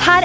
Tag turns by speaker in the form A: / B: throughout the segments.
A: her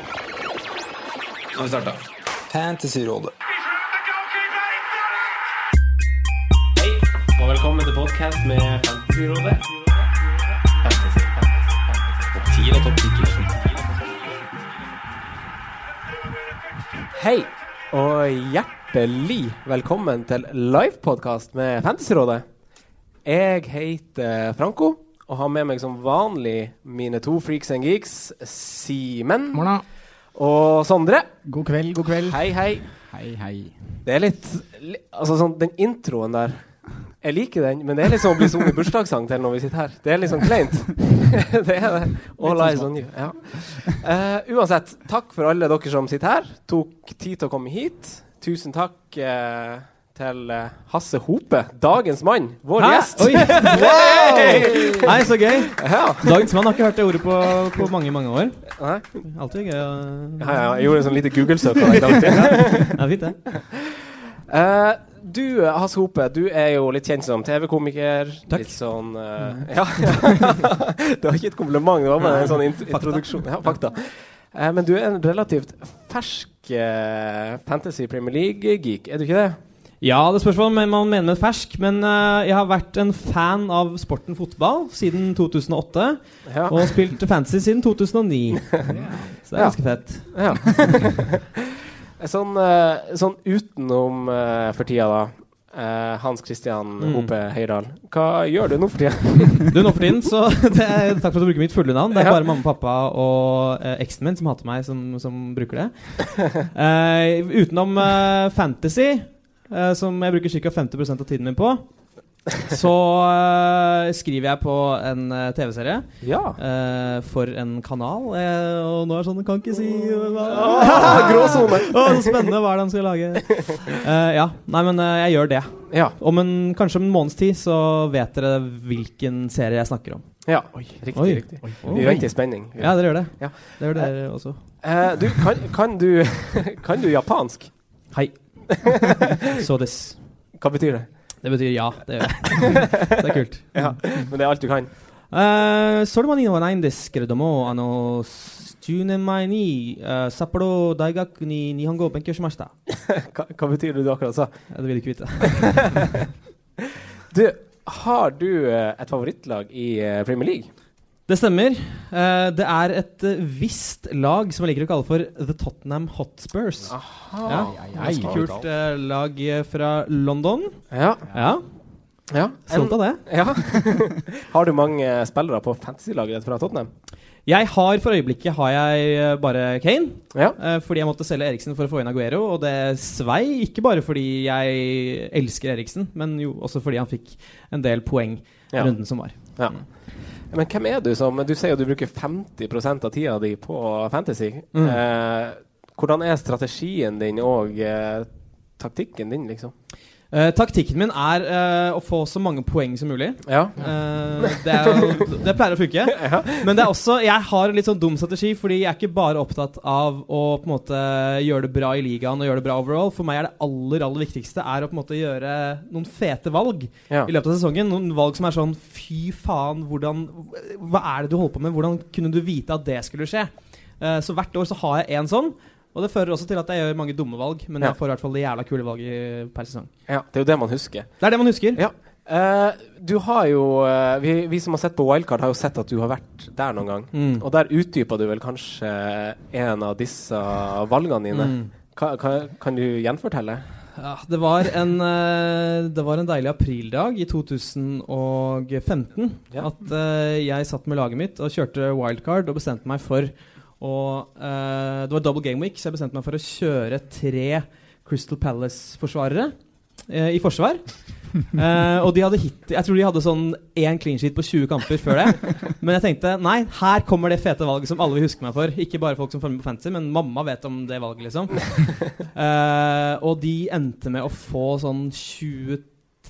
B: Nå har vi starta. Fantasyrådet.
C: Hei, og velkommen til podcast med Fantasyrådet. Hei, og hjertelig velkommen til livepodkast med Fantasyrådet. Jeg heter Franco og har med meg som vanlig mine to freaks and geeks, Simen og Sondre.
D: God kveld, god kveld.
C: Hei, hei.
D: Hei, hei.
C: Det er litt li- Altså sånn, den introen der Jeg liker den, men det er litt som å bli sunget bursdagssang til når vi sitter her. Det er litt sånn kleint. det er det. All eyes on you. Ja. Eh, uansett, takk for alle dere som sitter her. Tok tid til å komme hit. Tusen takk eh, til eh, Hasse Hope, dagens mann, vår gjest.
D: Oi! Wow! Nei, så gøy.
C: Ja.
D: Dagens mann har ikke hørt det ordet på, på mange, mange år.
C: Nei?
D: Alltid gøy å
C: Ja, ja, jeg gjorde en sånn lite Google-søk. av deg, Dag.
D: Ja, fint, det.
C: Eh, du, Hasse Hope, du er jo litt kjent som TV-komiker.
D: Takk. Mm.
C: Litt sånn eh, Ja. det var ikke et kompliment, det var bare en sånn int introduksjon. Ja, fakta. Eh, men du er en relativt fersk eh, Fantasy Premier League-geek, er du ikke det?
D: Ja, det spørs hva man man mener med fersk, men eh, jeg har vært en fan av sporten fotball siden 2008.
C: Ja.
D: Og spilt fantasy siden 2009. Så det er
C: Ja.
D: ganske fett.
C: ja. sånn, eh, sånn utenom eh, for tida, da. eh, Hans Christian
D: Mm.
C: Hope Høydahl, hva gjør du nå for tida?
D: Du, nå for tiden, så det er, Takk for at du bruker mitt fulle navn. Det er
C: Ja.
D: bare mamma, pappa og eh, eksen min som hater meg, som, som bruker det. Eh, utenom eh, fantasy, eh, som jeg bruker ca. 50 av tiden min på, så eh, skriver jeg på en eh, TV-serie
C: ja.
D: eh, for en kanal. eh, og nå er det sånn Kan ikke si hva
C: Ah, Gråsone.
D: Å, så spennende hva er det han skal lage. Eh, ja. Nei, men eh, jeg gjør det.
C: ja.
D: Om en, kanskje om en måneds tid så vet dere hvilken serie jeg snakker om.
C: Ja. Riktig,
D: Oi.
C: riktig. Vi venter i spenning.
D: Ja, dere gjør det.
C: Ja.
D: Det gjør dere også.
C: Eh, du, kan, kan, du, kan du japansk?
D: Hei. So this.
C: Hva betyr det?
D: Det betyr ja. Det gjør jeg. Det er kult.
C: Ja, Men det er alt du kan?
D: Uh, それまでにはないんですけれども、あの、10年前に、uh, 札幌大学に日本語を勉強しました。
C: Hva, hva betyr det du akkurat sa?
D: Ja, Det vil du ikke vite.
C: Du, har du eh, et favorittlag i eh, Premier League?
D: Det stemmer. Eh, det er et eh, visst lag som jeg liker å kalle for The Tottenham Hotspurs. Ja, ganske kult eh, lag eh, fra London.
C: Ja.
D: Ja,
C: ja.
D: stolt av det.
C: ja. har du mange spillere på fantasy-laget ditt fra Tottenham?
D: Jeg har for øyeblikket har jeg eh, bare Kane.
C: Ja.
D: eh, fordi jeg måtte selge Eriksen for å få inn Aguero, og det svei. Ikke bare fordi jeg elsker Eriksen, men jo også fordi han fikk en del poeng i
C: Ja.
D: runden som var.
C: ja. Men hvem er du som Du sier jo du bruker 50 av tida di på fantasy. Eh, hvordan er strategien din og eh, taktikken din, liksom?
D: Eh, taktikken min er eh, å få så mange poeng som mulig.
C: Ja.
D: Eh, det, er jo, det pleier å funke. Men det er også, jeg har en litt sånn dum strategi, fordi jeg er ikke bare opptatt av å på en måte gjøre det bra i ligaen og gjøre det bra overall. For meg er det aller aller viktigste er å på en måte gjøre noen fete valg
C: Ja.
D: i løpet av sesongen. Noen valg som er sånn Fy faen, hvordan Hva er det du holder på med? Hvordan kunne du vite at det skulle skje? Eh, så hvert år så har jeg en sånn. Og det fører også til at jeg gjør mange dumme valg, men
C: Ja.
D: jeg får i hvert fall de jævla kule valg i- per sesong.
C: ja. Det er jo det man husker.
D: Det er det man husker.
C: Ja. Eh, du har jo eh, vi, vi som har sett på Wildcard, har jo sett at du har vært der noen gang.
D: Mm.
C: Og der utdypa du vel eh,
D: Mm.
C: kanskje en av disse valgene dine. Ka, ka, kan du gjenfortelle?
D: Ja, det var en, eh, det var en deilig aprildag i 2015
C: Ja.
D: at eh, jeg satt med laget mitt og kjørte wildcard og bestemte meg for å eh, Det var double game week, så jeg bestemte meg for å kjøre tre Crystal Palace-forsvarere eh, i forsvar. Eh, og de hadde hit, jeg tror de hadde sånn én clean sheet på 20 kamper før det. Men jeg tenkte nei, her kommer det fete valget som alle vil huske meg for. Ikke bare folk som følger med på fantasy, men mamma vet om det valget, liksom. Eh, og de endte med å få sånn 23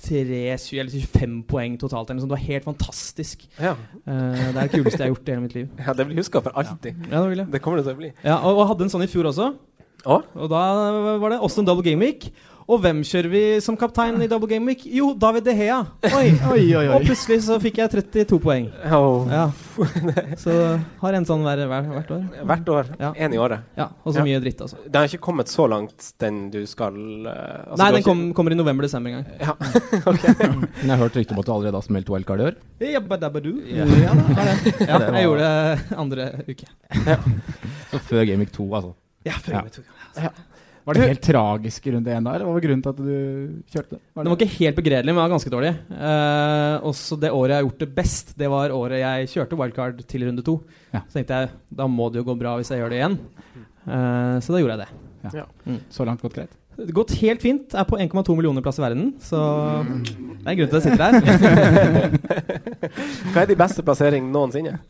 D: 20, eller 25 poeng totalt. Eller noe sånt. Det var helt fantastisk.
C: Ja.
D: Eh, det er det kuleste jeg har gjort i hele mitt liv.
C: ja, det blir huska for alltid.
D: Ja, det vil jeg.
C: Det kommer det til å bli.
D: Ja, og, og hadde en sånn i fjor også.
C: Å?
D: Og da var det også en double game week. Og hvem kjører vi som kaptein i double game week? Jo, David De Hea. Oi,
E: Oi, oi,
D: Og plutselig så fikk jeg 32 poeng.
C: Oh.
D: Ja. Så har en sånn hver, hver, hvert år.
C: Hvert år.
D: Ja.
C: Én i året.
D: Ja, Og så
C: Ja.
D: mye dritt, altså.
C: Den har ikke kommet så langt, den du skal eh, altså,
D: Nei,
C: du har
D: den
C: ikke-
D: kom, kommer i november-desember en gang.
E: Men jeg har hørt rykter om at du allerede har smelt wildcard i år.
D: Jabbadabbadu.
E: Ja.
D: Ja, da, har det. ja,
E: det var-
D: jeg gjorde det andre uke.
E: Så før Game Week 2, altså.
D: Ja,
E: Ja.
D: prøv, ja.
E: Var det helt tragisk i runde én der? Hva var grunnen til at du kjørte?
D: Den var ikke helt begredelig, men den var ganske dårlig. Eh, også det året jeg har gjort det best, det var året jeg kjørte wildcard til runde to.
E: Ja.
D: Så tenkte jeg da må det jo gå bra hvis jeg gjør det igjen. Eh, så da gjorde jeg det.
E: Så langt gått greit?
D: Det har gått helt fint. Er på 1,2 millioner plass i verden, så det er en grunn til at jeg sitter her.
C: Hva er de beste plasseringene noensinne?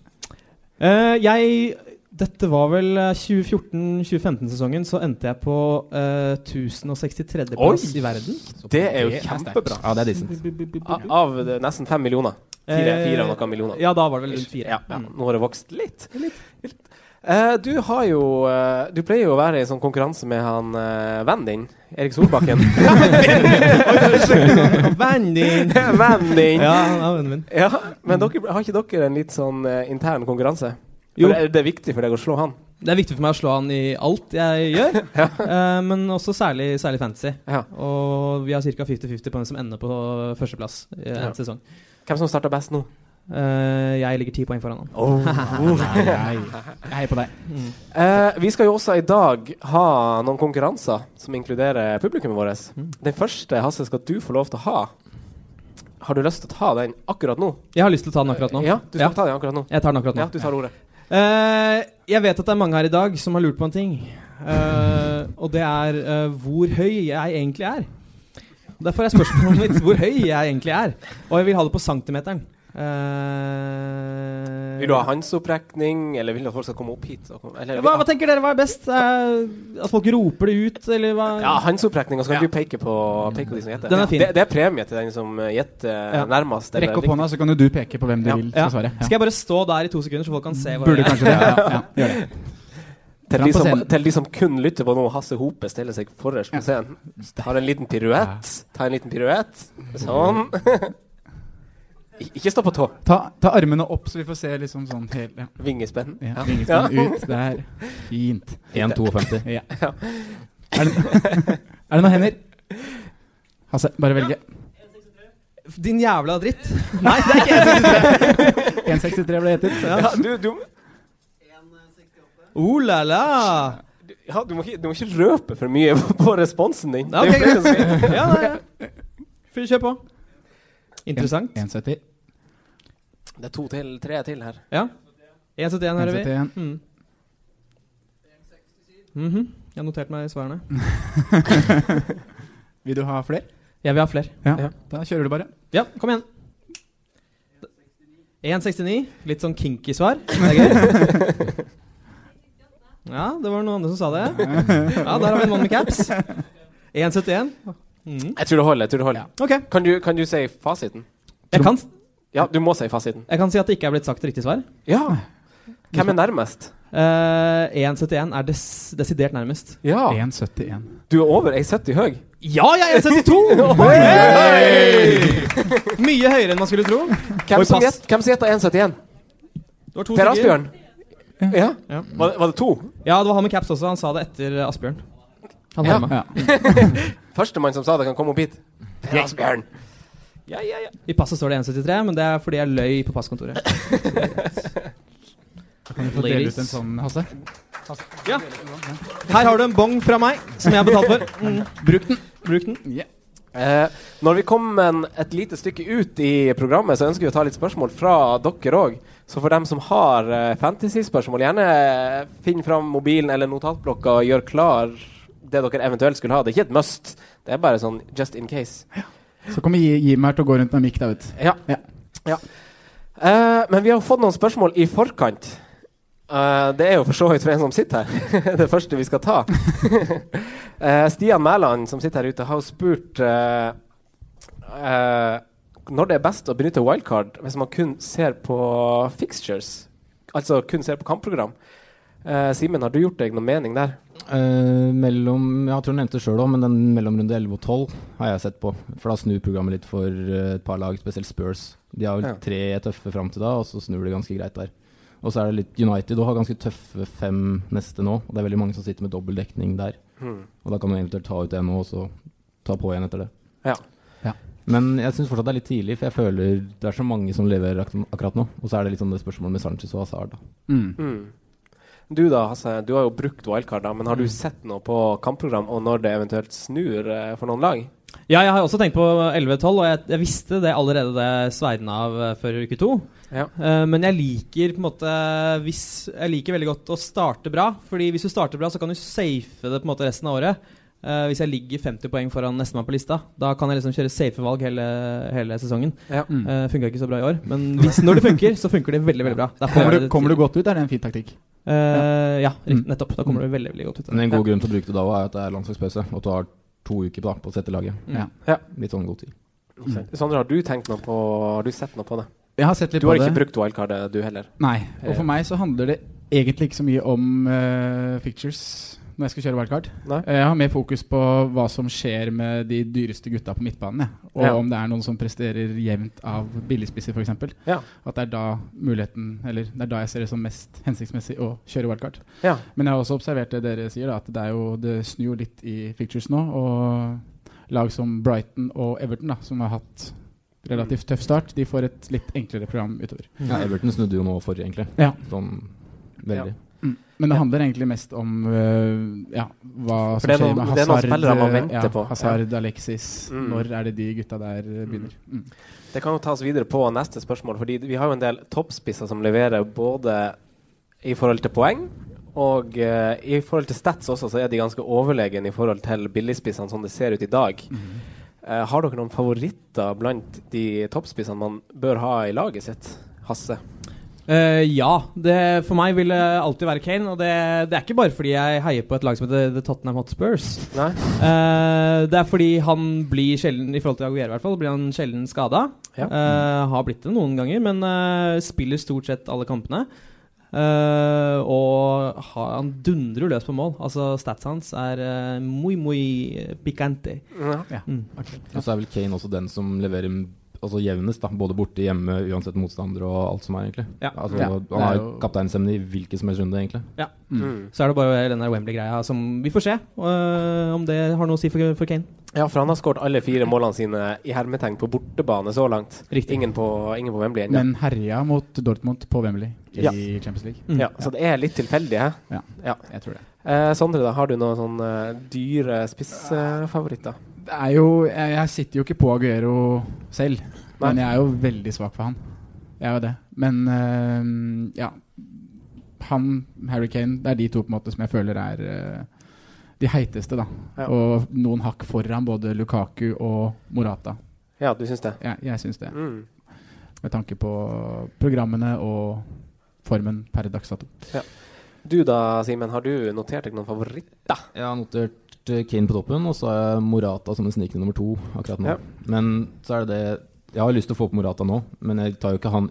D: Eh, jeg Dette var vel eh, 2014-2015-sesongen, så endte jeg på eh, 1063. plass
C: Oi!
D: i verden.
C: Det er jo
E: sterkt.
C: kjempebra.
E: Ja, det er decent.
C: Av, av det, nesten fem millioner. Fire,
D: Eh,
C: fire og noen millioner.
D: Ja, da var det vel rundt fire.
C: Ja, ja.
D: Mm.
C: Nå har det vokst litt. Litt. Eh, du har jo eh, Du pleier jo å være i sånn konkurranse med han eh, vennen din, Erik Solbakken.
D: Vennen din!
C: vennen din!
D: Ja,
C: Ja.
D: han er vennen min.
C: men dere, har ikke dere en litt sånn eh, intern konkurranse?
D: Jo.
C: For det, er- det er viktig for deg å slå han.
D: Det er viktig for meg å slå han i alt jeg gjør, eh, men også særlig, særlig fantasy.
C: Ja.
D: Og vi har ca. 50-50 på hvem som ender på førsteplass i en
C: Ja.
D: sesong.
C: Hvem som starter best nå?
D: Eh, jeg ligger ti poeng foran han.
E: Nei, jeg heier på deg.
C: Eh, vi skal jo også i dag ha noen konkurranser som inkluderer publikummet vårt.
D: Mm.
C: Den første, Hasse, skal du få lov til å ha. Har du lyst til å ta den akkurat nå?
D: Jeg har lyst til å ta den akkurat nå.
C: Ja, du skal
D: Ja.
C: ta den akkurat nå.
D: Jeg tar den akkurat nå.
C: Ja, du tar ordet.
D: Eh, jeg vet at det er mange her i dag som har lurt på en ting. Eh, og det er eh, hvor høy jeg egentlig er. Derfor er spørsmålet mitt hvor høy jeg egentlig er. Og jeg vil ha det på centimeteren. Eh,
C: Vil du ha håndsopprekning, eller vil du at folk skal komme opp hit? Og komme, eller,
D: hva, hva tenker dere hva er best? Eh, at folk roper det ut, eller hva?
C: ja, håndsopprekning, og så kan du peke på, peke på de som gjetter.
D: Den er fin.
C: Det, det er premie til den som eh, gjetter nærmest. eller
E: Rekk opp
C: riktig.
E: hånda, så kan jo du peke på hvem du
C: Ja.
E: vil
D: Ja.
E: skal svare. Ja.
D: Skal jeg bare stå der i to sekunder, så folk kan se hva
E: Burde
D: jeg er?
E: kanskje det. Ja, ja. Gjør det.
C: Til
E: Fram
C: de,
E: på
C: som,
E: scenen.
C: til de som kun lytter på nå, Hasse Hope stiller seg forrest på scenen. Tar en liten piruett. Ta en liten piruett. Sånn. Ik- Ikke stå på tå.
E: Ta, ta armene opp, så vi får se liksom sånn helt ja.
C: Vingespenn.
E: Ja. Vingespann ut. Det er fint.
F: 1,52.
E: Ja. Er, det, er det noen hender? Hasse, bare velge.
D: Din jævla dritt.
E: 1,63 ble gjettet.
C: Ja, du, du,
D: Oh la la.
C: ja, du, må ikke, du må ikke røpe for mye på, på responsen din.
D: Ja,
C: Det er
D: ok,
C: jo flere som-
D: Ja, ja, ja. Fyr, kjør på. Interessant.
E: 1,70.
C: Det er to til, tre til her.
D: Ja. 1,71 hører vi.
E: 1,71.
D: Mm. Mhm. Jeg har notert meg svarene.
E: Vil du ha flere?
D: Jeg vil ha flere.
C: Ja.
E: Da kjører du bare.
D: Ja, kom igjen. 1,69. Litt sånn kinky svar. Det er gøy. Ja, det var noen andre som sa det. Ja, der har vi en mann med caps. 1,71. Mhm.
C: Jeg tror det holder. jeg tror det holder.
D: Ok.
C: Kan, du, kan du si fasiten?
D: Jeg kan,
C: Ja, du må si fasiten.
D: jeg kan si at det ikke er blitt sagt riktig svar.
C: Ja. Hvem er nærmest?
D: Eh, 1,71 er des desidert nærmest.
C: Ja.
E: Ah. 1,71.
C: Du er over 1,70 høy.
D: Ja, jeg er 1,72! Mye høyere enn man skulle tro.
C: Hvem
D: Oi,
C: som
D: pass.
C: gjet- hvem som gjetta 1,71?
D: Det var to
C: Per
D: stykker.
C: Asbjørn? Ja.
D: Ja.
C: Var, det- var det to?
D: Ja, det var han med caps også. Han sa det etter eh, Asbjørn. Han
C: Ja.
D: ja. meg.
E: Ja.
C: Førstemann som sa det, kan komme opp hit. Per Asbjørn. Ja, ja, ja.
D: I passet står det 1,73, men det er fordi jeg løy på passkontoret.
E: Kan du få dele ut en sånn, Hasse?
D: Her har du en bong fra meg, som jeg har betalt for. Mm. Bruk den. Bruk den.
C: Eh, når vi kom en, et lite stykke ut i programmet, så ønsker vi å ta litt spørsmål fra dere òg. Så for dem som har eh, fantasy-spørsmål, gjerne eh, finn fram mobilen eller notatblokka og gjør klar det dere eventuelt skulle ha. Det er ikke et must, det er bare sånn just in case.
E: Så kommer Gi- Jim her til å gå rundt med mikk, da, vet du.
C: Ja. Ja. Eh, men vi har fått noen spørsmål i forkant. Eh, det er jo for så vidt for en som sitter her. det første vi skal ta. Eh, Stian Mæland, som sitter her ute, har jo spurt eh, eh, når det er best å benytte wildcard hvis man kun ser på fixtures. Altså kun ser på kampprogram. Eh, Simen, har du gjort deg noen mening der?
G: Eh, mellom, jeg tror jeg nevnte det sjøl òg, men den mellomrunde 11 og 12 har jeg sett på. For da snur programmet litt for eh, et par lag, spesielt Spurs. De har vel
C: Ja.
G: tre tøffe fram til da, og så snur det ganske greit der. Og så er det litt United og har ganske tøffe fem neste nå. Og det er veldig mange som sitter med dobbel dekning der.
C: Hmm.
G: Og da kan du eventuelt ta ut en nå, og så ta på igjen etter det.
C: Ja.
G: Men jeg syns fortsatt det er litt tidlig, for jeg føler det er så mange som leverer ak akkurat nå. Og så er det litt sånn det spørsmålet med Sanchez og Hazard, da.
C: Mm. Du da, Hasse, du har jo brukt wildcard, da, men har du sett noe på kampprogram og når det eventuelt snur eh, for noen lag?
D: Ja, jeg har også tenkt på 11-12, og jeg, jeg visste det allerede da jeg svei den av eh, før uke to.
C: Ja.
D: Eh, men jeg liker på en måte hvis, Jeg liker veldig godt å starte bra. Fordi hvis du starter bra, så kan du safe det på en måte resten av året. Eh, hvis jeg ligger 50 poeng foran nestemann på lista, da kan jeg liksom kjøre safe valg hele, hele sesongen.
C: Ja.
E: Mm.
D: Eh, funka ikke så bra i år, men hvis, når det funker, så funker det veldig veldig bra. Derfor er
E: Kommer, du,
D: det-
E: kommer du godt ut, er det en fin taktikk.
D: Eh, ja,
E: Mm.
D: rikt- nettopp. Da kommer du veldig veldig godt ut.
G: Men en god grunn til å bruke det da også er at det er landslagspause, og at du har to uker da, på å sette laget.
D: Mm.
C: Ja.
G: Litt sånn god tid.
C: Sondre, har du tenkt noe på Har du sett noe på det?
E: Jeg har sett litt
C: Du
E: på
C: har ikke
E: det.
C: brukt wildcardet, du heller?
E: Nei. Og for meg så handler det egentlig ikke så mye om eh, fictures når jeg skal kjøre wildcard.
C: Nei.
E: Eh, Jeg har mer fokus på hva som skjer med de dyreste gutta på midtbanen. jeg. Og
C: Ja.
E: om det er noen som presterer jevnt av billigspisser, f.eks.
C: Ja.
E: At det er da muligheten Eller det er da jeg ser det som mest hensiktsmessig å kjøre wildcard.
C: Ja.
E: Men jeg har også observert det dere sier, da, at det, er jo, det snur jo litt i fictures nå. Og lag som Brighton og Everton, da, som har hatt relativt tøff start, de får et litt enklere program utover.
G: Ja, Everton snudde jo nå forrige, egentlig.
E: Ja.
G: Sånn veldig.
E: Mm. Men det handler egentlig mest om øh, ja, hva
C: For
E: som
C: det er
E: skjer
C: noen-
E: med
C: det er noen
E: Hazard, eh,
C: spillere man venter
E: ja,
C: på.
E: Hazard Alexis.
C: Mm.
E: Når er det de gutta der øh, begynner? Mm.
C: Det kan jo tas videre på neste spørsmål, fordi vi har jo en del toppspisser som leverer både i forhold til poeng og eh, i forhold til stats også, så er de ganske overlegen i forhold til billigspissene sånn det ser ut i dag. Eh, har dere noen favoritter blant de toppspissene man bør ha i laget sitt? Hasse?
D: Eh, ja. Det, for meg vil det alltid være Kane. Og det, det er ikke bare fordi jeg heier på et lag som heter The Tottenham Hotspurs.
C: Nei?
D: Eh, det er fordi han blir sjelden, i forhold til Aguero i hvert fall, blir han sjelden skada.
C: Ja.
D: Eh, har blitt det noen ganger, men eh, spiller stort sett alle kampene. Eh, og ha, han dundrer løs på mål. Altså Stats hans er eh, muy, muy picante. Mm.
C: Ja.
G: Og så er vel Kane også den som leverer m- altså jevnest, da. Både borte, hjemme, uansett motstander og alt som er, egentlig.
D: Ja.
G: Altså,
E: Ja, det
G: Han
E: er
G: har jo
E: jo-
G: kapteinsemne i hvilken som helst runde, egentlig.
C: Mm.
D: Så er det bare den der Wembley-greia som Vi får se eh, om det har noe å si for, for Kane.
C: ja, for han har skåret alle fire målene sine i hermetegn på bortebane så langt.
D: Riktig.
C: Ingen på, ingen på Wembley ennå.
E: Men herja mot Dortmund på Wembley i
C: Ja.
E: Champions League.
D: Mm.
C: Ja, så det er litt tilfeldig, hæ?
E: Jeg tror det.
C: Eh, Sondre, da, har du noen sånn eh, dyre spissfavoritter?
E: det er jo, jeg, jeg sitter jo ikke på Aguero selv,
C: Nei.
E: men jeg er jo veldig svak for han. Jeg er jo det. Men øhm, ja Han, Harry Kane, det er de to på en måte som jeg føler er øh, de heiteste, da.
C: Ja.
E: Og noen hakk foran både Lukaku og Morata.
C: ja, du syns det?
E: Jeg, jeg syns det.
C: Mm.
E: Med tanke på programmene og formen per dags dato.
C: Du da, Simen, har du notert deg noen favoritter?
G: Jeg har notert eh, Kane på toppen, og så har jeg Morata som en snikende nummer to akkurat nå.
C: Ja.
G: Men så er det det Jeg har lyst til å få på Morata nå, men jeg tar jo ikke han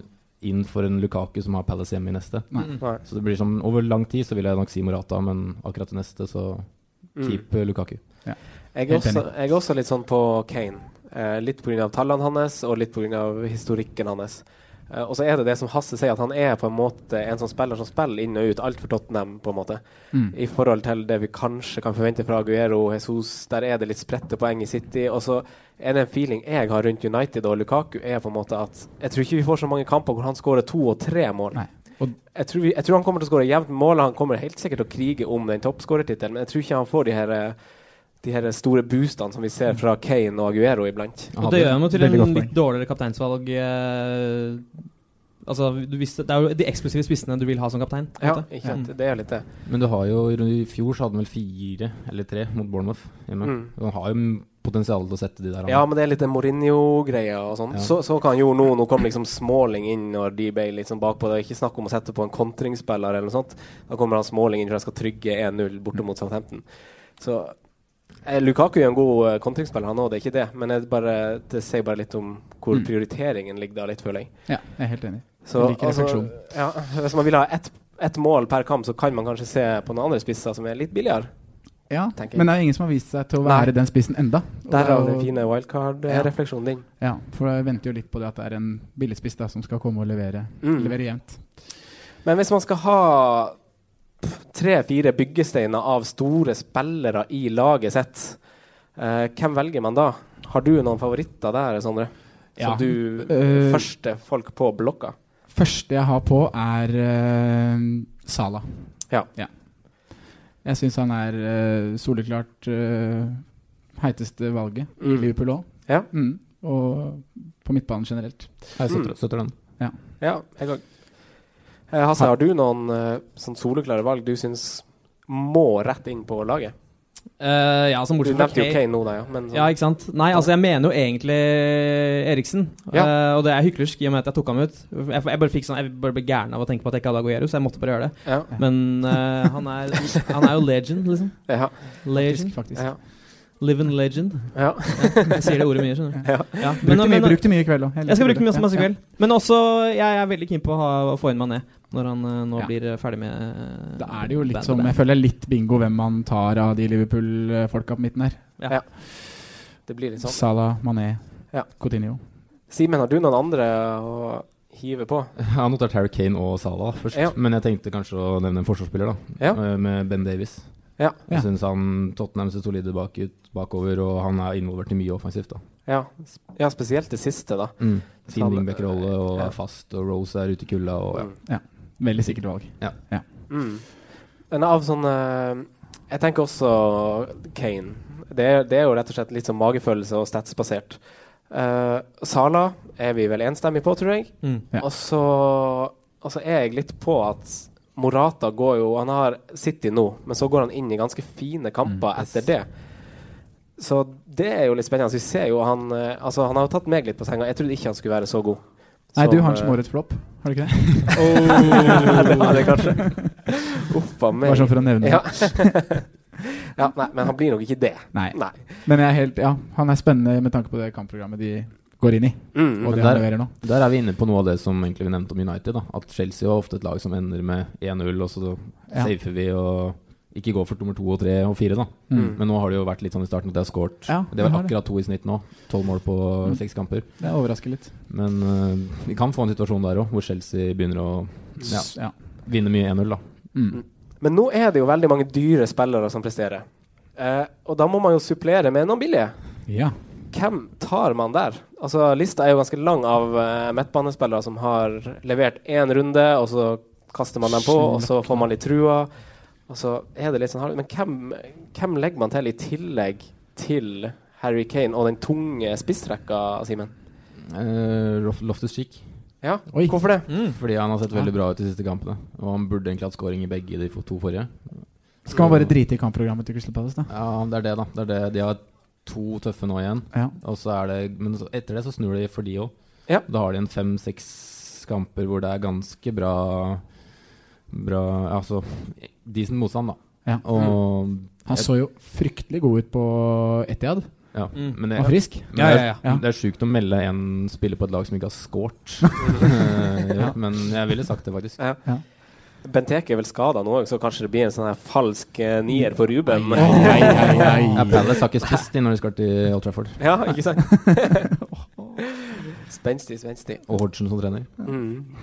G: inn for en Lukaku som har Palace hjemme i neste.
D: Mm.
C: Nei.
G: Så det blir sånn, Over lang tid så vil jeg nok si Morata, men akkurat i neste så
C: Mm.
G: keep eh, Lukaku.
C: Jeg er,
E: Helt
C: også,
E: enig.
C: jeg er også litt sånn på Kane. Eh, litt pga. tallene hans og litt pga. historikken hans. Eh, og så er det det som Hasse sier, at han er på en måte en sånn spiller som spiller inn og ut alt for Tottenham, på en måte.
E: Mm.
C: I forhold til det vi kanskje kan forvente fra Aguero og Jesus, der er det litt spredte poeng i City. Og så er det en feeling jeg har rundt United og Lukaku, er på en måte at jeg tror ikke vi får så mange kamper hvor han skårer to og tre mål.
E: Nei. Og
C: Jeg tror, vi, jeg tror han kommer til å skåre jevnt med mål. Han kommer helt sikkert til å krige om den toppskårertittelen, men jeg tror ikke han får de her eh, de her store boostene som vi ser fra Kane og Aguero iblant.
D: Og det gjør han jo til en litt dårligere kapteinsvalg eh, Altså, du visste, Det er jo de eksklusive spissene du vil ha som kaptein. på en
C: Ja,
D: måte.
C: ikke sant.
D: Mm.
C: Det er litt det.
G: Men du har jo i fjor så hadde han vel fire eller tre mot Bournemouth hjemme.
C: Mm.
G: Han har jo potensial til å sette de der. han.
C: Ja, men det er litt den Mourinho-greia og sånn.
G: Ja.
C: Så, så kan jo nå Nå kom liksom Smalling inn når de ble litt sånn bakpå. Det er ikke snakk om å sette på en kontringsspiller eller noe sånt. Da kommer han Smalling inn for han skal trygge 1-0 borte mot Southampton. Så eh, Lukaku er jo en god eh, kontringsspiller, han òg, det er ikke det. Men jeg bare, det sier bare litt om hvor
E: Mm.
C: prioriteringen ligger da, litt, føler jeg.
E: Ja, jeg er helt enig.
C: Så,
E: jeg liker
C: altså,
E: refleksjon.
C: ja, hvis man vil ha ett ett mål per kamp, så kan man kanskje se på noen andre spisser som er litt billigere.
E: Ja,
C: tenker jeg.
E: men det er ingen som har vist seg til å
C: Nei.
E: være den spissen enda. Og det
C: Der
E: er
C: har vi
E: jo-
C: den fine wildcard-refleksjonen din.
E: Ja, for jeg venter jo litt på det at det er en billigspiss da, som skal komme og levere,
C: Mm.
E: levere jevnt.
C: Men hvis man skal ha tre-fire byggesteiner av store spillere i laget sitt, eh, hvem velger man da? Har du noen favoritter der, Sondre? Som
E: Ja.
C: du
E: Eh,
C: første folk på blokka?
E: Første jeg har på, er Sala.
C: Ja.
E: Jeg syns han er eh, soleklart eh, heiteste valget i
C: Mm.
E: Liverpool òg.
C: Ja.
E: Mm. Og på midtbanen generelt.
G: Jeg
C: mm.
G: støtter, støtter den.
E: Ja.
C: Ja, jeg òg. Eh, Hasse, har du noen eh, sånn soleklare valg du syns må rett inn på laget?
D: Eh, ja, som
C: Du
D: bortsett fra
C: nevnte jo Kane nå, da, ja, men sånn-
D: ja, ikke sant? Nei, altså, jeg mener jo egentlig Eriksen.
C: Ja.
D: Eh, og det er hyklersk i og med at jeg tok ham ut. Jeg, jeg bare fikk sånn, jeg bare ble gæren av å tenke på at jeg ikke hadde Aguero, så jeg måtte bare gjøre det.
C: Ja.
D: Men eh, han, er, han er jo legend, liksom.
C: Ja.
D: Legend.
E: Faktisk,
C: Ja.
D: Live and legend.
C: Ja.
D: Jeg sier det ordet mye, skjønner du.
C: Ja.
E: Brukte mye- brukte mye i kveld også. Jeg
D: Jeg,
E: liker
D: skal bruke
E: det.
D: masse, masse i
E: Ja.
D: kveld. Men også, jeg er veldig keen på å, ha, å få inn Mané når han eh, nå
E: Ja.
D: blir eh, ferdig med eh,
E: Da er det jo litt
D: bandet
E: som
D: der.
E: Jeg føler det er litt bingo hvem man tar av de Liverpool-folka på midten her.
D: Ja.
C: Det blir litt sånn.
E: Salah, Mané,
C: Ja.
E: Coutinho.
C: Simen, har du noen andre å hive på?
G: Jeg har notert Harry Kane og Salah først,
C: Ja.
G: men jeg tenkte kanskje å nevne en forsvarsspiller, da.
C: Ja.
G: eh, Med Ben Davies.
C: Ja.
G: Jeg syns han Tottenham ser solide bak ut, bakover, og han er involvert i mye offensivt, da.
C: Ja, sp- ja spesielt det siste, da.
G: Mm. Fin
C: Han-
G: wingback-rolle og
C: Ja.
G: er fast, og Rose er ute i kulda, og ja.
E: Ja. Veldig sikkert valg.
G: Ja.
E: Ja.
C: Mm. Men av sånne eh, Jeg tenker også Kane. Det er, det er jo rett og slett litt sånn magefølelse og statsbasert. Uh, Sala er vi vel enstemmige på, tror jeg.
D: Mm.
E: Ja.
C: Og, så, og så er jeg litt på at Morata går jo Han har City nå, men så går han inn i ganske fine kamper
E: Mm.
C: etter det. Så det er jo litt spennende. Vi ser jo han eh, Altså, han har jo tatt meg litt på senga. Jeg trodde ikke han skulle være så god.
E: Nei,
C: Som,
E: du har han som
C: eh,
E: årets flopp, har du ikke det?
C: Oh, det var det kanskje. Uff a meg.
E: Bare sånn for å nevne det.
C: ja. ja, nei, men han blir nok ikke det.
E: Nei.
C: Nei.
E: Men jeg er helt, ja, han er spennende med tanke på det kampprogrammet de går inn i.
C: Mm.
E: Og
G: Men
E: det han
G: der-
E: leverer nå.
G: Der er vi inne på noe av det som egentlig vi nevnte om United. da At Chelsea er ofte et lag som ender med 1-0, og så
E: Ja.
G: safer vi og ikke går for nummer to og tre og fire. da
E: Mm.
G: Men nå har det jo vært litt sånn i starten at de har scoret.
E: Ja,
G: det var
E: de har det. Mm.
G: akkurat to i snitt nå. Tolv mål på seks kamper.
E: Det overrasker litt.
G: Men eh, vi kan få en situasjon der òg, hvor Chelsea begynner å ja,
E: S- Ja.
G: vinne mye 1-0. da
E: Mm.
C: Men nå er det jo veldig mange dyre spillere som presterer. Eh, og da må man jo supplere med noen billige.
E: ja.
C: Hvem tar man der? Altså, Lista er jo ganske lang av eh, midtbanespillere som har levert én runde, og så kaster man dem på, og så får man litt trua. Og så er det litt sånn hard- Men hvem, hvem legger man til i tillegg til Harry Kane og den tunge spissrekka, Simen?
G: Eh, Lof- Loftus-Cheek.
C: Ja,
E: Oi.
C: hvorfor det?
G: Fordi han har sett veldig bra ut de siste kampene. Og han burde egentlig hatt scoring i begge de to forrige.
E: Skal man bare drite i kampprogrammet til Crystal Palace, da?
G: Ja, det er det, da. Det er det. De har to tøffe nå igjen.
E: Ja.
G: Og så er det, men så- etter det så snur de for de òg.
C: Ja.
G: Da har de en fem-seks kamper hvor det er ganske bra Bra Altså decent motstand, da.
E: Ja. Mm.
G: Og
E: Han så jo fryktelig god ut på Etiad.
G: ja.
D: Mm.
G: Men det,
E: Var frisk.
G: men det er-
E: Ja.
G: Det er sjukt å melde en spiller på et lag som ikke har scoret. Eh, ja, men jeg ville sagt det, faktisk.
C: Benteke Mm. er vel skada nå òg, så kanskje det blir en sånn her falsk eh, nier for Ruben.
G: Ja, Palace har ikke spist de når de skal til Old Trafford.
C: ja, ikke sant? spenstig, spenstig.
G: Og Hodgson som trener.
C: Mm.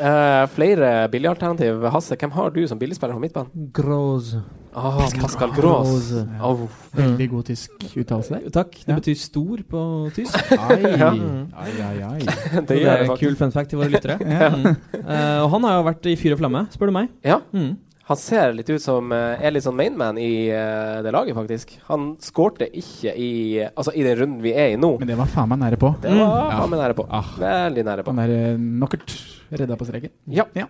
C: Eh, flere billigalternativ. Hasse, hvem har du som billigspiller på midtbanen?
D: Gross.
C: Ah, Pascal Gross. Au.
E: Veldig god tysk uttalelse der.
D: Takk. Det
E: Mm. Ja.
D: betyr stor på tysk.
E: Ai,
C: Ja.
E: ai, ai, ai.
C: Det
D: Det er
C: gjør det
D: en kul
C: faktisk.
D: fun fact til våre lyttere. Mm. Eh, og han har jo vært i fyr og flamme, spør du meg.
C: Ja.
D: Mm.
C: Han ser litt ut som eh, er litt sånn mainman i eh, det laget, faktisk. Han skårte ikke i Altså i den runden vi er i nå.
E: Men det var faen meg nære på.
C: Det
D: Mm.
C: var
E: Mm. Ja.
C: han er nære på. Veldig nære på.
E: Han er eh, knockert. Redda på streken.
C: Ja. ja.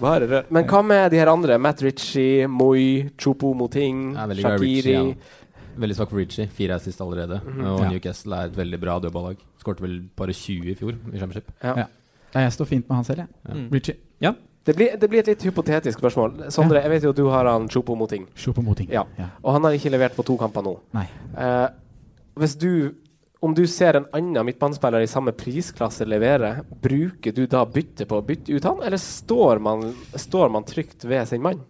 C: Bare rør. Men hva med de her andre? Matt Ritchie, Moi, Chopo Moting,
G: Jeg er veldig glad i Ritchie,
C: Shakiri.
G: ja. Veldig svak for Ritchie. Fire er sist allerede.
C: Mhm.
G: Og
E: Ja.
G: Newcastle er et veldig bra dødballag. Skårte vel bare 20 i fjor i Championship.
E: Ja. Nei, jeg står fint med han selv, jeg.
D: Mm.
G: Ja.
E: Ritchie.
C: Det, blir, det blir et litt hypotetisk spørsmål. Sondre, jeg vet jo at du har han Chopo Moting.
E: Chopo Moting.
C: Ja.
E: Ja.
C: Og han har ikke levert på to kamper nå.
E: Nei.
C: Eh, hvis du om du ser en annen midtbanespiller i samme prisklasse levere, bruker du da bytte på å bytte ut han, eller står man, står man trygt ved sin mann?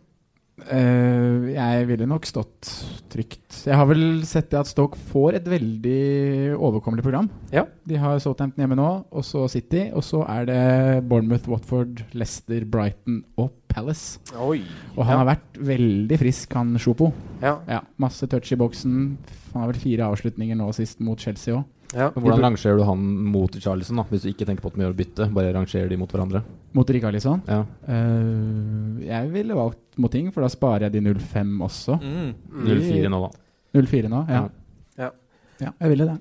E: Eh, jeg ville nok stått trygt. Jeg har vel sett det at Stoke får et veldig overkommelig program.
C: Ja.
E: De har Southampton hjemme nå, og så City. Og så er det Bournemouth, Watford, Leicester, Brighton og Palace.
C: Oi.
E: Og
C: Ja.
E: han har vært veldig frisk, han Sjopo.
C: Ja.
E: masse touch i boksen. Han har vel fire avslutninger nå sist mot Chelsea òg.
C: Ja.
G: Men Hvordan rangerer du han mot Charlison, da? hvis du ikke tenker på at de gjør bytte? Bare rangerer de mot hverandre?
E: Mot Rikarlisson?
G: Ja.
E: Eh, jeg ville valgt Moting, for da sparer jeg de 05 også.
C: Mm.
G: 0-4 nå, da.
E: 04 nå, ja.
C: Ja.
E: ja. Jeg ville det.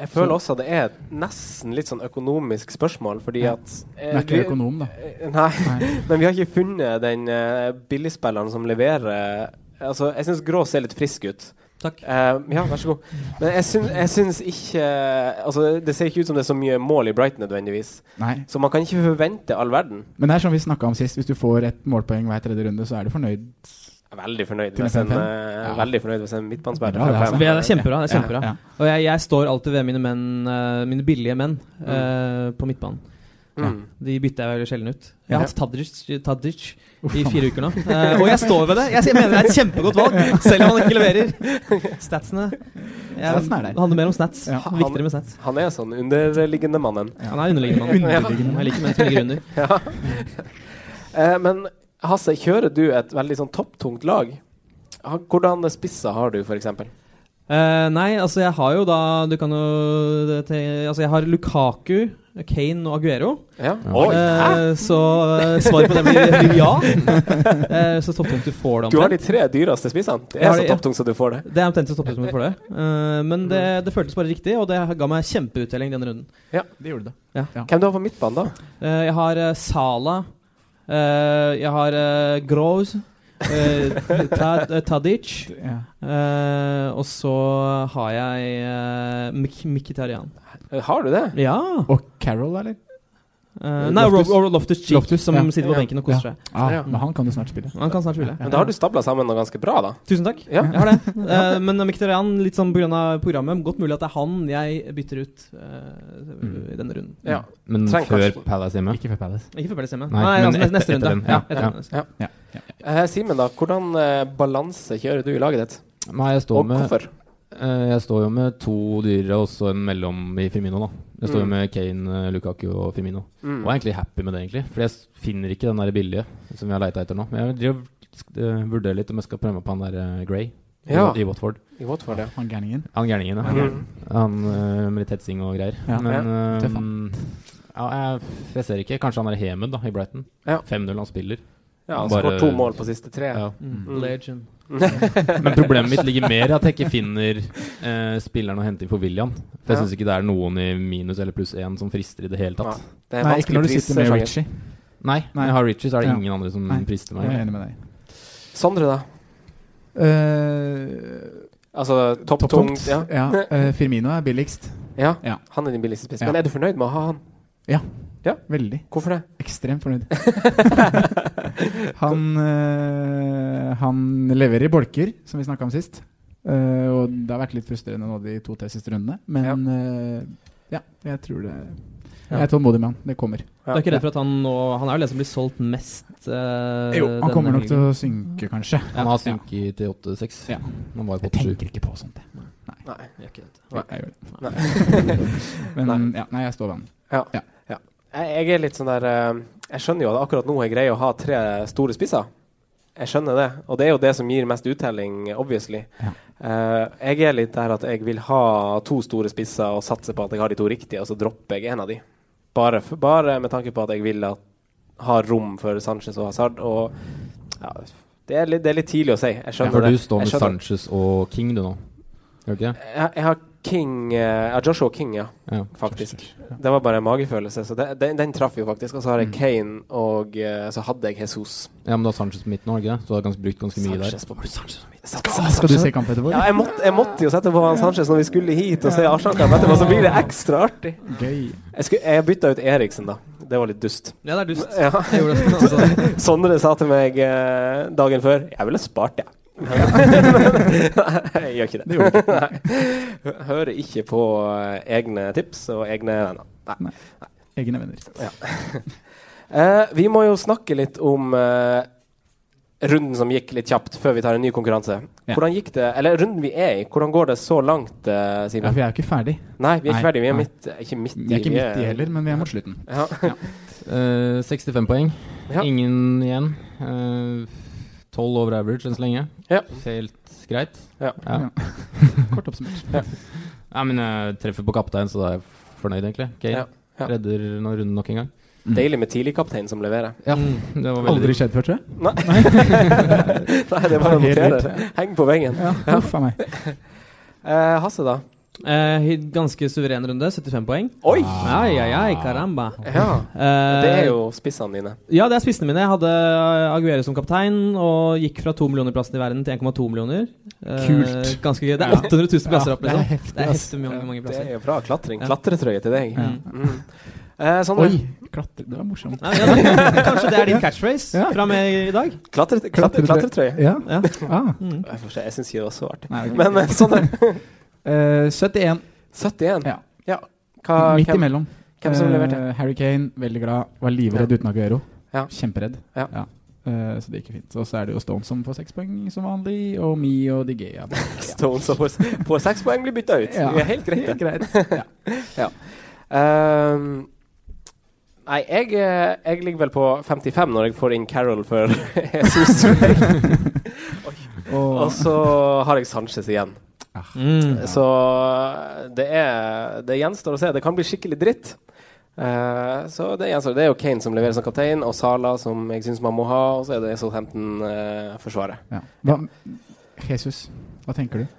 C: Jeg føler også at det er nesten litt sånn økonomisk spørsmål, fordi
E: Ja.
C: at
E: Du er ikke
C: vi-
E: økonom, da.
C: Eh, Nei, men vi har ikke funnet den eh, billigspilleren som leverer Altså, jeg syns Grå ser litt frisk ut. Eh,
H: Takk.
C: ja, vær så god. Men jeg syns, jeg syns ikke eh, Altså, det ser ikke ut som det er så mye mål i Brighton nødvendigvis.
E: Nei.
C: Så man kan ikke forvente all verden.
E: Men det er som vi snakka om sist, hvis du får et målpoeng hver tredje runde, så er du fornøyd.
C: Jeg er veldig fornøyd
E: Til
C: hvis en,
E: 5-5?
C: eh, veldig fornøyd hvis en midtbanespiller
E: Bra, det, altså.
D: Vi er kjempebra. Det er
E: Ja,
D: kjempebra.
E: ja.
D: Og jeg, jeg står alltid ved mine menn, eh, mine billige menn, eh, på midtbanen.
C: Mm.
D: De bytter jeg veldig sjelden ut. Jeg
C: Ja.
D: har hatt Tadic, Tadic i fire uker nå. Eh, og jeg står ved det! Jeg mener det er et kjempegodt valg, selv om han ikke leverer. Statsene jeg,
E: Statsen er der.
D: Det handler mer om stats.
C: Han-
D: Viktigere med stats.
C: Han er sånn underliggende mannen.
D: Han er underliggende mann.
C: Underliggende mann.
D: Jeg liker menn som ligger under.
C: Ja. Eh, Men Hasse, kjører du et veldig sånn topptungt lag? Ha- Hvordan spisser har du, f.eks.?
D: Eh, nei, altså jeg har jo da Du kan jo det te- Altså jeg har Lukaku, Kane og Aguero.
C: Ja.
D: Eh, så eh, svaret på det blir, blir ja. Eh, så topptungt du får det
C: Du har de
D: omtrent.
C: tre dyreste spissene. Det
D: Jeg
C: er
D: har
C: så
D: de, ja.
C: topptungt som du får det.
D: Det er omtrent så topptungt du får det. Eh, men det, det føltes bare riktig, og det ga meg kjempeuttelling denne runden.
E: Det gjorde det.
C: Hvem du har på midtbanen, da?
D: Eh, jeg har uh, Sala. eh, jeg har uh, Groz. eh, Tadic.
E: Ja.
D: eh, og så har jeg uh, Mik Mkhitaryan.
C: Eh, Har du det?
D: Ja!
E: Og Carol, eller?
D: Eh, nei,
E: Loftus-
D: Rob- Loftus Cheek,
E: Loftus,
D: som
E: ja.
D: sitter på
C: Ja.
D: benken og koser seg.
E: Ah,
C: Ja.
E: Men han kan jo snart spille.
D: Han kan snart spille.
C: Men da har du stabla sammen noe ganske bra, da.
D: Tusen takk.
C: Ja.
D: Jeg har det. Eh, men Mkhitarian, litt sånn pga. programmet, godt mulig at det er han jeg bytter ut eh, i denne runden.
C: Ja.
G: Men
C: Trenger
G: før
C: kanskje-
G: Palace hjemme?
E: Ikke for Palace.
D: Ikke før Palace hjemme. Nei,
G: Nei, men
D: altså,
G: et-
D: neste
G: etter
D: runde.
G: den.
D: Ja,
G: Ja,
D: etter
G: ja.
D: den.
C: Eh, Simen, da. Hvordan eh, balanse kjører du i laget ditt?
G: Nei, jeg står
C: Og
G: med
C: hvorfor?
G: Eh, Jeg står jo med to dyrere og så en mellom i Firmino, da. Jeg står jo
C: Mm.
G: med Kane, eh, Lukaku og Firmino.
C: Mm.
G: Og er egentlig happy med det, egentlig. For jeg s- finner ikke den der billige som vi har leita etter nå. Men jeg driver og eh, vurderer litt om jeg skal prøve meg på han der eh, Gray i
C: Ja.
G: Wa- i Watford.
C: I Watford, ja.
E: Han gærningen.
G: Han gærningen, ja.
C: Mm.
G: Han eh, med litt hetsing og greier.
E: Ja.
G: Men eh,
E: Tøff,
G: ja, jeg, jeg ser ikke. Kanskje han er Hemund da, i Brighton.
C: Ja.
G: 5-0 han spiller.
C: ja han
G: Bare-
C: skåret to mål på siste tre.
G: Ja.
D: Mm. Legend.
G: Men problemet mitt ligger mer i at jeg ikke finner eh, spilleren å hente inn for William. For jeg
C: Ja.
G: syns ikke det er noen i minus eller pluss én som frister i det hele tatt.
C: Nei, Det er
E: Nei, ikke
C: vanskelig eh,
E: når du sitter med
C: prissjanger.
E: Ritchie.
G: Nei,
E: Nei.
G: når jeg har Richie, så er det
E: Ja.
G: ingen andre som
E: Nei.
G: frister
E: Jeg er
G: meg.
E: enig med deg.
C: Sondre, da? Altså topptungt?
E: Topptungt.
C: Ja.
E: Eh, Ja. eh, Firmino er billigst.
C: ja.
E: Ja.
C: Han er din billigste spiss.
E: Ja.
C: Men er du fornøyd med å ha han?
E: Veldig.
C: Hvorfor det?
E: Ekstremt fornøyd. han, eh, han leverer i bolker, som vi snakka om sist. Eh, og det har vært litt frustrerende nå de to-tre siste rundene. Men eh, ja, jeg tror det Jeg er tålmodig med han. Det kommer.
D: Du er ikke redd for at han nå Han er jo den som blir solgt mest? eh,
E: Jo, han
D: denne
E: kommer nok til
D: helgen.
E: å synke, kanskje.
G: Han har sunket til 8-6.
E: Ja.
G: Han var i
E: Jeg
G: 8-7.
E: tenker ikke på sånt, jeg.
C: Nei.
D: Gjør ikke det.
E: Jeg, jeg gjør det.
C: Nei.
E: Men
C: Nei.
E: Ja, nei, jeg står ved han.
C: Jeg, jeg er litt sånn der eh, Jeg skjønner jo at akkurat nå er greia å ha tre store spisser. Jeg skjønner det, og det er jo det som gir mest uttelling, obviously.
E: Ja.
C: Eh, jeg er litt der at jeg vil ha to store spisser og satse på at jeg har de to riktige, og så dropper jeg en av de. Bare, f- bare med tanke på at jeg vil at har rom for Sanchez og Hazard. Og ja, det, er litt, det er litt tidlig å si. Jeg
G: Ja,
C: skjønner
G: for
C: det.
G: du står med
C: Jeg skjønner-
G: Sanchez og King, du nå. Gjør du ikke det?
C: Jeg, jeg har King eh, Jeg har Joshua King, ja.
G: Ja,
C: faktisk. Det var bare en magefølelse, så det, den, den traff jo faktisk. Og så har jeg Kane, og eh, så hadde jeg Jesus.
G: Ja, men du har Sanchez på midten, har du ikke det? Så du har ganske, brukt ganske mye der.
C: Sanchez på Sanchez på midten.
G: Skal- skal du se kamp etterpå, eller?
C: Ja, jeg måtte, jeg måtte jo sette på han Sanchez når vi skulle hit og se Arsenal-kamp etterpå, så blir det ekstra artig.
E: Gøy.
C: Jeg, skulle, jeg bytta ut Eriksen, da. Det var litt dust.
D: Ja, det er dust.
C: Ja.
D: Jeg gjorde det, altså.
C: Sondre sa til meg eh, dagen før Jeg ville spart, jeg. Nei, jeg gjør ikke det.
E: Det gjorde du ikke.
C: Nei. Hører ikke på eh, egne tips og egne venner. Nei.
E: Egne venner.
C: Eh, vi må jo snakke litt om eh, runden som gikk litt kjapt, før vi tar en ny konkurranse.
E: Ja.
C: Hvordan gikk det, eller runden vi er i, hvordan går det så langt, eh,
E: Ja,
C: Simen?
E: for jeg er jo ikke ferdig.
C: Nei, vi er ikke
E: Nei,
C: ferdig. Vi er
E: nei.
C: midt, eh, ikke midt i. eh,
E: Vi er ikke midt i heller, men vi er mot slutten.
C: Ja.
G: Eh, 65 poeng.
C: Ja.
G: Ingen igjen. Eh, 12 over average enn så lenge.
C: Ja.
G: Helt greit.
C: Ja.
E: Kort oppsummert.
C: Ja.
G: Nei, men jeg treffer på kaptein, så da er jeg fornøyd, egentlig. Kane
C: Ja, ja.
G: redder nå runden nok en gang.
E: Mm.
C: Deilig med tidligkaptein som leverer.
G: Ja, det var veldig
E: Aldri skjedd før, tror jeg.
C: Nei. Nei, det er bare å
E: Helt
C: notere.
E: vilt.
C: Heng på veggen.
E: Ja,
C: Ja.
E: huff a meg.
C: Eh, Hasse, da?
D: Eh, hy- ganske suveren runde, 75 poeng.
C: Oi!
G: Ah.
D: Ai, ai, ai, caramba.
C: Ja.
D: Eh,
C: Det er jo spissene dine.
D: Ja, det er spissene mine. Jeg hadde Aguero som kaptein og gikk fra 2 millioner plasser i verden til 1,2 millioner. Eh,
E: Kult.
D: ganske gøy. Det er
E: Ja.
D: 800 000 plasser
E: Ja,
D: opp,
E: det
D: liksom.
E: er heftig,
D: Det er
E: ass.
D: heftig mange, mange
C: Det
D: plasser.
C: er jo bra klatring.
D: Ja.
C: Klatretrøye til deg.
E: Ja.
C: Mm. Eh, Sondre?
E: Oi! Klatre. Det var morsomt.
D: Nei, men ja, da- kanskje det er din
E: Ja.
D: catchphrase
E: Ja.
D: fra meg i dag?
C: Klatre, klatre, klatretrøye.
E: Ja.
D: Ja.
E: Ah.
D: Mm.
C: Jeg får se, Jeg syns ikke det var så artig.
E: Nei, ok.
C: Men eh, Sondre?
E: Eh, 71.
C: 71.
E: Ja.
C: Hva,
E: Midt
C: hvem,
E: imellom.
C: hvem som
E: Eh,
C: leverte?
E: Harry Kane, veldig glad. Var livredd
C: Ja.
E: uten Aguero.
C: Ja.
E: Kjemperedd.
C: Ja.
E: Eh, så det gikk jo fint. Og så er det jo Stone som får seks poeng som vanlig, og Me og Digea.
C: Stones og får- får seks poeng, blir bytta ut.
E: Ja.
C: Det er helt greit, det.
E: Helt greit.
C: Ehm, nei, jeg, eh, jeg ligger vel på 55 når jeg får inn Carol for Jesus.
E: Og,
C: Og så har jeg Sanchez igjen.
D: Mm.
C: Så eh, det er Det gjenstår å se. Det kan bli skikkelig dritt. Eh, så det gjenstår. Det er jo Kane som leverer som kaptein, og Sala som jeg syns man må ha, og så er det eh, Southampton-forsvaret.
E: ja. Hva, Jesus, hva tenker du?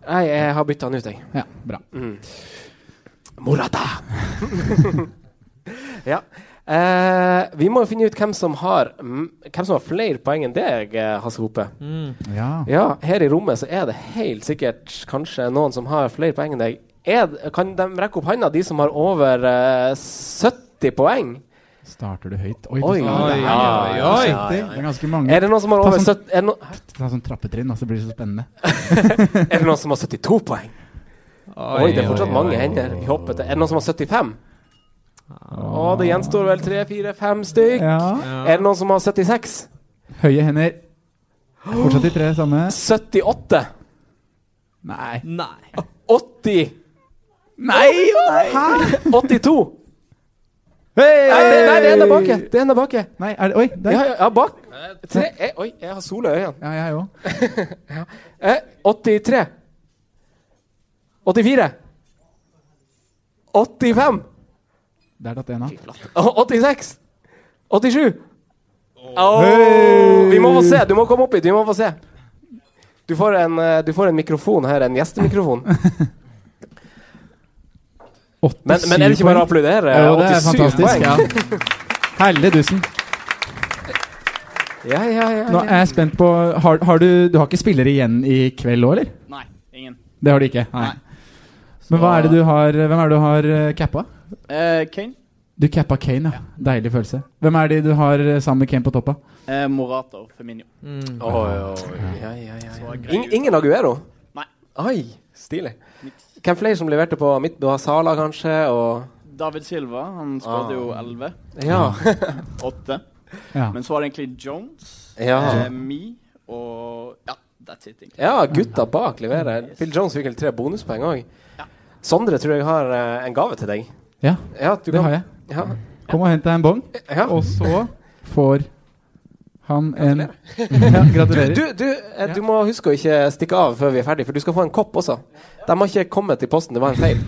C: nei, jeg har bytta han ut, jeg.
E: Ja, bra.
C: Mm. Morata! ja. Eh, vi må jo finne ut hvem som har m- Hvem som har flere poeng enn deg, eh, Hasse Hope.
D: Mm.
E: Ja.
C: Ja, her i rommet så er det helt sikkert kanskje noen som har flere poeng enn deg. Er, det- kan de rekke opp handa, de som har over eh, 70 poeng?
E: Starter du høyt? Oi,
C: Oi,
E: du-
C: oi,
E: det er-
C: oi, oi.
E: Det er ganske mange.
C: Er det noen som har
E: Ta
C: over
E: sånn-
C: 70 er det, no,
E: Ta sånn trappetrinn, og så blir det så spennende.
C: er det noen som har 72 poeng? Oi, Ah. det er fortsatt mange hender. Vi hopper til Er det noen som har 75? Å, det gjenstår vel tre, fire, fem stykk.
E: Ja.
C: Er det noen som har 76?
E: Høye hender. Fortsatt de tre samme.
C: 78?
E: Nei.
D: Nei.
C: 80?
E: Nei og nei!
C: 82?
E: Hey!
C: Nei, det, nei, det er en der bak. Det er en der bak. Ja,
E: Nei, er det Oi, der.
C: ja, ja, bak. Tre. Jeg, oi, jeg har sol i øynene.
E: Ja, jeg òg.
C: Eh, 83. 84. 85.
E: Der datt en av.
C: Å, 86. 87. Åh, Vi må få se. Du må komme opp hit. Vi må få se. Du får en, eh, du får en mikrofon her. En gjestemikrofon. Men, men er det ikke bare å applaudere?
E: Jo, det er
C: 87
E: fantastisk.
C: poeng.
E: Ja. Herlig dusen.
C: Ja, ja, ja,
E: Nå er jeg spent på Har, har du Du har ikke spillere igjen i kveld òg, eller?
I: Nei, ingen.
E: Det har du ikke? Nei. Men hva er det du har Hvem er det du har eh, cappa?
I: Eh, Kane,
E: Du cappa Kane, ja. Deilig følelse. Hvem er de du har eh, sammen med Kane på toppa?
I: eh, Morata og Feminio.
D: Mm.
C: Oi, oi, ja, ja, ja, ja.
I: grei
C: In, ingen Aguero?
I: Nei.
C: Oi, stilig. Hvem flere som leverte på midt? Du har Sala, kanskje? Og
I: David Silva han
C: Ah.
I: skåret jo 11.
C: Ja.
I: 8.
E: Ja.
I: Men så var det egentlig Jones,
C: Ja.
I: eh, Me og Ja, that's it, egentlig.
C: ja, gutta bak leverer. Phil Jones fikk vel tre bonuspoeng òg. Sondre tror jeg har eh, en gave til deg.
E: Ja,
C: Ja, du
E: det har jeg.
C: Ja,
E: Kom og hent deg en bong,
C: ja.
E: og så får Han en ja,
C: Ja,
E: Gratulerer.
C: Du, du, eh, du må huske å ikke stikke av før vi er ferdig, for du skal få en kopp også. De har ikke kommet i posten, det var en feil.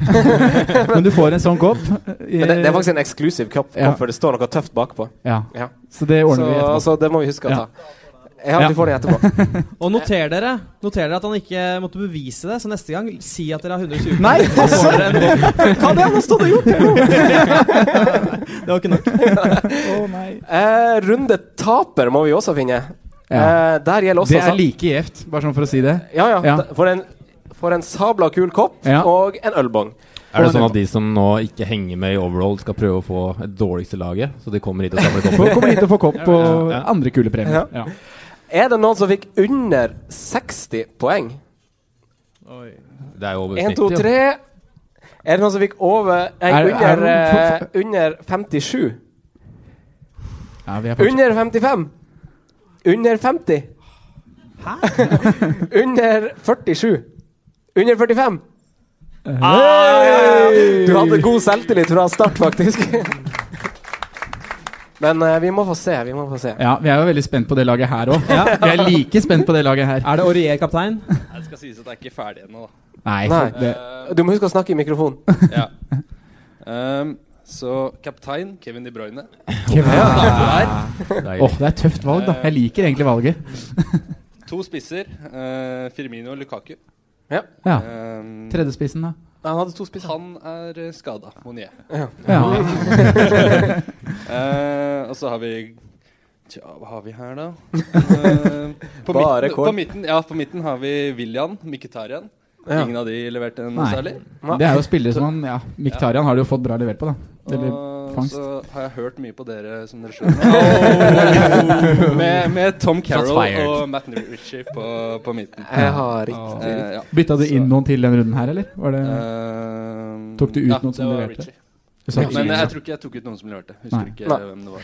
E: Men du får en sånn kopp. i-
C: Men det, det er faktisk en eksklusiv kopp,
E: Ja.
C: kopp, for det står noe tøft bakpå.
E: Ja. Så det ordner vi etterpå.
C: Så det må vi huske å
E: Ja.
C: ta. Ja,
E: Ja.
C: du får den etterpå.
D: Og noter dere, noter dere at han ikke måtte bevise det, så neste gang si at dere har 120
C: Nei,
D: Så får
C: altså!
D: dere en bok.
C: Hva hadde jeg nå stått og gjort?
D: det var ikke nok.
C: Eh, runde taper må vi også finne.
E: Ja.
C: Eh, der gjelder også
E: Det er
C: sa-
E: like gjevt, bare sånn for å si det.
C: Ja, ja.
E: Ja.
C: da- For, en, for en sabla kul kopp
E: Ja.
C: og en ølbong.
G: Er det sånn at de som nå ikke henger med i overall, skal prøve å få det dårligste laget? Så de kommer hit og samler kopp?
E: Kommer hit og får kopp og andre kule premier. Ja.
C: Er det noen som fikk under 60 poeng?
G: Det er jo over
C: 1, 2,
G: snittet,
C: 3 Er det noen som fikk over Nei,
G: Er- er
C: under,
G: det
C: eh, under 57?
E: Ja, vi er fortsatt-
C: Under 55? Under 50? Hæ? under 47? Under 45?
H: Ah!
E: Hei!
C: Du hadde god selvtillit fra start, faktisk. Men eh, vi må få se. Vi må få se.
E: Ja, vi er jo veldig spent på det laget her òg. Vi er like spent på det laget her.
D: Er det Aurier kaptein?
I: Det skal sies at jeg er ikke ferdig ennå, da.
E: Nei.
C: Nei.
E: Det,
C: Du må huske å snakke i mikrofonen.
I: Ja. Ehm, så kaptein Kevin De Bruyne.
E: Kevin.
I: Ja.
E: Åh, det er et tøft valg, da. Jeg liker egentlig valget.
I: To spisser. eh, Firmino og Lukaku.
E: Ja.
I: Ehm,
E: Tredjespissen, da?
C: Han hadde to spisser.
I: Han er skada, Monier.
C: Ja.
E: Ja.
I: Eh, og så har vi Tja, hva har vi her, da? Eh, på,
C: Bare
I: midten,
C: kål.
I: på, midten, ja, på midten har vi William Mkhitaryan.
E: Ja.
I: Ingen av de leverte noe
E: Nei.
I: særlig.
E: Det er jo spillere som han Ja, Miktarian har det jo fått bra levert på, da. Det blir
I: Og
E: fangst.
I: så har jeg hørt mye på dere, som dere skjønner. med, med Tom
E: Shots
I: Carroll
E: fired.
I: og Matt Ritchie på, på midten.
C: Jeg har riktig.
I: Eh, ja.
E: Bytta du inn noen til denne runden her, eller? Var det,
I: Eh,
E: tok du ut
I: ja,
E: noen som
I: det var
E: leverte?
I: Ritchie.
E: Du sa
I: Ja,
E: ikke
I: Men
E: Ritchie,
I: jeg
E: ja.
I: tror ikke jeg tok ut noen som leverte. Husker
E: Nei.
I: ikke
C: Nei.
I: hvem det var.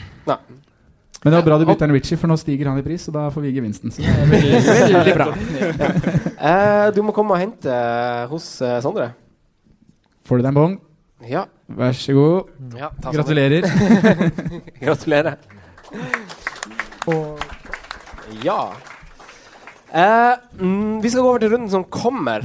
E: Men det var bra du bytta inn Ritchie, for nå stiger han i pris, og da får vi gevinsten. Så det er veldig, veldig bra.
C: Eh, du må komme og hente hos eh, Sondre.
E: Får du deg en bong?
C: Ja.
E: Vær så god.
C: Ja, ta sånn.
E: Gratulerer.
C: Gratulerer. Ja. Eh, mm, vi skal gå over til runden som kommer.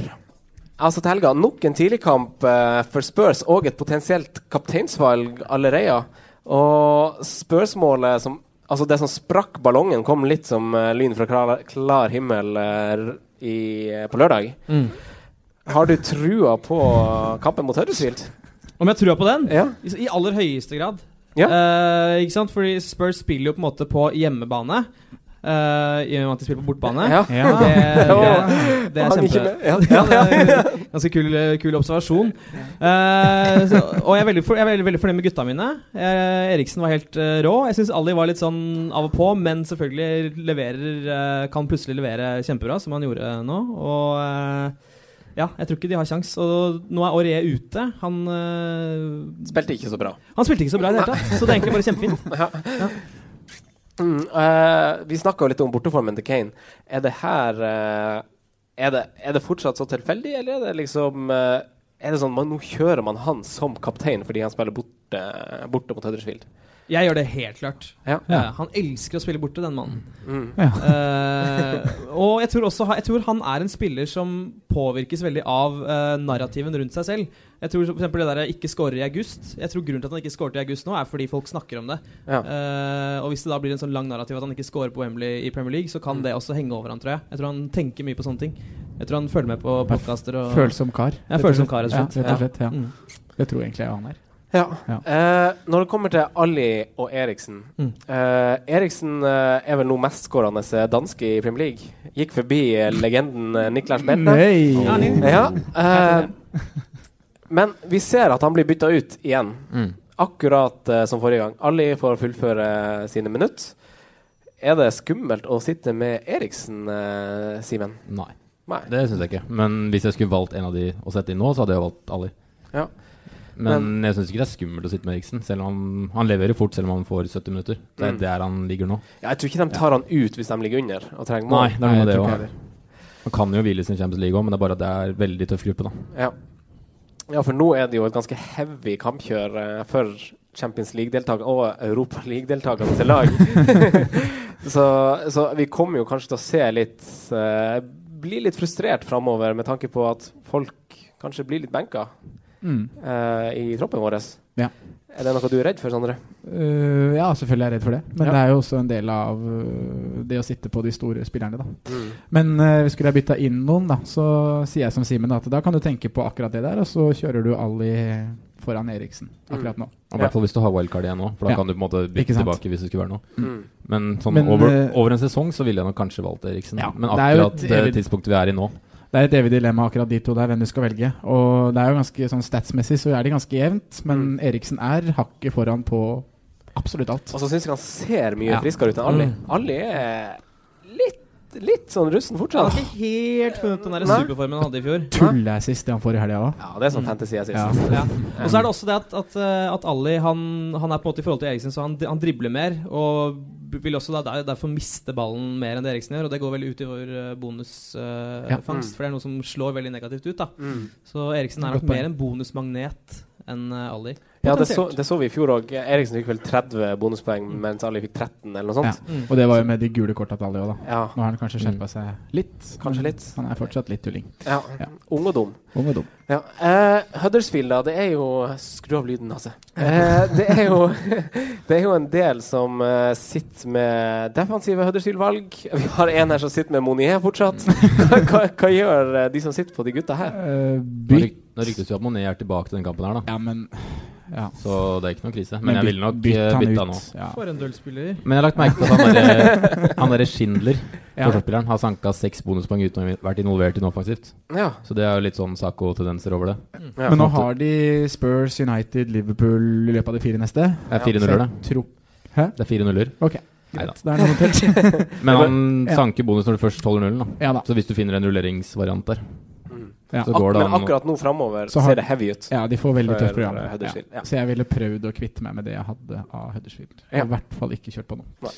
C: Altså til helga. Nok en tidligkamp eh, for Spurs og et potensielt kapteinsvalg allerede. Og spørsmålet som Altså det som sprakk ballongen, kom litt som eh, lyn fra klar, klar himmel eh, r- i, eh, på lørdag.
D: Mm.
C: Har du trua på kampen mot Huddersfield?
D: Om jeg tror på den?
C: Ja.
D: I, I aller høyeste grad.
C: Ja.
D: Eh, ikke sant? Fordi Spurs spiller jo på en måte på hjemmebane. eh, I og med at de spiller på bortbane.
C: Ja.
D: Det,
C: Ah. Ja.
D: det, det er
C: Hang ikke
D: kjempe...
C: med. Ja.
D: Ja, det er en ganske kul, kul observasjon. Eh, så, og jeg er, veldig for, jeg er veldig, veldig fornøyd med gutta mine. Eh, Eriksen var helt eh, rå. Jeg syns Ali var litt sånn av og på, men selvfølgelig leverer eh, kan plutselig levere kjempebra, som han gjorde nå. Og eh, ja, jeg tror ikke de har kjangs. Og nå er Aurier ute. Han eh,
C: Spilte ikke så bra.
D: Han spilte ikke så bra i det hele tatt, så det er egentlig bare kjempefint. Ja.
C: Mm, eh, vi snakka litt om borteformen til Kane. Er det her eh, er, det, er det fortsatt så tilfeldig, eller er det liksom eh, Er det sånn man, nå kjører man han som kaptein fordi han spiller borte, borte mot Huddersfield?
D: Jeg gjør det helt klart.
C: Ja.
D: Eh, han elsker å spille borte, den mannen.
C: Mm.
D: Eh, og jeg tror også ha- Jeg tror han er en spiller som påvirkes veldig av eh, narrativen rundt seg selv. Jeg tror for eksempel det der ikke scorer i august Jeg tror Grunnen til at han ikke scoret i august nå, er fordi folk snakker om det.
C: Ja.
D: Eh, og hvis det da blir en sånn lang narrativ at han ikke scorer på Wembley i Premier League, så
C: Mm.
D: kan det også henge over han, tror jeg. Jeg tror han tenker mye på sånne ting. Jeg tror han følger med på podkaster og
E: Følsom kar.
D: Ja, følsom kar, rett og slett.
E: Ja, rett og slett, ja.
D: Mm.
E: Det tror jeg egentlig han er.
C: Ja.
E: Ja.
C: Eh, når det kommer til Ali og Eriksen eh, Eriksen eh, er vel nå mestskårende eh, danske i Premier League. Gikk forbi eh, legenden eh, Niklas Bentner.
E: Nei.
C: Ja,
E: Nei.
C: eh, men vi ser at han blir bytta ut igjen.
E: Mm.
C: Akkurat eh, som forrige gang. Ali får fullføre eh, sine minutt. Er det skummelt å sitte med Eriksen, eh, Simen?
G: Nei.
C: Nei.
G: Det syns jeg ikke. Men hvis jeg skulle valgt en av de å sette inn nå, så hadde jeg valgt Ali.
C: Ja.
G: Men, jeg syns ikke det er skummelt å sitte med Eriksen. Selv om han, han leverer fort selv om han får 70 minutter. Det er
C: Mm.
G: der han ligger nå.
C: Ja, jeg tror ikke de tar han ut hvis de ligger under og trenger
G: Nei,
C: mål.
G: det er noe med det
C: jeg tror ikke
G: også. Han kan jo hvile sin Champions League òg, men det er bare at det er veldig tøff gruppe, da.
C: Ja. ja, for nå er det jo et ganske heavy kampkjør eh, for Champions League-deltakerne og Europa League-deltakerne til lag. Så, så vi kommer jo kanskje til å se litt eh, Bli litt frustrert framover med tanke på at folk kanskje blir litt benka
E: Mm.
C: eh, i troppen vår.
E: Ja.
C: Er det noe du er redd for, Sondre?
E: Øh, ja, selvfølgelig er jeg redd for det. Men
C: Ja.
E: det er jo også en del av øh, det å sitte på de store spillerne, da.
C: Mm.
E: Men øh, skulle jeg bytta inn noen, da, så sier jeg som Simen da, at da kan du tenke på akkurat det der, og så kjører du Ali foran Eriksen
C: Mm.
E: akkurat nå.
G: Og I hvert fall hvis du har wildcard igjen nå, for da
E: Ja.
G: kan du på en måte
E: Ikke
G: bytte
E: sant?
G: tilbake hvis det skulle være noe.
E: Mm.
G: Men sånn
E: Men,
G: over,
E: eh,
G: over en sesong så ville jeg nok kanskje valgt Eriksen.
E: Ja,
G: men
E: det er jo
G: akkurat
E: et
G: det
E: evig-
G: tidspunktet vi er i nå
E: Det er et evig dilemma akkurat de to der, hvem du skal velge. Og det er jo ganske sånn statsmessig så er det ganske jevnt, men
C: Mm.
E: Eriksen er hakket foran på absolutt alt.
C: Og så syns jeg han ser mye
E: Ja.
C: friskere ut enn Ali.
E: Mm.
C: Ali er litt, litt sånn russen
D: Han har
C: fortsatt.
D: ikke helt funnet den der
C: Nei.
D: superformen han hadde i fjor.
E: Tulleassist det han får i helga òg.
C: Ja, det er sånn fantasy assist.
E: Mm. Ja.
D: Ja. Og så er det også det at, at, eh, at Ali han, han er på en måte i forhold til Eriksen, så han, han dribler mer. Og b- vil også da, der- derfor miste ballen mer enn det Eriksen gjør. Og det går veldig ut i vår eh, bonusfangst, eh,
E: Ja.
D: for det er noe som slår veldig negativt ut. da
C: Mm.
D: Så Eriksen er
E: Godt
D: nok
E: poeng.
D: mer en bonusmagnet enn eh, Ali.
C: Ja, det så, det så vi i fjor òg. Eriksen fikk vel 30 bonuspoeng, mens Ali fikk 13, eller noe
E: Ja.
C: sånt.
E: Og det var jo med de gule korta til Ali òg, da.
C: Ja.
E: Nå har han
G: Mm.
E: kanskje skjerpa seg litt.
C: Kanskje
E: men
C: litt.
E: Han er fortsatt litt tulling.
C: Ja. Ung og dum.
E: Ung og dum.
C: Ja. eh, Huddersfield, da. Det er jo Skru av lyden, altså. Eh, det, er jo, det er jo en del som eh, sitter med defensive Huddersfield-valg. Vi har en her som sitter med Monier fortsatt. Hva, hva, hva gjør eh, de som sitter på de gutta her?
G: Nå ryk- nå ryktes jo at Monet er tilbake til den kampen her, da. Så det er ikke noe krise. Men,
E: Men
G: jeg
E: byt-
G: ville nok
E: bytt
G: eh,
E: han ut.
G: bytta nå.
E: Ja.
D: For en dølspiller.
G: Men jeg har lagt merke til at han derre han derre Schindler,
E: Ja.
G: forsvarsspilleren, har sanka seks bonuspoeng uten å ha vært involvert i noe offensivt.
C: Ja.
G: Så det er jo litt sånn Saco-tendenser over det.
E: Men nå har de Spurs, United, Liverpool i løpet av de fire neste.
G: Det er fire nuller, det.
E: Tro. Hæ?
G: Det er fire nuller.
E: Ok,
G: Neida.
E: greit. Da er det notert.
G: Men han
E: Ja.
G: sanker bonus når du først holder nullen, da.
E: Ja da.
G: Så hvis du finner en rulleringsvariant der,
E: Ja.
G: så går det
C: Men
G: an. å-
C: akkurat nå framover
E: Så har-
C: ser det heavy ut.
E: Ja, de får
C: for,
E: veldig tøft program.
C: eh,
E: Ja.
C: Huddersfield. Ja.
E: Så jeg ville prøvd å kvitte meg med det jeg hadde av Huddersfield. Og
C: Ja.
E: I hvert fall ikke kjørt på nå.
C: Nei.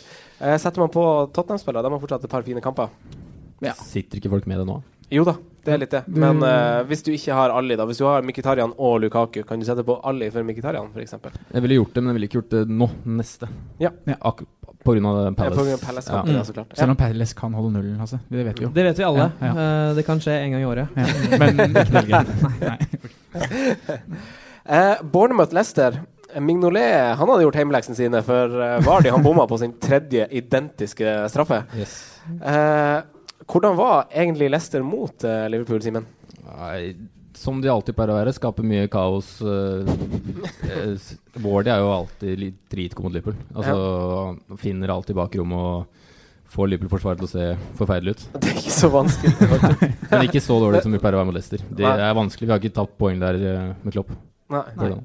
C: Eh, setter man på Tottenham-spillere, de har fortsatt et par fine kamper.
G: Sitter ikke folk med det nå?
C: Jo da, det er litt det.
G: Du-
C: Men eh, hvis du ikke har Ali, da. Hvis du har Mkhitaryan og Lukaku, kan du sette på Ali for Mkhitaryan, f.eks.?
G: Jeg ville gjort det, men jeg ville ikke gjort det nå. Neste.
C: Ja.
G: Ak på grunn av Palace.
C: på grunn av Palace-kampen, ja, så klart.
E: Selv om Palace kan holde nullen, altså. Det vet vi jo.
D: Det vet vi alle.
E: Ja, ja.
D: Eh, det kan skje en gang i året.
E: Ja. Men ikke Belgia. Nei.
C: Eh, Bournemouth Leicester. Mignolet han hadde gjort hjemmeleksene sine, for eh, Vardy han bomma på sin tredje identiske straffe.
G: Yes.
C: Eh, hvordan var egentlig Leicester mot eh, Liverpool, Simen?
G: Nei, som de alltid pleier å være, skaper mye kaos. eh, eh, s- Wardy er jo alltid litt dritgod mot Liverpool. Altså, han Finner alltid bakrom og får Liverpool-forsvaret til å se forferdelig ut.
C: Det er ikke så vanskelig. faktisk.
G: Men ikke så dårlig som vi pleier å være mot Leicester. Det
C: Nei.
G: er vanskelig. Vi har ikke tapt poeng der eh, med Klopp.
C: Nei.
G: Går det an?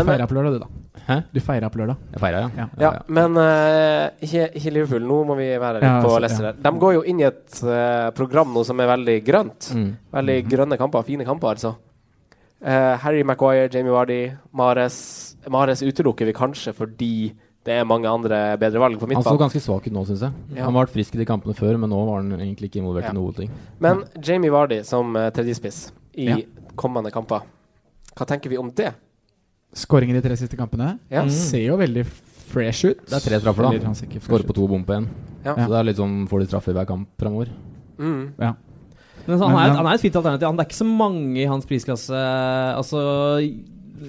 C: Men- eh,
E: feira på lørdag, du, da.
G: Hæ?
E: Du feira på lørdag.
G: Jeg feira, ja.
C: Ja, men eh, ikke, ikke Liverpool. Nå må vi være litt
E: Ja,
C: på
E: så-
C: Leicester.
E: ja.
C: her. De går jo inn i et eh, program nå som er veldig grønt.
G: Mm.
C: Veldig
E: Mhm.
C: grønne kamper. Fine kamper, altså. Eh, Harry Maguire, Jamie Vardy, Mares Mares utelukker vi kanskje fordi det er mange andre bedre valg på
G: Han så
C: midtbanen.
G: ganske svak ut nå, syns jeg.
C: Ja.
G: Han var frisk i de kampene før, men nå var han egentlig ikke involvert
C: Ja.
G: i noen ting.
C: Men Jamie Vardy som eh, tredjespiss i
E: Ja.
C: kommende kamper, hva tenker vi om det?
E: Skåringer i de tre siste kampene.
C: Ja.
E: Mm. Ser jo veldig fresh ut.
G: Det er tre straffer,
E: Eller
G: da.
E: han ser ikke fresh
G: Skårer
E: ut.
G: på to bom på én.
C: Ja.
G: Så det er litt sånn får de straffe i hver kamp framover.
C: Mm.
E: Ja.
D: Men så, han,
E: Men
D: er,
E: han-
D: et- han er et fint alternativ. Han, det er ikke så mange i hans prisklasse. Altså,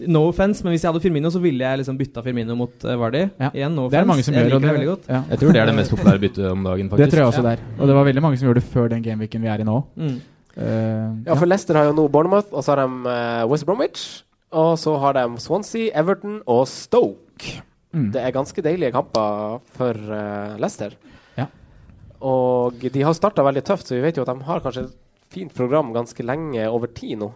D: no offense, men hvis jeg hadde Firmino, så ville jeg liksom bytta Firmino mot eh, Vardy. Igjen, no
E: Det er det mange som
D: jeg
E: gjør, og
D: liker det
E: det-
D: veldig godt.
E: ja.
G: Jeg tror det er det mest populære byttet om dagen, faktisk.
E: Det tror jeg også det er. Og det var veldig mange som gjorde det før den gameweeken vi er i nå.
D: Mm.
E: Eh,
C: Ja, for Leicester har jo nå Bournemouth, og så har de eh, West Bromwich. Og så har de Swansea, Everton og Stoke.
E: Mm.
C: Det er ganske deilige kamper for eh, Leicester.
E: Ja.
C: Og de har starta veldig tøft, så vi vet jo at de har kanskje et fint program ganske lenge over tid nå.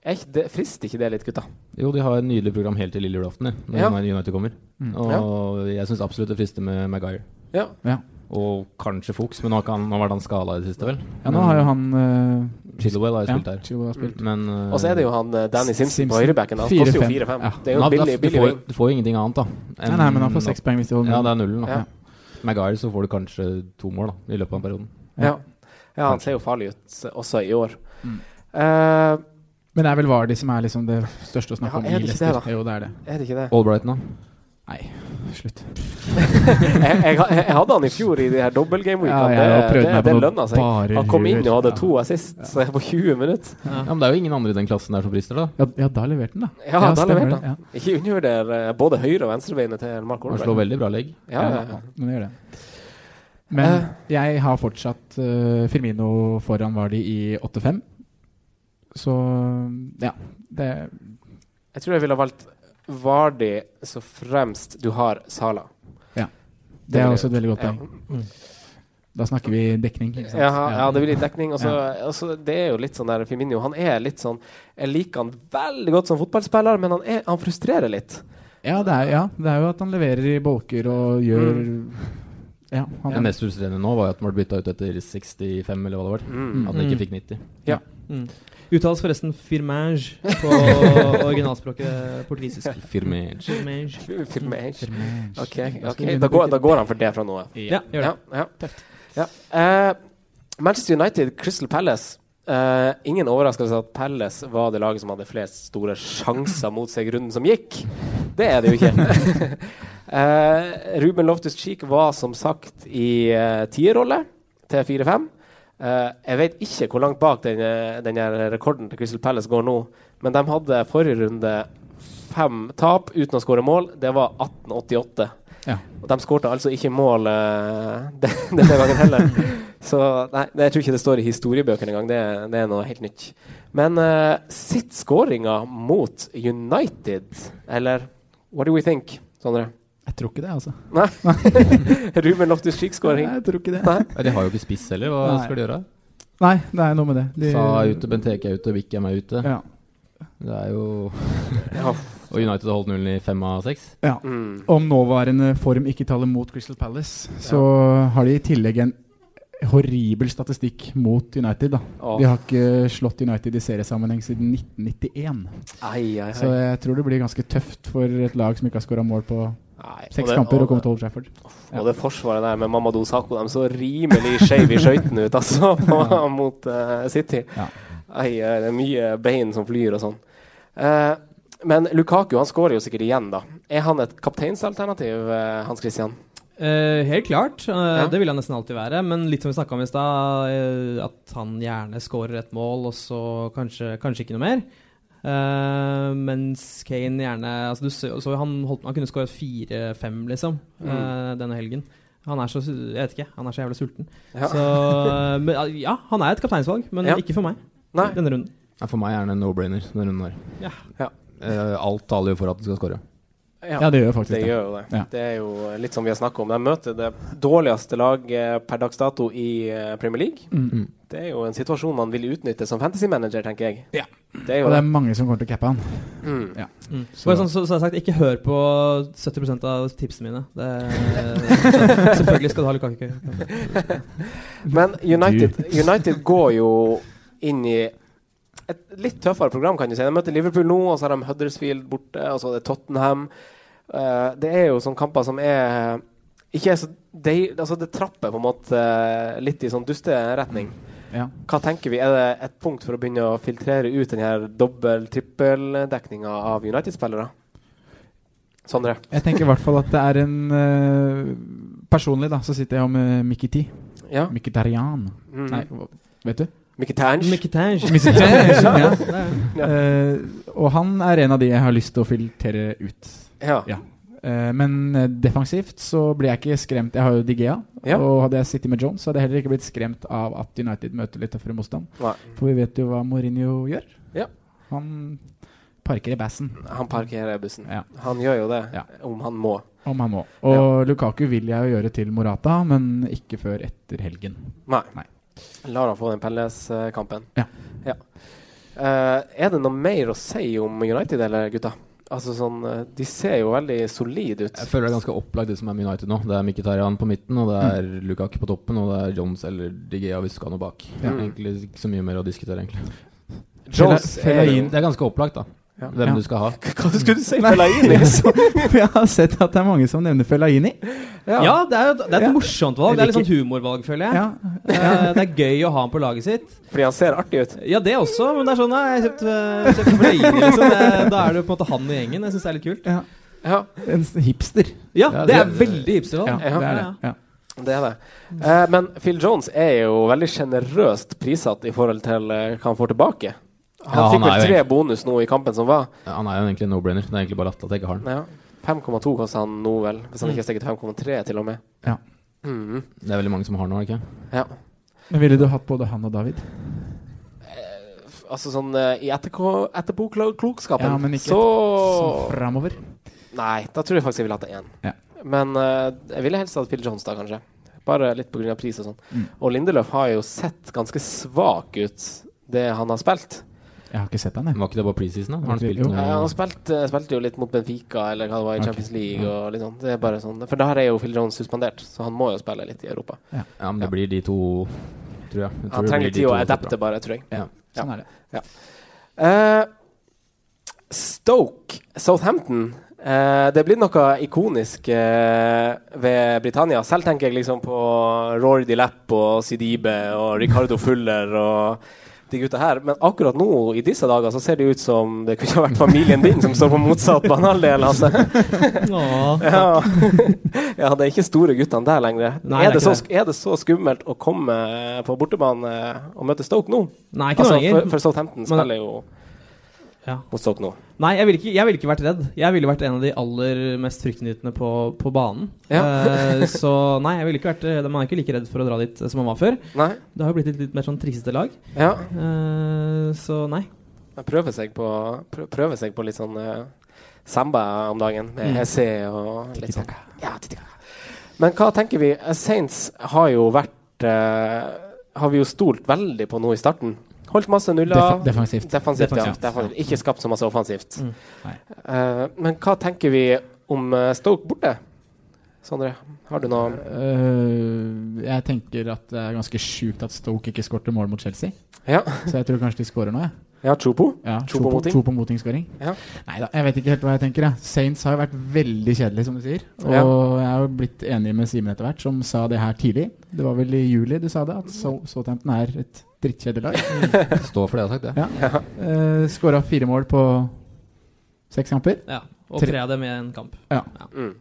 C: Er ikke det, frister ikke det litt, gutta?
G: Jo, de har et nydelig program helt til lille julaften, de, når
C: Ja.
G: United kommer.
C: Mm.
G: Og jeg syns absolutt det frister med Maguire.
C: Ja.
E: Ja.
G: Og kanskje Fuchs, men nå har ikke han- nå har vært han skada i det siste, vel?
E: Ja, nå har jo han eh,
G: Chilwell har jo
E: ja,
G: spilt der.
E: Chilwell har spilt.
G: Men, eh,
C: Og så er det jo han eh, Danny Simpson, på høyrebacken. Han koster jo 4-5.
G: Ja.
C: Det er jo
G: Nei,
C: billig,
G: da-
C: billig
G: du, får,
C: wing.
G: du får jo ingenting annet, da.
E: Nei, nei, men han får seks poeng hvis de
G: Mm.
E: holder
G: Ja,
E: nullen.
G: det er nullen. Da.
E: Ja.
G: Maguire så får du kanskje to mål da, i løpet av perioden.
C: Ja. ja, han ser jo farlig ut eh, også i år.
E: Mm.
C: Eh,
E: Men det er vel Vardy som er liksom det største å snakke
C: Ja,
E: om
C: er
E: i
C: det ikke
E: Leicester.
C: det, da?
E: Jo, det er det.
C: er det ikke det?
G: Albrighton, da?
E: Nei. Slutt.
C: jeg, jeg, ha- jeg hadde han i fjor i de her
G: Ja,
C: dobbeltgameweekene.
G: jeg har
C: det
G: prøvd
C: det,
G: meg på
C: det
G: noe
C: lønna seg.
G: bare
C: Han kom inn og
G: rør.
C: hadde to assist så jeg på 20 minutter.
G: Ja, Men det er jo ingen andre i den klassen der som frister, da.
E: Ja, ja da leverte han, da.
C: Ja, da
E: stemmer
C: leverte
E: det,
C: han. Ikke undervurder eh, både høyre- og venstrebeinet til Mark
G: Han
C: Olberg.
G: slår veldig bra legg.
C: Ja, ja, ja. Eh.
E: men det gjør det. Men jeg har fortsatt eh, Firmino foran Vardi i 8-5. Så ja. Det
C: Jeg tror jeg ville ha valgt Vardi så fremst du har Sala.
E: Ja. Det,
C: Det
E: er
C: vil
E: også et
C: jeg
E: veldig godt
C: gjøre.
E: poeng. Da snakker vi dekning. ikke sant?
C: Ja, ja, det blir litt dekning. Og så-
E: Ja.
C: og så det er jo litt sånn der Firmino Han er litt sånn Jeg liker han veldig godt som fotballspiller, men han, er, han frustrerer litt.
E: Ja, det er, ja, det er jo at han leverer i bolker og gjør
C: Mm.
E: Ja, han
G: Det mest frustrerende nå var jo at han ble bytta ut etter 65, eller hva det var.
E: Mm.
G: At han
D: Mm.
G: ikke fikk 90.
C: Ja.
D: Mm. Uttales forresten firmange på originalspråket portugisisk.
G: Firmange.
D: Firmange.
C: Firmange.
D: Mm.
C: Ok, ok, da går, da går han for det fra nå av.
D: Ja, gjør det.
C: Ja, ja. Ja. Eh, Manchester United, Crystal Palace. Eh, ingen overraskelse at Palace var det laget som hadde flest store sjanser mot seg i runden som gikk. Det er det jo ikke. Eh, Ruben Loftus-Cheek var som sagt i eh, tierrolle til 4-5. Eh, jeg vet ikke hvor langt bak den, eh, den her rekorden til Crystal Palace går nå, men de hadde forrige runde fem tap uten å skåre mål. Det var 1888.
E: Ja.
C: Og de skårte altså ikke mål eh, den- denne gangen heller. Så nei, det- jeg tror ikke det står i historiebøkene engang. Det, er- det er noe helt nytt. Men eh, sitt skåringa mot United, eller what do we think, Sondre?
E: Jeg tror ikke det, altså.
C: Nei. Ruben Loftus-Cheek-skåring.
E: Nei, jeg tror ikke det.
G: Ja, De har jo ikke spiss heller, hva
E: Nei.
G: skal de gjøre?
E: Nei, det er noe med det. De-
G: Sa er ute, Benteke er ute, Wickham er ute.
E: Ja.
G: Det er jo Og United har holdt nullen i fem av seks.
E: Ja.
C: Mm.
E: Om nåværende form ikke taler mot Crystal Palace, så har de i tillegg en horribel statistikk mot United. Da.
C: Åh.
E: De har ikke slått United i seriesammenheng siden 1991.
C: Ai, ai, ai.
E: Så jeg tror det blir ganske tøft for et lag som ikke har skåra mål på
C: og
E: seks
C: det-
E: kamper,
C: og-
E: å komme til Old Trafford.
C: Og det forsvaret der med Mamadou Sakho, de så rimelig skeive i skøytene ut, altså, på, mot eh, City. Ai, ai, det er mye bein som flyr og sånn. Eh, men Lukaku han skårer jo sikkert igjen, da. Er han et kapteinsalternativ, eh, Hans Christian?
D: Eh, helt klart. eh, Det vil han nesten alltid være. Men litt som vi snakka om i stad, eh, at han gjerne scorer et mål, og så kanskje, kanskje ikke noe mer. Eh, mens Kane gjerne altså du så, så han, holdt, han kunne skåret fire-fem, liksom, eh,
J: Mm.
D: denne helgen. Han er så Jeg vet ikke. Han er så jævlig sulten.
J: Ja.
D: Så eh, men, eh, ja, han er et kapteinsvalg, men
G: Ja.
D: ikke for meg.
C: Nei.
D: Denne runden.
G: Ja, for meg er det en no-brainer denne runden her.
D: Ja.
G: Eh, alt taler jo for at han skal skåre.
E: Ja, det gjør faktisk
C: det.
E: det.
C: Gjør jo det.
E: Ja.
C: det er jo litt som vi har snakket om. De møter det dårligste laget per dags dato i eh, Premier League.
E: Mm.
C: Det er jo en situasjon man vil utnytte som fantasy-manager, tenker jeg. Det er jo
E: Og
C: det.
E: det er mange som kommer til å cappe han.
C: Mm.
E: Ja.
D: Mm.
E: Så-
D: Bare sånn, så, så har jeg sagt, ikke hør på 70 av tipsene mine. Det, så, selvfølgelig skal du ha Lukaku.
C: Men United, United går jo inn i et litt tøffere program, kan du si. De møter Liverpool nå, og så har de Huddersfield borte, og så er det Tottenham. Eh, det er jo sånne kamper som er ikke er så de, altså Det trapper på en måte eh, litt i sånn dusteretning.
E: Ja.
C: Hva tenker vi? Er det et punkt for å begynne å filtrere ut den her dobbel-trippeldekninga av United-spillere? Sondre?
E: Jeg tenker i hvert fall at det er en eh, Personlig, da, så sitter jeg om uh, Mikiti.
C: Ja.
E: Mikitarian.
C: Mm.
E: Nei, hva- vet du?
C: Mkhitaryan. Mkhitaryan.
E: Mkhitaryan, ja.
C: Ja.
E: Eh, og han er en av de jeg har lyst til å filtrere ut.
C: Ja.
E: Eh, men eh, defensivt så blir jeg ikke skremt. Jeg har jo Digea.
C: Ja.
E: Og hadde jeg sittet med Jones, så hadde jeg heller ikke blitt skremt av at United møter litt tøffere motstand.
C: Nei.
E: For vi vet jo hva Mourinho gjør.
C: Ja.
E: Han parker i bassen.
C: Han parkerer bussen. Han gjør jo det, om han må.
E: Om han må. Og Lukaku vil jeg jo gjøre til Morata, men ikke før etter helgen.
C: Nei. Lar han få den Pelles-kampen.
E: Ja.
C: Eh, er det noe mer å si om United, eller gutta? Altså sånn, eh, De ser jo veldig solide ut.
G: Jeg føler det er ganske opplagt det som er med United nå. Det er Mkhitaryan på midten, og det
D: Mm.
G: er Lukaku på toppen, og det er Jones eller Digea hvis du skal ha noe bak.
C: Ja.
G: Egentlig ikke så mye mer å diskutere, egentlig.
C: Jones
G: Fela-
C: er
G: Felain,
C: jo-
G: det er ganske opplagt, da.
C: Ja.
G: Hvem
E: Ja.
G: du skal ha.
C: Hva skulle du si?
E: Nei,
C: Fellaini, liksom?
E: jeg har sett at det er mange som nevner Fellaini.
D: Ja, det er, jo- det er et
E: Ja.
D: morsomt valg. Det er litt sånn
E: Ricky.
D: humorvalg, føler jeg.
E: Ja.
D: Eh, det er gøy å ha han på laget sitt.
C: Fordi han ser artig ut.
D: Ja, det også, men det er sånn Nei, jeg kjøpte, kjøpte flere, liksom. Det- Da er det jo på en måte han i gjengen. Jeg syns det er litt kult.
C: Ja.
E: En s- hipster.
C: Ja, det er veldig hipster, da.
E: Ja, det er det. Ja.
C: Det er det. Eh, men Phil Jones er jo veldig sjenerøst prissatt i forhold til eh, hva han får tilbake. Han
G: Ja, han
C: fikk
G: er
C: vel
G: jo
C: tre bonus nå i kampen som var.
G: Ja, han er jo egentlig en no-brainer. Det er egentlig bare latt at jeg ikke har den.
C: Ja. 5,2 koster han nå, vel. Hvis han
G: Mm.
C: ikke har steget 5,3 til og med.
E: Ja.
C: Mhm.
G: Det er veldig mange som har den nå, er det ikke?
C: Ja.
E: Men ville du hatt både han og David?
C: Altså sånn eh, i etterko- etterpåklokskapen
E: Ja, men ikke
C: så
E: sånn fremover.
C: Nei, da tror jeg faktisk jeg ville hatt det én.
E: Ja.
C: Men eh, jeg ville helst hatt Phil Jones da, kanskje. Bare litt pga. pris og sånn.
E: Mm.
C: Og Lindeløf har jo sett ganske svak ut, det han har spilt.
E: Jeg har ikke sett han, jeg.
G: Var ikke det bare preseason, da? Har han
E: Jo.
G: spilt
E: Jo.
G: noe?
C: Ja, han spilte, spilte jo litt mot Benfica eller hva det var i
G: Ok.
C: Champions League.
G: Ja.
C: Og litt sånn. det er bare sånn. For der er jo Phil Jones suspendert, så han må jo spille litt i Europa.
G: Ja. men det blir de to, tror jeg. jeg tror
C: Han
G: det blir
C: trenger litt
G: de
C: tid
G: to
C: å
G: som er bra.
C: adapte, bare, tror jeg.
G: Ja.
E: Sånn er det.
C: Ja. Eh, Stoke, Southampton. Eh, det blir noe ikonisk eh, ved Britannia. Selv tenker jeg liksom på Rory Di Lapp og Sidibe og Ricardo Fuller og de gutta her. Men akkurat nå, i disse dager, så ser det ut som det kunne ha vært familien din som står på motsatt banehalvdel, Hasse.
D: Åh,
C: ja. ja, det er ikke store guttene der lenger.
D: Nei,
C: er, det
D: det er
C: så,
D: ikke
C: sk- er det så skummelt å komme på bortebane og møte Stoke nå?
D: Nei, ikke nå
C: altså,
D: lenger.
C: For, for Southampton
D: Men-
C: spiller jo mot Stoke nå.
D: Nei, jeg ville ikke, jeg ville ikke vært redd. Jeg ville vært en av de aller mest fryktinngytende på, på banen.
C: Ja.
D: Eh, så nei, jeg ville ikke vært eh, man er ikke like redd for å dra dit eh, som man var før.
C: Nei.
D: Det har jo blitt et litt mer sånn triste lag.
C: Ja.
D: Eh, så nei.
C: Man prøver seg på, prø- prøver seg på litt sånn eh, samba om dagen, med
D: Mm.
C: Hesse og litt sånn. Ja, tiki-taka. Men hva tenker vi? Eh, Saints har jo vært eh, Har vi jo stolt veldig på nå i starten. Holdt masse nuller.
E: Defa- defensivt.
C: Defensivt, ja.
E: Defensivt.
C: Defensivt. Ikke skapt så masse offensivt.
E: Mm.
C: Eh, men hva tenker vi om eh, Stoke borte? Sondre, har du noe
E: Øh, jeg tenker at det er ganske sjukt at Stoke ikke skårte mål mot Chelsea.
C: Ja.
E: Så jeg tror kanskje de skårer nå, jeg.
C: Ja, Chopo?
E: Ja,
C: Chopo
E: Chopo-
C: Moting?
E: Chopo Moting-skåring.
C: Ja.
E: Neida, jeg vet ikke helt hva jeg tenker. Jeg. Saints har jo vært veldig kjedelig, som du sier. Og
C: Ja.
E: jeg har jo blitt enig med Simen etter hvert, som sa det her tidlig. Det var vel i juli du sa det, at So- Southampton er et drittkjedelig lag.
G: Stå for det, jeg har sagt det.
E: Ja. Eh, Skåra fire mål på seks kamper.
D: Ja, og tre av dem i en kamp.
E: Ja.
C: Mm.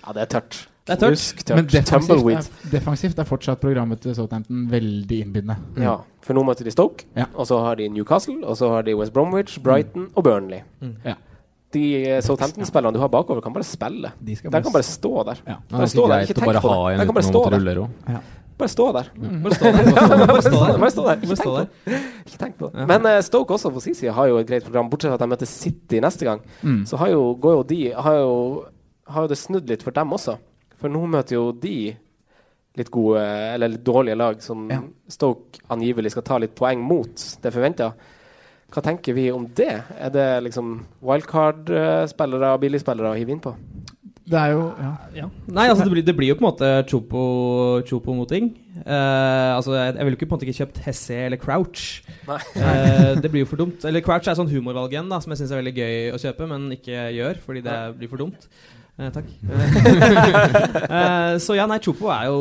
C: Ja, det er tørt.
D: Det er tørt.
E: Men defensivt
C: Tumbleweed.
E: er, defensivt er fortsatt programmet til Southampton veldig innbydende.
G: Mm.
C: Ja, for nå møter de Stoke,
E: Ja.
C: og så har de Newcastle, og så har de West Bromwich, Brighton og Burnley.
E: Mm. Ja.
C: De eh, Southampton-spillerne du har bakover, kan bare spille. De,
E: skal bare
C: kan bare stå der.
E: Ja.
G: Ja, det er
C: stå
G: ikke
C: der,
G: greit
C: ikke
G: å
C: tenk
G: bare
C: på det.
G: ha en
C: De kan bare
G: uten å
C: stå
G: måtte
C: der.
G: rulle også.
E: Ja.
C: Bare stå der.
D: Mm. Bare stå der. Bare stå der.
C: Bare stå der. Ikke
D: Bare stå
C: tenk på
D: der.
C: det. Ikke tenk på det. Men eh, Stoke også på sin side har jo et greit program, bortsett fra at de møter City neste gang.
E: Mm.
C: Så har jo, går jo de har jo, har jo det snudd litt for dem også. For nå møter jo de litt gode, eller litt dårlige lag som Stoke angivelig skal ta litt poeng mot. Det forventa. Hva tenker vi om det? Er det liksom wildcard-spillere og billigspillere å hive inn på?
E: Det er jo ja.
D: Nei, altså det blir, det blir jo på en måte Chopo, Chopo moting. Eh, altså jeg, jeg ville ikke på en måte ikke kjøpt Hesse eller Crouch. Eh, det blir jo for dumt. Eller Crouch er sånn humorvalg igjen, da, som jeg syns er veldig gøy å kjøpe, men ikke gjør, fordi det blir for dumt. Eh, takk. Eh, så ja, nei, Chopo er jo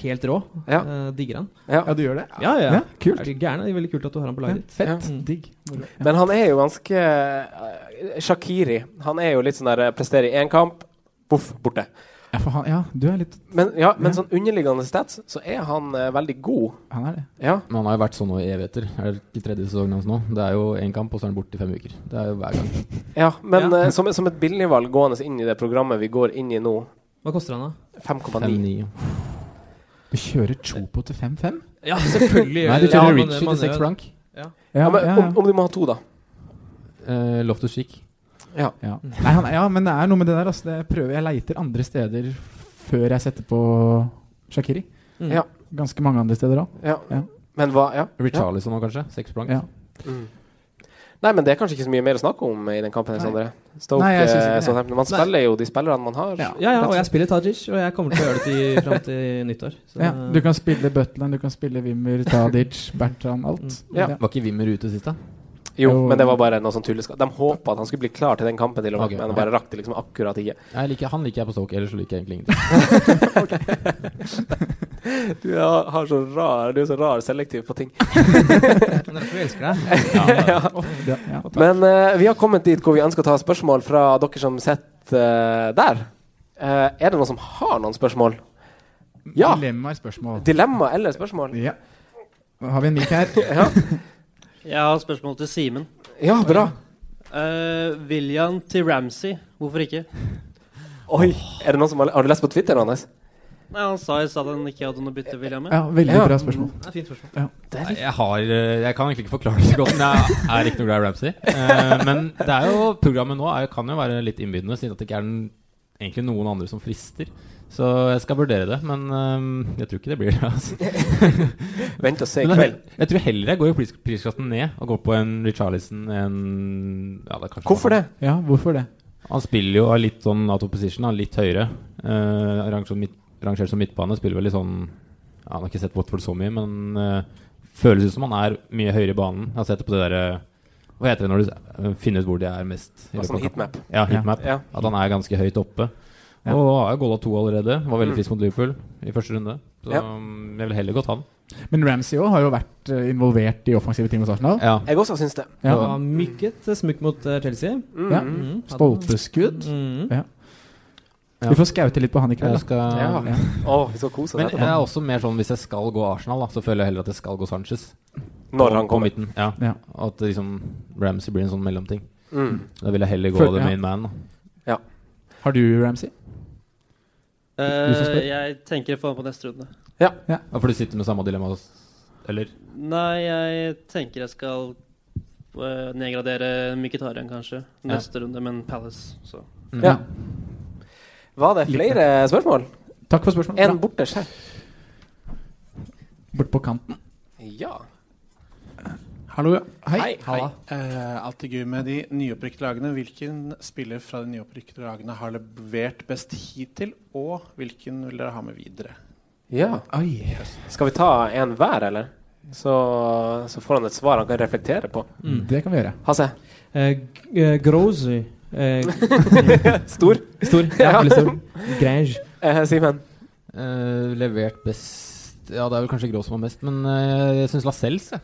D: helt rå.
C: Ja.
D: Eh, digger han.
C: Ja.
E: du gjør det?
D: Ja, ja.
E: Ja, kult.
D: Er du gæren? Det er veldig kult at du har han på
E: Ja,
D: laget ditt.
E: fett. Digg. Moro.
C: Men han er jo ganske eh, Shakiri. Han er jo litt sånn der eh, presterer i én kamp, voff, borte.
E: Ja, for han, ja, du er litt
C: Men, ja, men sånn underliggende stats, så er han eh, veldig god.
E: Han er det.
C: Ja.
G: Men han har jo vært sånn nå i evigheter. Er det ikke tredje sesongen hans nå? Det er jo én kamp, og så er han borte i fem uker. Det er jo hver gang.
C: ja men eh, som, som et billigvalg gående inn i det programmet vi går inn i nå,
D: Hva koster han, da?
C: 5,9.
E: Du kjører Chopo til 5-5?
D: Ja, selvfølgelig.
G: Nei, du kjører
D: Ja, man-
G: Ritchie
D: man
G: til seks
D: gjør-
G: blank.
D: Ja.
C: Ja,
E: Ja,
C: men
E: ja, ja.
C: Om, om du må ha to, da.
G: Eh, Loftus Chic.
C: Ja.
E: Ja.
G: Mm.
E: Nei, han, ja, men det er noe med det der. Altså, det prøver, jeg leiter andre steder før jeg setter på Shakiri.
D: Mm.
C: Ja.
E: Ganske mange andre steder òg.
C: ja.
E: Ja.
C: Men hva Ja. ja.
G: Richarlison nå, kanskje. Seks blank.
E: Ja.
C: Mm. Nei, men det er kanskje ikke så mye mer å snakke om eh, i den kampen. Sondre. Stoke,
E: Nei, jeg synes ikke
C: eh,
E: det.
C: Southampton. Man
D: Nei.
C: spiller jo de spillerne man har.
D: Ja, ja, og jeg spiller Tajic, og jeg kommer til å gjøre det til, fram til nyttår. Så,
E: Ja, du kan spille Butland, du kan spille Wimmer, Tadic, Bertrand, alt.
D: Mm.
C: Ja.
G: Var ikke Wimmer ute sist, da?
C: Jo,
E: Jo.
C: men det var bare noe sånn tulleskap. De håpa at han skulle bli klar til den kampen, til og med,
G: Ok,
C: men
G: ja.
C: bare rakk det liksom akkurat ikke.
G: Jeg liker, han liker jeg på Stoke, ellers så liker jeg egentlig ingenting.
C: Du har, har så rar, du er så rar selektiv på ting.
D: Men derfor vi elsker deg.
C: ja.
E: Ja, ja.
C: Men eh, vi har kommet dit hvor vi ønsker å ta spørsmål fra dere som sitter eh, der. Eh, er det noen som har noen spørsmål? Ja.
E: Dilemmaer, spørsmål.
C: Dilemma eller spørsmål?
E: Ja. Har vi en mic her?
C: ja.
K: Jeg har spørsmål til Simen.
C: Ja, bra.
K: Eh, William til Ramsey, hvorfor ikke?
C: Oi, er det noen som har, har du lest på Twitter, Anders?
K: Nei, Han sa i stad at han ikke hadde noe bytte, William.
E: Ja, veldig bra spørsmål.
K: Mm, det er fint spørsmål.
D: Nei, Jeg, har, eh, jeg kan egentlig ikke forklare det så godt, men jeg er ikke noe glad i Ramsey. Eh, Men det er jo, programmet nå er, kan jo være litt innbydende, siden at det ikke er den, egentlig noen andre som frister. Så jeg skal vurdere det, men eh, jeg tror ikke det blir det. Altså.
C: Vent og se i
D: Men jeg-
C: kveld.
D: Jeg tror heller jeg går i pris, prisklassen ned og går på en Richarlison en ja, det er kanskje-
E: Hvorfor det? Ja, hvorfor det?
D: Han spiller jo av litt sånn out of position, han er litt høyere. Eh, rangert, som midt, rangert som midtbane, spiller vel litt sånn ja, Han har ikke sett Watford så mye, men eh, føles ut som han er mye høyere i banen. Jeg har sett det på det derre Hva heter det når du eh, finner ut hvor de er mest? i
C: Ja,
D: løpet av
C: sånn
D: kampen?
C: heatmap.
D: Ja, heatmap.
C: Ja.
D: At han er ganske høyt oppe.
E: Ja.
D: Og har jo goala to allerede. Var
E: Mm.
D: veldig frisk mot Liverpool i første runde. Så
C: Ja.
D: mm, jeg ville heller gått han.
E: Men Ramsey også har jo vært eh, involvert i offensive ting hos Arsenal.
D: Ja.
C: Jeg også syns det.
E: Ja. Mm.
L: Det var mykket smukk mot eh, Chelsea.
E: Ja.
L: Mhm. Hadde-
E: Stolpeskudd.
L: Mhm.
E: Ja. Vi får skaute litt på han i kveld. da.
D: Jeg skal...
E: Ja.
C: Å, vi skal kose oss
D: Men
C: etterpå.
D: jeg er også mer sånn hvis jeg skal gå Arsenal, da, så føler jeg heller at jeg skal gå Sanchez.
C: Når
D: På-
C: han
D: på
C: kommer.
D: midten, Ja.
E: Ja.
D: At det liksom Ramsey blir en sånn mellomting.
C: Mm.
D: Da vil jeg heller gå
E: Føl- ja.
D: the main man. Da.
E: Har du Ramsey?
K: Eh,
D: som spør?
K: jeg tenker å få han på neste runde.
E: Ja.
D: For du sitter med samme dilemma, eller?
K: Nei, jeg tenker jeg skal eh, nedgradere Mkhitaryan kanskje neste runde, men Palace, så
C: Ja. Var det flere spørsmål?
E: Takk for spørsmålet.
C: En borte skjerm.
E: Bort på kanten.
C: Ja.
E: Hallo, ja. Hei.
G: Halla. Eh, alltid gøy med de nyopprykkede lagene. Hvilken spiller fra de nyopprykkede lagene har levert best hittil, og hvilken vil dere ha med videre?
C: Ja. Skal vi ta en hver, eller? Så, så får han et svar han kan reflektere på.
L: Mm.
E: Det kan vi gjøre.
C: Hasse?
L: Eh, g- eh, Grozy. Eh,
C: Stor?
L: Stor, ja, veldig stor. Grange.
E: Eh,
C: Simen?
D: Eh, levert best Ja, det er vel kanskje Grå som var mest, men eh, jeg syns Lascelles, jeg.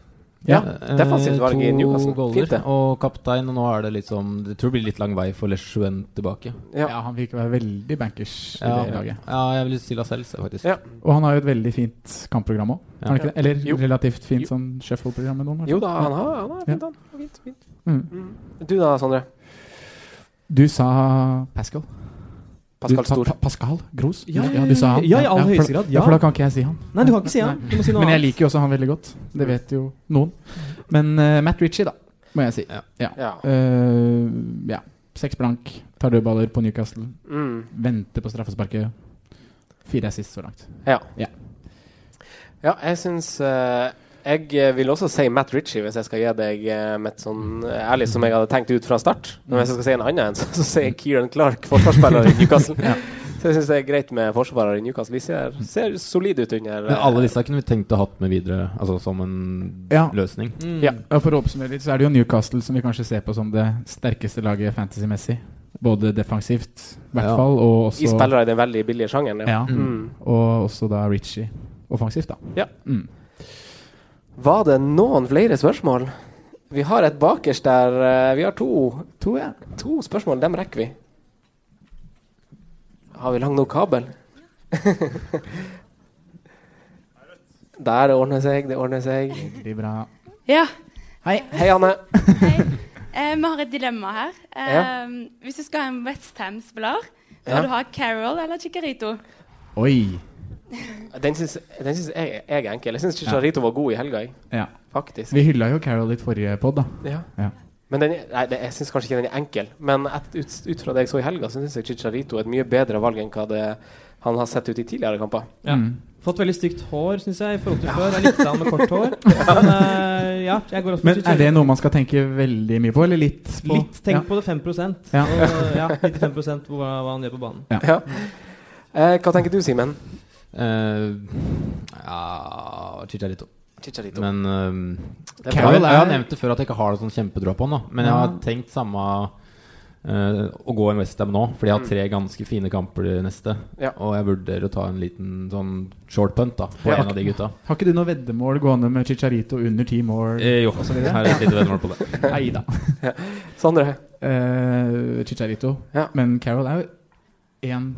C: Ja,
D: Eh,
C: defensivt valg i Newcastle.
D: To goaler
C: Fint det.
D: og kaptein, og nå er det litt sånn Jeg tror det blir litt lang vei for Lechuen tilbake.
E: Ja. han virker å være veldig bankers i
D: Ja,
E: det laget.
D: ja jeg vil si Lascelles, faktisk.
E: Og han har jo et veldig fint kampprogram òg.
D: Ja.
E: Eller
C: Jo.
E: relativt fint sånn shuffle-program med noen. kanskje?
C: Jo da, han har, han har fint, han. Fint, fint.
E: Mm.
C: Mm. Du da, Sondre?
E: Du sa Pascal.
C: Pascal
E: du, sa
C: Stor.
E: Pa Pascal Gros?
L: Ja, ja,
E: du sa han.
L: ja, i aller
E: for-
L: høyeste grad, ja.
E: For da kan ikke jeg si han.
L: Nei, du kan ikke si han. Du må si noe
E: Men jeg
L: annet.
E: liker jo også han veldig godt. Det vet jo noen. Men eh, Matt Ritchie, da, må jeg si. Ja.
C: Ja.
E: Eh, ja. Seks blank, tar dødballer på Newcastle.
C: Mm.
E: Venter på straffesparket. Fire er sist så langt.
C: Ja.
E: Ja.
C: Ja, jeg syns eh, Jeg eh, vil også si Matt Ritchie, hvis jeg skal gi deg eh, mitt sånn eh, ærlig som jeg hadde tenkt ut fra start. Men hvis jeg skal si en annen en, så, så sier jeg Kieran Clark, forsvarsspiller i Newcastle. Så jeg syns det er greit med forsvarere i Newcastle. Vi ser, ser solide ut under
D: Men
C: eh,
D: alle disse kunne vi tenkt å hatt med videre, altså som en
E: Ja.
D: løsning.
C: eh,
L: Mm,
E: Ja, og For å oppsummere litt, så er det jo Newcastle som vi kanskje ser på som det sterkeste laget fantasy-messig. Både defensivt, i hvert
C: Ja.
E: fall, og også
C: I spillere i den veldig billige sjangeren.
E: Ja.
C: Mm.
E: Og også da Ritchie offensivt, da.
C: Ja.
E: Mm.
C: Var det noen flere spørsmål? Vi har et bakerst der. eh, Vi har to.
E: To, ja.
C: to spørsmål. Dem rekker vi. Har vi lang nok kabel? der ordner seg, det ordner seg.
E: Veldig bra.
M: Ja.
C: Hei. Hei, Anne.
M: Eh, vi har et dilemma her. Eh,
C: Ja.
M: Hvis du skal ha en Westham-spiller, bør
C: Ja.
M: du ha Carol eller Chicarito?
E: Oi.
C: Den syns den syns jeg, jeg er enkel. Jeg syns Chicharito var god i helga, jeg.
E: Ja.
C: Faktisk.
E: Vi hylla jo Carol litt forrige pod, da.
C: Ja. Men den, nei, det, jeg syns kanskje ikke den er enkel, men et, ut, ut fra det jeg så i helga, så syns jeg Chicharito er et mye bedre valg enn hva det han har sett ut i tidligere kamper.
L: Ja.
E: Mm.
L: Fått veldig stygt hår, syns jeg, i forhold til før. Jeg likte han med kort hår. Men eh, ja, jeg går også
E: Men er det noe man skal tenke veldig mye på, eller litt? På?
L: Litt tenk på det 5
E: Ja.
L: Og, ja, 95 på hva, hva han gjør på banen.
C: Ja. Eh, hva tenker du, Simen?
D: Eh, ja Chicharito.
C: Chicharito.
D: Men um,
C: er
D: jeg,
C: bra.
D: har, jeg har nevnt det før at jeg ikke har noe sånn kjempedrå på han. da. Men jeg har
C: Ja.
D: tenkt samme eh, å gå en Westham nå, fordi jeg har tre ganske fine kamper i neste.
C: Mm. Ja.
D: Og jeg vurderer å ta en liten sånn short punt da, på
E: Ja.
D: en av de gutta.
E: Har ikke du noe veddemål gående med Chicharito under ti mål?
D: Eh, jo,
E: og så videre?
D: her er et lite veddemål på det.
E: Neida.
C: Sondre?
E: eh, Chicharito. Men Carol er jo én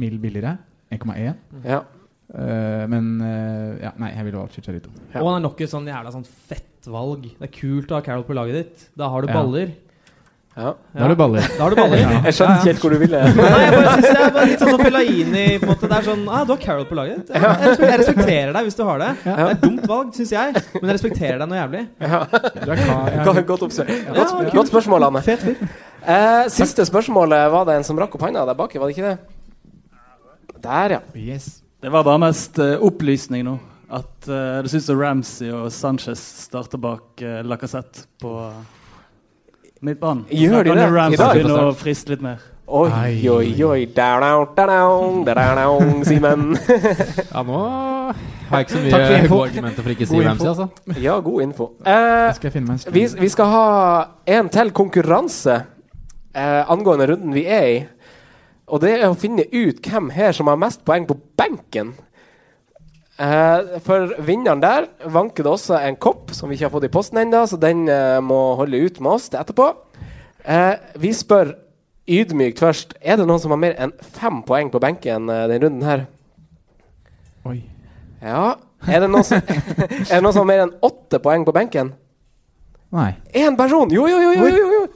E: mil billigere. 1,1.
C: Ja.
E: Eh, men eh, ja, nei, jeg ville valgt Chicharito.
N: Og han er nok et sånn jævla sånn fett valg. Det er kult å ha Carol på laget ditt. Da har du
E: Ja.
N: baller.
C: Ja.
E: Da har du baller.
N: Da har du baller.
E: Ja. Jeg skjønner ikke helt hvor du ville.
N: Nei, jeg bare synes det er bare litt sånn som Fellaini. På en måte. Det er sånn ah, Du har Carol på laget ditt. Ja, jeg, respek- jeg respekterer deg hvis du har det. Det er et dumt valg, syns jeg, men jeg respekterer deg noe jævlig.
C: Du er klar, ja. Godt- godt oppsøkt.
N: Ja,
C: Godt,
N: kult.
C: godt spørsmål, Anne. Eh, siste spørsmålet var det en som rakk opp hånda der baki, var det ikke det? Der, ja.
G: Det var bare mest eh, opplysning nå. At eh, det syns Ramsey og Sanchez starter bak uh, Lacassette på midtbanen.
C: Gjør de
G: Så
C: det?
G: Kan
C: I
G: Ramsey
C: dag?
G: begynne å friste litt mer?
C: Oi, oi, oi. Da-da, da-da, da-da, Simen.
D: Ja, nå har jeg ikke så mye gode argumenter for ikke å si Ramsey, altså.
C: Ja, god info. Eh,
E: skal jeg finne meg en stund.
C: vi, vi skal ha en til konkurranse eh, angående runden vi er i. Og det er å finne ut hvem her som har mest poeng på benken. Eh, for vinneren der vanker det også en kopp som vi ikke har fått i posten ennå, så den eh, må holde ut med oss til etterpå. Eh, vi spør ydmykt først. Er det noen som har mer enn fem poeng på benken eh, denne runden her?
E: Oi.
C: Ja. Er det noen som, er det noen som har mer enn åtte poeng på benken?
E: Nei.
C: Én person! Jo, jo, jo! jo, jo, jo.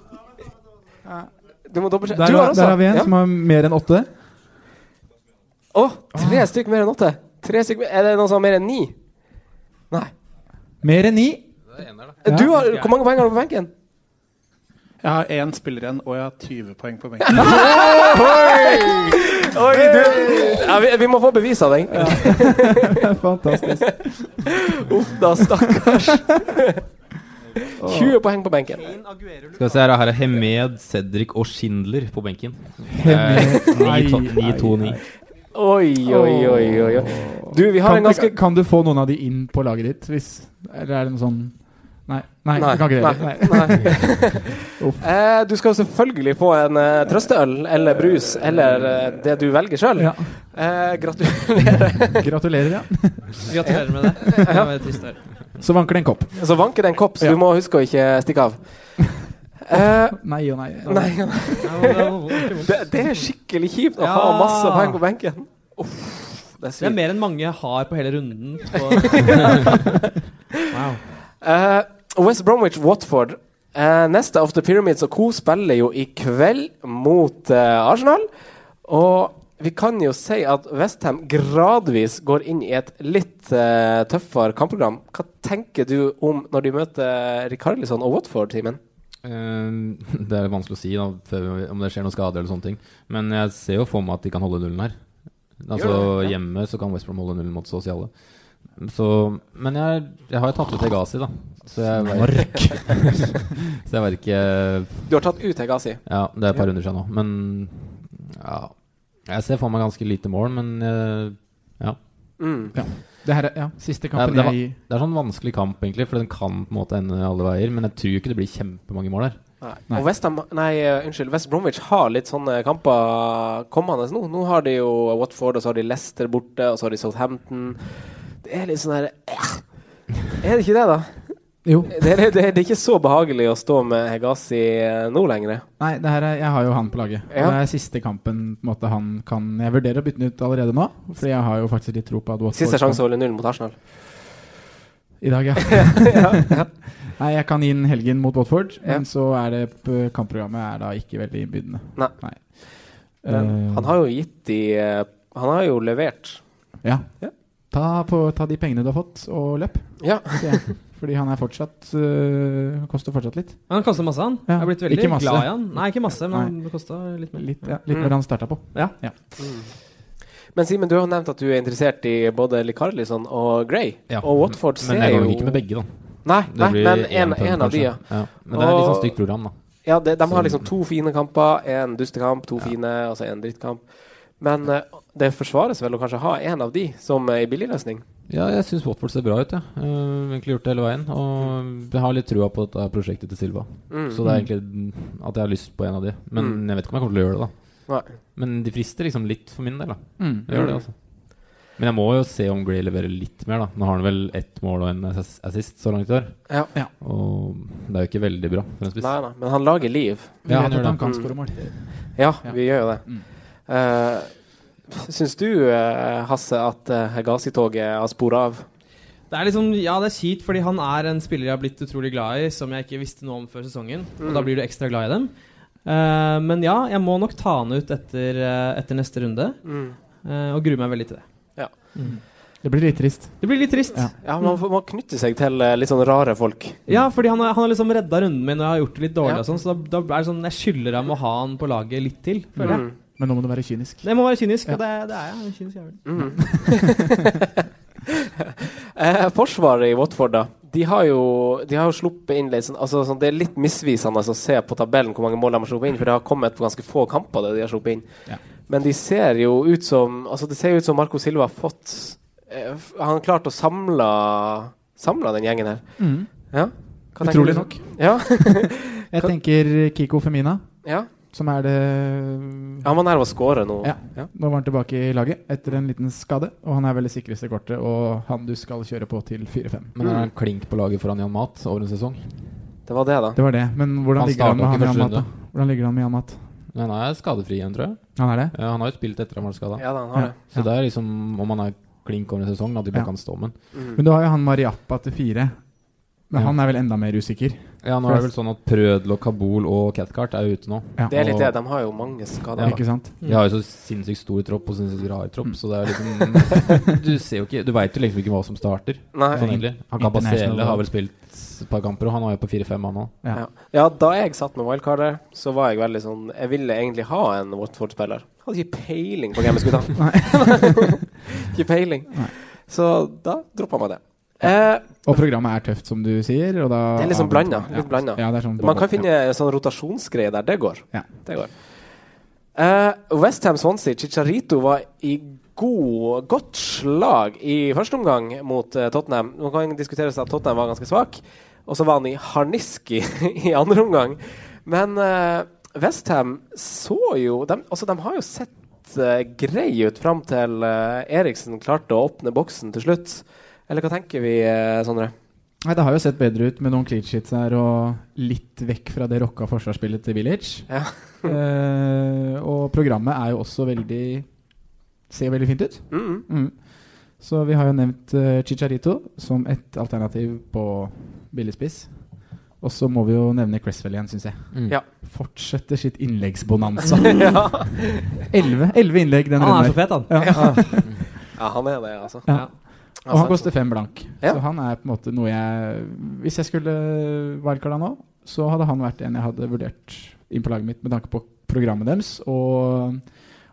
C: Du må dobbeltsjekke.
E: Der,
C: Du har også.
E: der har vi en
C: Ja.
E: som har mer enn åtte.
C: Å, tre stykk mer enn åtte. Tre stykk mer. Er det noen som har mer enn ni?
E: Mer enn ni.
C: Du har, hvor mange poeng har du på benken?
O: Jeg har én spiller igjen, og jeg har 20 poeng på benken.
C: Oi! Oi, du. Ja, vi, vi må få bevis av deg.
E: Fantastisk.
C: Uff da, stakkars. 20 poeng på benken.
D: Skal vi se her, her er Hemed, Cedric og Schindler på benken.
E: Hemed.
D: Eh, 9-2-
E: Ai, ai,
D: 9-2-9.
C: Oi, oi, oi, oi. oi. Du, vi har
E: kan,
C: en ganske
E: Kan du få noen av de inn på laget ditt? Hvis, eller er det noe sånn Nei, nei,
C: Nei,
E: du kan ikke det.
C: nei,
E: heller. Uff.
C: Eh, du skal jo selvfølgelig få en eh, trøsteøl eller brus eller eh, det du velger sjøl.
E: Ja.
C: Eh, gratulerer.
E: Gratulerer, ja.
C: Gratulerer
P: med det. Det var trist å høre.
E: Så vanker det en kopp.
C: Så Altså, vanker det en kopp, så du må huske å ikke stikke av. Eh,
E: Nei og nei.
C: nei. det, det er skikkelig kjipt å ha
N: Ja.
C: masse poeng på benken. Uff, det er
N: Det er
C: svikt.
N: mer enn mange har på hele runden. På wow.
C: Eh, West Bromwich Watford. Eh, neste of the Pyramids og co. spiller jo i kveld mot eh, Arsenal. Og vi kan jo si at Westham gradvis går inn i et litt eh, tøffere kampprogram. Hva tenker du om når de møter Rikarlisson og Watford, Simen?
D: Ehm, det er vanskelig å si da, før vi- om det skjer noen skader eller sånne ting. Men jeg ser jo for meg at de kan holde nullen her.
C: Gjør
D: Altså
C: det, ja.
D: Hjemme så kan West Brom holde nullen mot sosiale. Så, men jeg, jeg har jo tatt ut Egasi, da. Så jeg vet- så jeg vet ikke
C: Du har tatt ut Hegazi.
D: Ja, det er et par
C: Ja.
D: runder siden nå. Men ja Jeg ser for meg ganske lite mål, men eh, ja.
C: Mm.
E: Ja. Det her er ja, siste
D: Det er,
E: kampen
D: det, er,
E: jeg
D: va- det er sånn vanskelig kamp, egentlig, for den kan på en måte ende alle veier. Men jeg tror ikke det blir kjempemange mål her.
C: Nei. Og West, Ham, nei, eh, unnskyld, West Bromwich har litt sånne kamper kommende nå. Nå har de jo Watford, og så har de Leicester borte, og så har de Southampton. Det er litt sånn her eh. Er det ikke det, da?
E: Jo.
C: Det er, det, er, det er ikke så behagelig å stå med Hegazi eh, nå lenger.
E: Nei, det her er, jeg har jo han på laget. Og
C: Ja.
E: Det er siste kampen på en måte, han kan Jeg vurderer å bytte den ut allerede nå, Fordi jeg har jo faktisk litt tro på at Watford
C: Siste sjanse å
E: kan-
C: holde null mot Arsenal.
E: I dag, ja. Nei, jeg kan inn helgen mot Watford,
C: Ja.
E: men så er det p- kampprogrammet er da ikke veldig innbydende.
C: Nei. Men
D: Mm.
E: Eh,
C: han har jo gitt de eh, Han har jo levert.
E: Ja. Ta, på, ta de pengene du har fått, og løp.
C: Ja.
E: sier jeg. Fordi han er fortsatt øh, Han koster fortsatt litt.
N: Men han koster masse, han.
E: Ja,
N: Jeg har blitt veldig
E: ikke masse.
N: glad i han. Nei, ikke masse, men
E: Nei.
N: han kosta litt mer.
E: Litt, ja,
C: Mm.
E: litt mer enn han starta på.
N: Ja.
C: Men Simen, du har jo nevnt at du er interessert i både Licarlison og Gray.
D: Ja.
C: Og Watford ser
D: Men jeg
C: jo
D: går vel ikke med begge, da.
C: Nei,
D: Det
C: nei
D: blir
C: men
D: en
C: en,
D: på den,
C: en av de, ja.
D: kanskje. Ja, men det er litt sånn stygt program, da.
C: Ja, de, de
D: Så-
C: har liksom to fine kamper, en dustekamp, to fine, altså en drittkamp. Men eh, det forsvares vel å kanskje ha en av de som eh, i billigløsning.
D: Ja, jeg syns Watford ser bra ut, jeg. Ja. Eh, egentlig gjort det hele veien. Og jeg har litt trua på dette prosjektet til Silva.
C: Mm.
D: Så det er egentlig at jeg har lyst på en av de. Men jeg vet ikke om jeg kommer til å gjøre det, da.
C: Nei.
D: Men de frister liksom litt for min del, da.
E: Mm.
D: Jeg gjør det, altså.
G: Men jeg må jo se om Gray leverer litt mer, da. Nå har han vel ett mål og en ass- assist så langt i år.
C: Ja. Ja.
G: Og det er jo ikke veldig bra for en spiss.
C: Nei, nei, men han lager liv.
G: Vi Ja, vet han at gjør han det.
E: kan
C: Mm.
E: skåre mål.
C: Ja, vi gjør jo det.
D: Mm.
C: Eh, syns du, eh, Hasse, at uh, Hegasi-toget har sporet av?
D: Det er liksom, ja, det er kjipt, fordi han er en spiller jeg har blitt utrolig glad i, som jeg ikke visste noe om før sesongen. Og da
C: Mm.
D: blir du ekstra glad i dem. Eh, men ja, jeg må nok ta han ut etter, eh, etter neste runde.
C: Mm.
D: eh, og gruer meg veldig til det.
C: Ja.
E: Det blir litt trist.
D: Det blir litt trist.
E: Ja.
C: Ja,
D: Mm.
C: man får- man knytter seg til eh, litt sånn rare folk.
D: Ja, fordi han, har- han har liksom redda runden min, og jeg har gjort det litt dårlig.
C: Ja.
D: Og sånn, så da, da er det sånn, jeg skylder ham å ha han på laget litt til, føler jeg.
E: Mm. Men nå må du være kynisk.
D: Det må være kynisk, og det, det er jeg. jeg. er en Kynisk jævel.
C: Eh, forsvaret i Watford, da. De har jo, de har jo sluppet inn litt sånn, altså, sånn, Det er litt misvisende altså, å se på tabellen hvor mange mål de har sluppet inn, for det har kommet på ganske få kamper. Det de har sluppet inn
E: Ja.
C: Men de ser jo ut som Altså det ser jo ut som Marco Silva har fått eh, f- Han har klart å samle Samle den gjengen her.
E: Mhm.
C: Ja? Hva Mm. tenker
E: Utrolig
C: du?
E: nok.
C: Ja.
E: Jeg tenker Kiko Femina,
C: Ja.
E: som er det
C: Han var nær å score nå.
E: Ja. Nå var han tilbake i laget etter en liten skade, og han er vel det sikreste kortet og han du skal kjøre på til 4-5.
G: Men er han klink på laget foran Jan Mat over en sesong?
C: Det var det, da.
E: Det var det. Men hvordan
G: Han
E: ligger han
G: startet
E: med han
G: ikke
E: i
G: første
E: Amat, da?
G: runde.
E: Hvordan ligger han med Amat?
G: Men han er skadefri igjen, tror jeg.
E: Han er det?
G: Ja, han har jo spilt etter at han ble skada.
C: Ja, da, han har det.
G: Så det er liksom om han er klink over en sesong, at de bare
E: Ja.
G: kan stå med
C: Mm.
G: den.
E: Men du har jo han Mariappa til 4, men
G: Ja.
E: han er vel enda mer usikker?
G: Ja, nå er det vel sånn at Prødel og Kabul og Catcart er jo ute nå.
E: Ja.
C: Det er litt
G: Og-
C: det. De har jo mange skader.
G: Ja.
C: da.
E: Ikke sant?
G: De har jo så sinnssykt stor tropp og sinnssykt rar tropp, så det er liksom Du ser jo ikke Du veit jo liksom ikke hva som starter.
C: Nei.
G: Sånn egentlig. Han kan
E: International.
G: Basele har vel spilt et par kamper, og han har jo på 4-5, han òg.
E: Ja.
C: Ja. ja, da jeg satt med wildcardet, så var jeg veldig sånn Jeg ville egentlig ha en Watford-spiller. Hadde ikke peiling på hvem jeg skulle ta. ikke peiling. Så da droppa meg det. Eh,
E: Og programmet er tøft, som du sier. Og da
C: det er litt sånn blanda. Litt blanda.
E: Ja, det er sånn
C: Man kan finne sånn rotasjonsgreie der. Det går.
E: Ja.
C: Det går. Eh, Westham Swansea, Chicharito var i god, godt slag i første omgang mot eh, Tottenham. Nå kan diskuteres at Tottenham var ganske svak, og så var han i harnisk i, i andre omgang. Men eh, Westham så jo de, Altså, de har jo sett eh, greie ut fram til eh, Eriksen klarte å åpne boksen til slutt. Eller hva tenker vi, eh, Sondre?
E: Nei, Det har jo sett bedre ut med noen clean sheets her og litt vekk fra det rocka forsvarsspillet til Village.
C: Ja.
E: Eh, og programmet er jo også veldig
D: eh,
E: Ser veldig fint ut.
C: Mhm.
E: Mm. Så vi har jo nevnt eh, Chicharito som et alternativ på billigspiss. Og så må vi jo nevne Cresswell igjen, syns jeg.
G: Mm.
C: Ja.
E: Fortsetter sitt innleggsbonanza.
C: Ja.
E: Elleve elleve innlegg den
D: Han
E: runden
D: er så
E: her.
D: fet, han.
E: Ja.
C: Ja, han er det, altså.
E: Ja. Og han koster fem blank.
C: Ja.
E: Så han er på en måte noe jeg Hvis jeg skulle wildcarda nå, så hadde han vært en jeg hadde vurdert inn på laget mitt med tanke på programmet deres og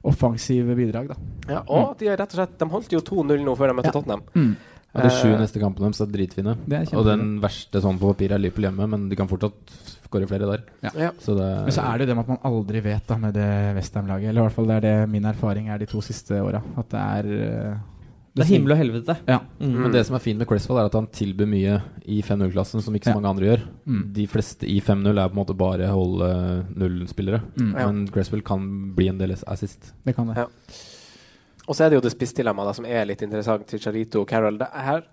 E: offensive bidrag, da.
C: Ja, og at de rett og slett De holdt jo 2-0 nå før de møtte Tottenham.
E: Mm.
G: Ja, de sju
C: Eh,
G: neste kampene deres er dritfine.
E: Det er
G: og den verste sånn på papir er Liverpool hjemme, men de kan fortsatt skåre flere der.
C: Ja.
G: Så det
E: Men så er det jo det med at man aldri vet da med det Westham-laget. Eller i hvert fall det er det min erfaring er de to siste åra. At det er eh,
D: Det er himmel og helvete.
E: Ja.
G: Mm. Men det som er fint med Cresswell, er at han tilbyr mye i 5-0-klassen som ikke så
E: Ja.
G: mange andre gjør.
E: Mm.
G: De fleste i 5-0 er på en måte bare holde null-spillere.
E: Mm.
C: Ja.
G: Men Cresswell kan bli en del assist.
E: Det kan det.
C: Ja. Og så er det jo det spissdilemmaet da, som er litt interessant til Charito og Carol. Det, her,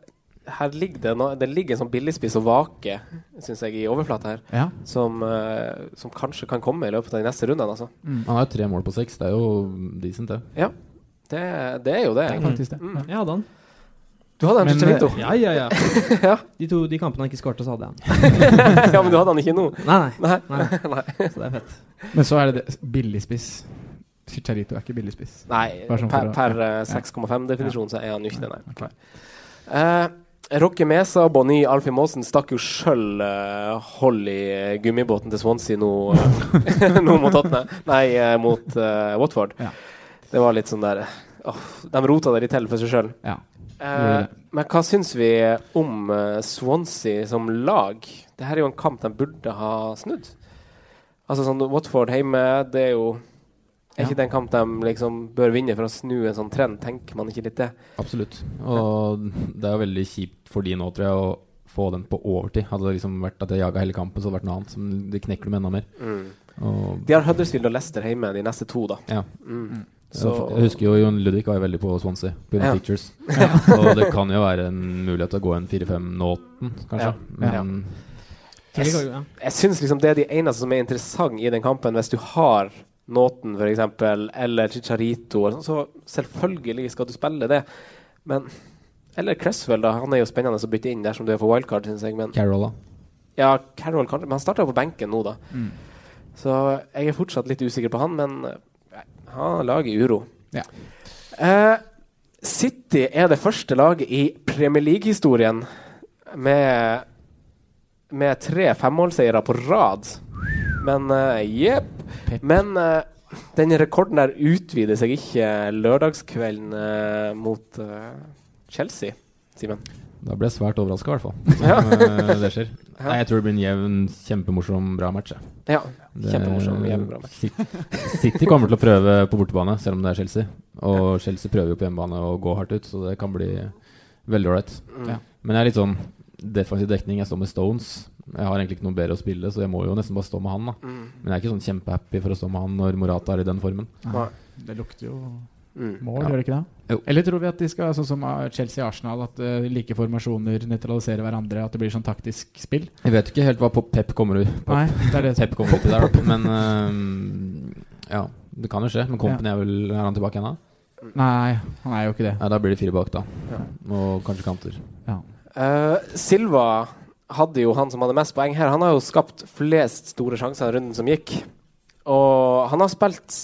C: her ligger det, no, det ligger en sånn billigspiss og vake, syns jeg, i overflata her,
E: Ja.
C: som, eh, som kanskje kan komme i løpet av de neste rundene, altså.
D: Mm.
G: Han har jo tre mål på seks, det er jo decent, det.
C: Ja. Det, det er jo det.
E: Det er faktisk det.
D: Jeg hadde han.
C: Du hadde en
E: Men,
C: Chicharito.
D: Ja, ja, ja.
C: Ja.
D: De, to, de kampene han ikke skårte, så hadde jeg han.
C: ja, men du hadde han ikke nå.
D: Nei, nei. nei.
C: Nei. Nei.
D: Så det er fett.
E: Men så er det det billigspiss. Chicharito er ikke billigspiss.
C: Nei,
E: Bare sånn
C: per,
E: for å-
C: per
E: ja.
C: eh, 6,5-definisjon så er han jo ikke det, nei. Eh, Rocky Mesa og Bonny Alfie Maasen stakk jo sjøl hold i eh, gummibåten til Swansea nå, eh, nå mot Tottenham. Nei, eh, mot eh, Watford.
E: Ja.
C: Det var litt sånn der eh, åh, De rota det litt til for seg sjøl.
E: Ja.
C: Eh, men hva syns vi om eh, Swansea som lag? Det her er jo en kamp de burde ha snudd. Altså sånn Watford hjemme, det er jo Er ikke det en kamp de liksom bør vinne for å snu en sånn trend? Tenker man ikke litt det?
G: Absolutt. Og det er jo veldig kjipt for de nå, tror jeg, å få den på overtid. Hadde det liksom vært at jeg jaga hele kampen, så hadde det vært noe annet. Som det knekker dem enda mer.
C: Mm.
G: Og
C: De har Huddersfield og Leicester hjemme de neste to, da.
G: Ja.
C: Mm.
G: Så, jeg husker jo Jon Ludvig var jo veldig på Swansea pga.
I: Ja.
G: Pictures.
I: Ja.
G: Og det kan jo være en mulighet til å gå en 4-5-nåten, kanskje.
C: Ja. Ja.
G: Men
C: Jeg, s- jeg syns liksom det er de eneste som er interessant i den kampen, hvis du har Nåten for eksempel, eller Chicharito, eller sånn, så selvfølgelig skal du spille det. Men Eller Cresswell, da. Han er jo spennende å bytte inn dersom du er for wildcard, syns jeg. Men,
G: Carol, da.
C: ja, Carroll kanskje, men han starta på benken nå, da.
E: Mm.
C: Så jeg er fortsatt litt usikker på han, men eh, han lager uro.
E: Ja.
C: Eh, City er det første laget i Premier League-historien med, med tre femmålseiere på rad. Men eh, jepp. Men eh, den rekorden der utvider seg ikke lørdagskvelden eh, mot eh, Chelsea, Simen.
G: da ble jeg svært overraska, i hvert fall. Om, eh, det skjer.
C: Ja.
G: Nei, jeg tror det blir en jevn, kjempemorsom, bra match. jeg.
C: Ja,
G: Det-
C: kjempemorsom, jevn, bra match.
G: Sit- City kommer til å prøve på bortebane, selv om det er Chelsea. Og Chelsea prøver jo på hjemmebane å gå hardt ut, så det kan bli veldig ålreit.
C: Mm,
I: Ja.
G: Men jeg er litt sånn defensiv dekning. Jeg står med Stones. Jeg har egentlig ikke noe bedre å spille, så jeg må jo nesten bare stå med han. da
E: Mm.
G: Men jeg er ikke sånn kjempehappy for å stå med han når Morata er i den formen.
E: Nei, Det lukter jo
C: Mm.
E: mål,
G: Ja.
E: gjør det ikke det?
G: Jo.
E: Eller tror vi at de skal, sånn som ah, Chelsea og Arsenal, at eh, like formasjoner nøytraliserer hverandre, at det blir sånn taktisk spill?
G: Jeg vet ikke helt hva pop Pep kommer ut pop.
E: Nei, det er det som-
G: Pep kommer ut i der, da. men øhm, ja. Det kan jo skje. Men Company er vel Er han tilbake ennå?
E: Nei, han er jo ikke det.
G: Ja, da blir det fire bak, da.
C: Ja.
G: Og kanskje kanter.
C: Eh, Silva hadde jo han som hadde mest poeng her. Han har jo skapt flest store sjanser i runden som gikk. Og han har spilt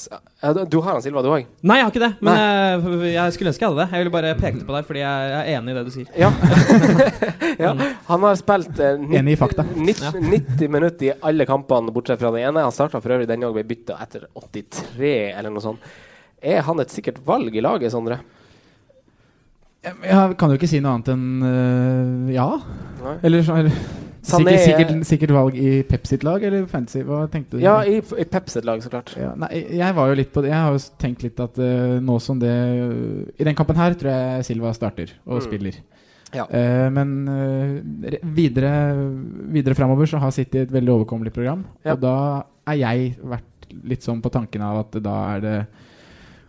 C: eh, du- Du har han, Silva, du òg?
D: Nei, jeg har ikke det. Men jeg, jeg skulle ønske jeg hadde det. Jeg ville bare pekte på deg fordi jeg, jeg er enig i det du sier.
C: Ja. ja. Han har spilt eh, nitt-
D: Enig i fakta.
C: nitt- 90 minutter i alle kampene, bortsett fra den ene. Han starta for øvrig den òg, ble bytta etter 83, eller noe sånt. Er han et sikkert valg i laget, Sondre?
E: Jeg kan jo ikke si noe annet enn eh, ja.
C: Nei.
E: Eller sånn
C: Sané
E: sikkert,
C: er-
E: sikkert, sikkert valg i Pep sitt lag, eller fancy? Hva tenkte du?
C: Ja, i, i Pep sitt lag, så klart.
E: Ja, nei, jeg var jo litt på det. Jeg har jo tenkt litt at eh, nå som det I den kampen her tror jeg Silva starter og
C: Mm.
E: spiller.
C: Ja.
E: Eh, men eh, re- videre, videre framover så har City et veldig overkommelig program.
C: Ja.
E: Og da er jeg vært litt sånn på tanken av at da er det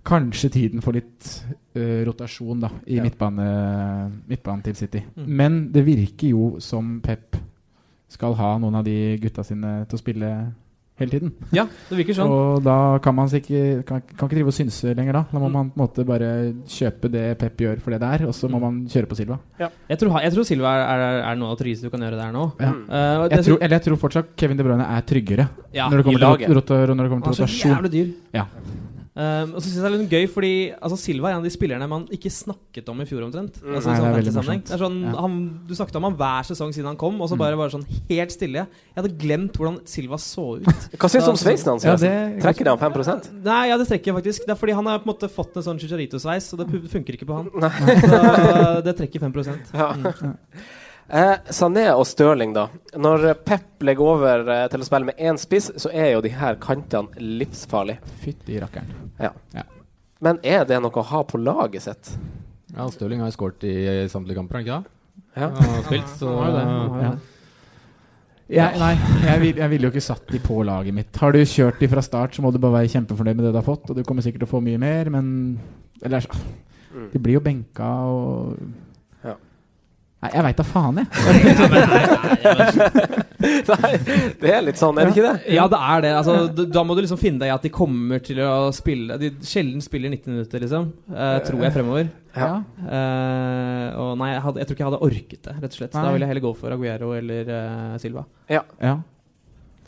E: kanskje tiden for litt eh, rotasjon da i midtbane, midtbanen til City.
D: Mm.
E: Men det virker jo som Pep skal ha noen av de gutta sine til å spille hele tiden.
D: Ja, det virker sånn.
E: Og da kan man ikke, kan, kan ikke drive og synse lenger, da. Da
D: Mm.
E: må man på en måte bare kjøpe det Pep gjør for det det er, og så må man kjøre på Silva.
D: Mm. Jeg, tror, ha- jeg tror Silva er, er, er noe av det tryggeste du kan gjøre der nå.
E: Ja.
D: Eh, og det-
E: Jeg tror, eller jeg tror fortsatt Kevin De Bruyne er tryggere
D: Ja,
E: når det
D: i
E: kommer til,
D: laget.
E: rot rot når det kommer til
D: Han er så
E: rotasjon.
D: jævlig dyr.
E: Ja.
D: Um, og så synes jeg det er litt gøy, fordi altså, Silva er en av de spillerne man ikke snakket om i fjor omtrent.
E: Mm.
D: Altså,
E: Nei,
D: i sånn
E: det er veldig
D: fantasy-sammenheng.
E: morsomt.
D: Det er sånn,
E: Ja. Mm.
D: han, du snakket om han hver sesong siden han kom, og så bare, bare sånn helt stille. Jeg hadde glemt hvordan Silva så ut.
C: Hva syns du om
D: Da-
C: sveisen hans?
D: Ja,
C: forresten? Trekker det han 5
D: Nei, ja, det trekker jeg faktisk. Det er fordi han har på en måte fått en sånn chicharito-sveis, og det pu- funker ikke på han.
C: Nei.
D: Så altså, det trekker 5
C: Ja.
D: Mm.
C: Eh, Sané og Stirling, da. Når eh, Pep legger over eh, til å spille med én spiss, så er jo de her kantene livsfarlige.
E: Fytti rakkeren.
C: Ja.
E: Ja.
C: Men er det noe å ha på laget sitt?
G: Ja, Stirling har jo skåret i eh, samtlige kamper, har han ikke det?
C: Ja.
G: Han har spilt, så
E: Han har jo det, han har jo
G: ja.
E: det. Jeg, nei, jeg, vil, jeg ville jo ikke satt de på laget mitt. Har du kjørt de fra start, så må du bare være kjempefornøyd med det du har fått, og du kommer sikkert til å få mye mer, men Eller så- De blir jo benka og
C: Mm. Ja.
E: Nei, jeg veit da faen, jeg.
C: Nei, det er litt sånn, er det ikke det?
D: Ja, det er det. Altså, d- da må du liksom finne deg i at de kommer til å spille De sjelden spiller 90 minutter, liksom. eh, tror jeg, fremover.
E: Ja.
D: Eh, og nei, jeg, hadde, jeg tror ikke jeg hadde orket det, rett og slett. Så Da
E: Nei.
D: ville jeg heller gå for Aguero eller eh, Silva.
C: Ja.
E: Ja.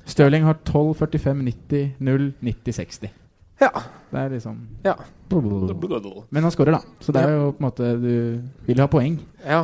E: Stirling har 12, 45, 90, 0, 90, 60.
C: Ja.
E: Det er liksom
C: Ja.
E: Men han skårer, da. Så det er jo på en måte Du vil jo ha poeng.
C: Ja.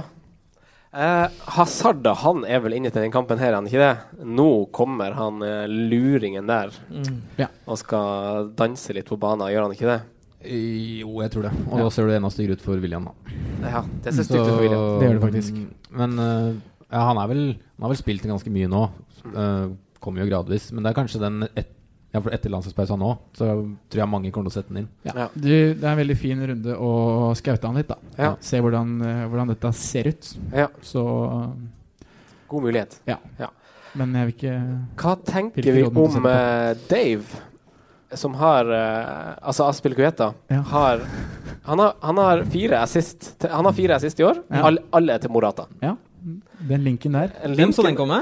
C: Eh, Hazard, da, han er vel inne til den kampen her, er han ikke det? Nå kommer han eh, luringen der
D: Mm.
E: Ja.
C: og skal danse litt på banen, gjør han ikke det?
G: Jo, jeg tror det. Og da ser du enda styggere ut for William, da.
C: Ja, det ser stygt ut for William.
E: Det gjør det faktisk.
G: Men
D: eh,
G: øh, ja, han, er vel, han har vel spilt ganske mye nå.
D: Eh,
G: Øh, kommer jo gradvis. Men det er kanskje den et, ja, for etter landslagspausen nå, så tror jeg mange kommer til å sette den inn.
E: Ja. Du, det er en veldig fin runde å skaute han litt, da.
C: Ja.
E: Se hvordan, eh, hvordan dette ser ut.
C: Ja.
E: Så
C: God mulighet.
E: Ja.
C: Ja.
E: Men jeg vil ikke
C: Hva tenker
E: Hvilke
C: vi
E: råd må du
C: om
E: sette
C: eh, Dave? som har eh, Altså Aspil Kueta har, han har Han har fire assist til- Han har fire assist i år.
E: Ja.
C: All, alle er til Morata.
E: Den linken der.
G: Hvem så den komme?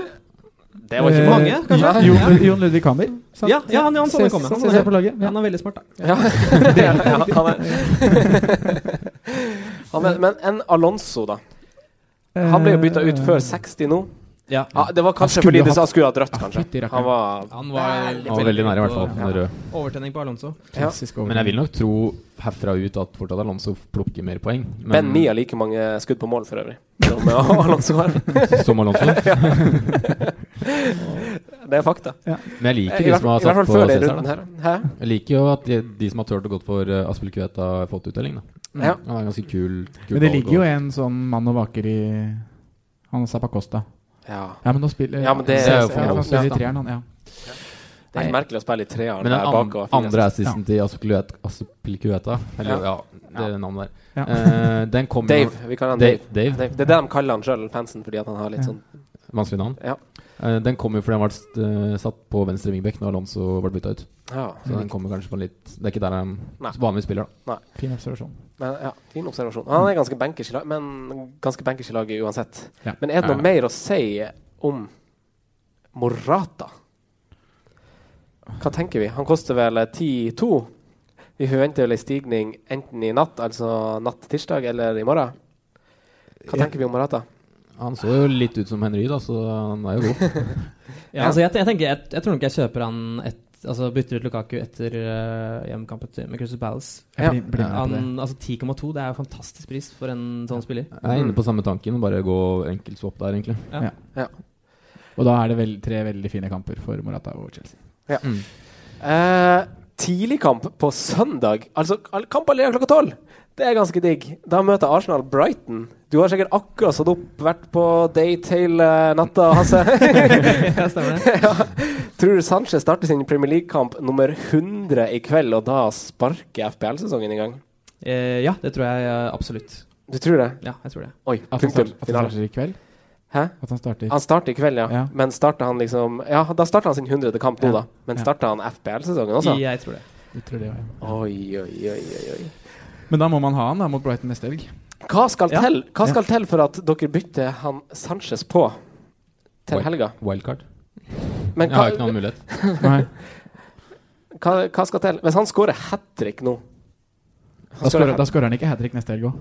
C: Det var ikke
E: Eh,
C: mange, kanskje?
E: Jo,
C: Ja.
E: Jon Ludvig Hammer. sant?
G: Ja, ja, han, han så den
E: Ses-
G: komme.
E: ses- ses jeg på laget.
G: Han er veldig smart, da.
C: Ja.
G: Det er
C: Ja,
G: riktig.
C: han er. Han er, men en Alonso, da. Han
E: Eh,
C: ble jo bytta ut før 60 nå. Ah,
G: Ja.
C: det var kanskje
G: Han skulle
C: fordi de sa
G: hatt-
C: han skulle ha dratt,
G: Ah,
C: kanskje.
G: fytti rakkeren.
C: Han var,
G: Han var-
D: Han var veldig nære, i hvert fall.
G: Ja.
D: den røde.
G: Overtenning på Alonso.
C: Klassisk
D: Men jeg vil nok tro herfra ut at fortsatt Alonso plukker mer poeng. Men
C: Ben Mee har like mange skudd på mål, for øvrig. Som Alonso har.
D: Som Alonso?
C: Ja. Det er fakta.
D: Men jeg liker
C: I
D: de
C: hvert-
D: som har
C: i hvert
D: satt
C: fall
D: på
C: før den
D: Cæsar.
C: runden
D: da.
C: her. Hæ?
D: Jeg liker jo at de, de som har turt å gå for eh, Aspil Kveta, har fått uttelling. Da.
C: Ja.
D: Han er ganske kul. kul
E: Men det
D: valg,
E: ligger jo
D: og-
E: en sånn mann og vaker i Han Zapacosta.
C: Ja.
E: men nå spiller
C: Ja, men det-
E: ja,
C: Det er jo for
E: han
C: Alonso,
E: spiller i
C: ja.
E: treeren, han. Ja.
C: Det er helt merkelig å spille i treeren
D: Men den
C: der bak.
D: an
C: og fire
D: andre
C: assist.
D: assisten til Aspilicueta- Aspilicueta Eller ja,
C: altså. Ja.
D: det er navnet der.
C: Ja.
D: Eh, den kom jo-
C: Dave. Vi kaller han
D: Dave.
C: Dave. Dave. Det er det de kaller han sjøl, fansen, fordi at han har litt sånn
D: Vanskelig navn. Eh, den kom jo fordi han var st eh, satt på venstre vingbekk når Alonso ble bytta ut.
C: Ja.
D: Så den kommer kanskje på en litt Det er ikke der han
C: Mm. Nei.
D: vanligvis spiller, da.
C: Nei.
E: Fin observasjon.
C: Men, ja, fin observasjon. Han er ganske bankers i lag, men ganske bankers i laget uansett.
E: Ja.
C: Men er det noe
E: Ja.
C: mer å si om Morata? Hva tenker vi? Han koster vel 10-2. Vi forventer vel en stigning enten i natt, altså natt til tirsdag, eller i morgen. Hva
D: Ja.
C: tenker vi om Morata?
D: Han så jo litt ut som Henry, da, så han er jo god.
G: Ja, altså jeg, jeg, tenker, jeg, jeg tror nok jeg kjøper han et, altså bytter ut Lukaku etter øh, hjemmekampen til- med Crystal Palace.
D: Jeg blir- blir med på det.
G: Han, altså 10,2 det er jo fantastisk pris for en sånn spiller.
D: Jeg er inne på samme tanken, bare gå enkelt swap der, egentlig.
G: Ja.
C: Ja.
E: Og da er det vel tre veldig fine kamper for Morata og Chelsea.
C: Ja. Eh, tidlig kamp på søndag. Altså all- kamp allerede klokka tolv. Det er ganske digg. Da møter Arsenal Brighton. Du har sikkert akkurat stått opp, vært på date hele natta, Hasse.
G: Ja, stemmer det.
C: Ja. Tror du Sanchez starter sin Premier League-kamp nummer 100 i kveld, og da sparker FPL-sesongen i gang?
G: Eh, ja, det tror jeg øh, absolutt.
C: Du tror det?
G: Ja, jeg tror det.
C: Oi,
E: At han,
C: punktum.
E: starter, at han
C: Finale.
E: starter i kveld?
C: Hæ?
E: At han starter
C: Han starter i kveld, ja. Men starter han liksom Ja, da starter han sin 100. kamp nå, da.
E: Ja.
C: Men
E: Ja.
C: starter han FPL-sesongen også?
G: Jeg tror det.
E: Jeg tror det, ja.
C: Oi, oi, oi, oi, oi.
E: Men da må man ha han da mot Brighton neste helg.
C: Hva skal,
E: Ja.
C: til, hva
E: Ja.
C: skal til for at dere bytter han Sanchez på til
D: Wild-
C: helga?
D: Wildcard.
C: Men
D: Jeg har jo ikke noen mulighet.
E: Nei.
C: hva, hva skal til? Hvis han scorer hat trick nå
E: Da skårer da skårer han ikke hat trick neste helg òg.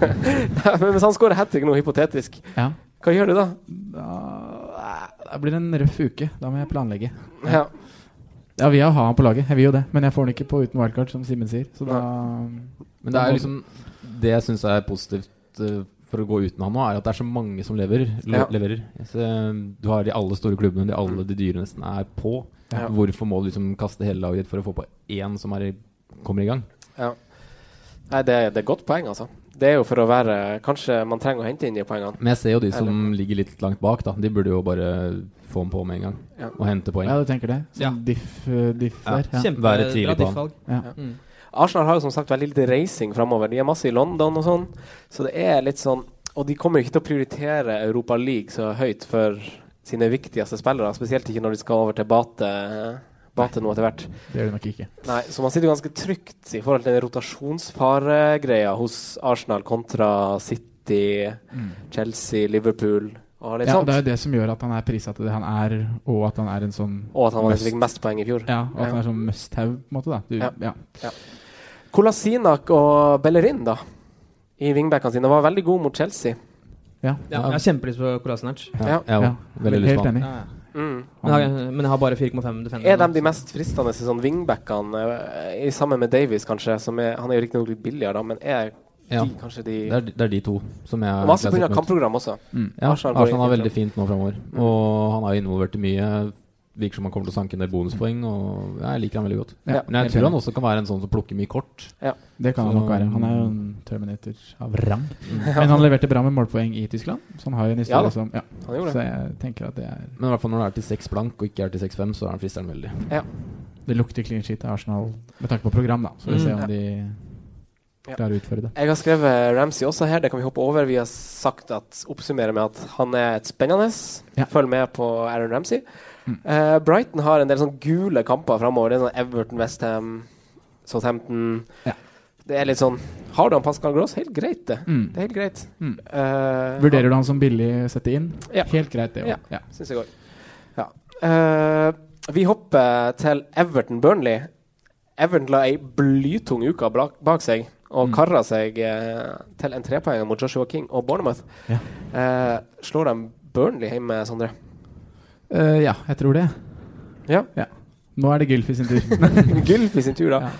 C: Men Hvis han scorer hat trick nå, hypotetisk,
E: Ja.
C: hva gjør du da?
E: Da blir det en røff uke. Da må jeg planlegge.
C: Ja.
E: Ja, vi har han på laget. Jeg vil jo det. Men jeg får han ikke på uten wildcard, som Simen sier. Så da
D: Men det
E: da
D: er
E: må-
D: jo liksom Det jeg syns er positivt eh, for å gå uten han nå, er at det er så mange som lever, le
E: Ja.
D: leverer. Så, eh, du har de alle store klubbene, de alle de dyre nesten er på.
C: Ja.
D: Hvorfor må du liksom kaste hele laget ditt for å få på én som er, i- kommer i gang?
C: Ja. Nei, det, det er godt poeng, altså. Det er jo for å være Kanskje man trenger å hente inn de poengene.
D: Men jeg ser jo de som
C: Eller-
D: ligger litt langt bak, da. De burde jo bare få dem på med en gang.
C: Ja.
D: Og hente poeng.
E: Ja, du tenker det? Som
D: Ja.
E: diff, eh, diff
D: Ja.
E: der? Ja.
D: Kjempe- Være tidlig bra på han.
E: Ja.
C: Ja. Arsenal har jo som sagt veldig lite reising framover. De er masse i London og sånn, så det er litt sånn Og de kommer jo ikke til å prioritere Europa League så høyt for sine viktigste spillere, spesielt ikke når de skal over til Bate, bate nå etter hvert.
E: Det gjør det nok ikke.
C: Nei, så man sitter jo ganske trygt i forhold til den rotasjonsfaregreia hos Arsenal kontra City, Chelsea, Liverpool og litt
E: Mm. Ja,
C: sånt.
E: det er jo det som gjør at han er prisa til det han er, og at han er en sånn
C: Og at han var den som
E: must-
C: fikk mest poeng i fjor.
E: Ja, og at han
C: Ja.
E: er sånn must-have, på en måte. da du,
C: Ja.
E: ja.
C: Ja. Kolasinak og Bellerin, da, i wingbackene sine, var veldig gode mot Chelsea.
E: Ja.
G: Ja, jeg har kjempelyst på Kolasinac.
C: Ja. Ja,
E: ja. Veldig lyst på Helt han. enig.
G: Ja, ja.
C: Mm.
G: Men, jeg har, men jeg har bare 4,5 defender.
C: Er de de mest fristende til sånn wingbackene, eh, i- sammen med Davies, kanskje? Som er, han er jo riktignok litt billigere, da, men er
D: Ja.
C: de kanskje de
D: Det er, det er de to som jeg
C: Og masse
D: jeg har
C: pga.
D: sett mot.
C: kampprogram også.
D: Mm. Ja,
C: Arsenal
D: Arsenal,
C: går
D: er
C: fint
D: veldig fint nå framover.
C: Mm.
D: Og han er involvert i mye. Virker som han kommer til å sanke en del bonuspoeng. Og ja, jeg liker han veldig godt.
E: Ja.
D: Men jeg
E: Helt
D: tror
E: enig.
D: han også kan være en sånn som plukker mye kort.
E: Det kan
D: Så-
E: han nok være. Han er jo en terminator av rang.
D: Ja.
E: Men han leverte bra med målpoeng i Tyskland, så han har jo en
D: Ja
E: historie
D: da.
E: som ja.
C: Han gjorde det.
E: Så jeg tenker at det er
D: Men i hvert fall når det er til 6 blank og ikke er til 6-5, så er han fristeren veldig.
C: Ja.
E: Det lukter clean sheet av Arsenal med tanke på program, da. Så vi
D: Mm.
E: får se om
D: Ja.
E: de klarer å utføre det.
C: Jeg har skrevet Ramsey også her, det kan vi hoppe over. Vi har sagt at oppsummere med at han er et spennende. Følg med på Aaron Ramsey.
D: Mm.
C: Eh, Brighton har en del sånn gule kamper framover. Det er sånn Everton, Westham, Southampton. Det er litt sånn Har du han Pascal Gross? Helt greit, det.
E: Mm.
C: Det er helt greit.
E: Mm.
C: Eh,
E: Vurderer du han som billig sette inn?
C: Ja.
E: Helt greit, det òg.
C: Ja, synes jeg også. Ja. Eh, vi hopper til Everton-Burnley. Everton la ei blytung uke bak, bak seg og
E: Mm.
C: karra seg eh, til en trepoenger mot Joshua King og Bournemouth. Eh, slår de Burnley hjemme, Sondre?
E: Eh, ja, jeg tror det.
C: Ja.
E: Nå er det Gylfi sin tur.
C: Gylfi sin tur, da.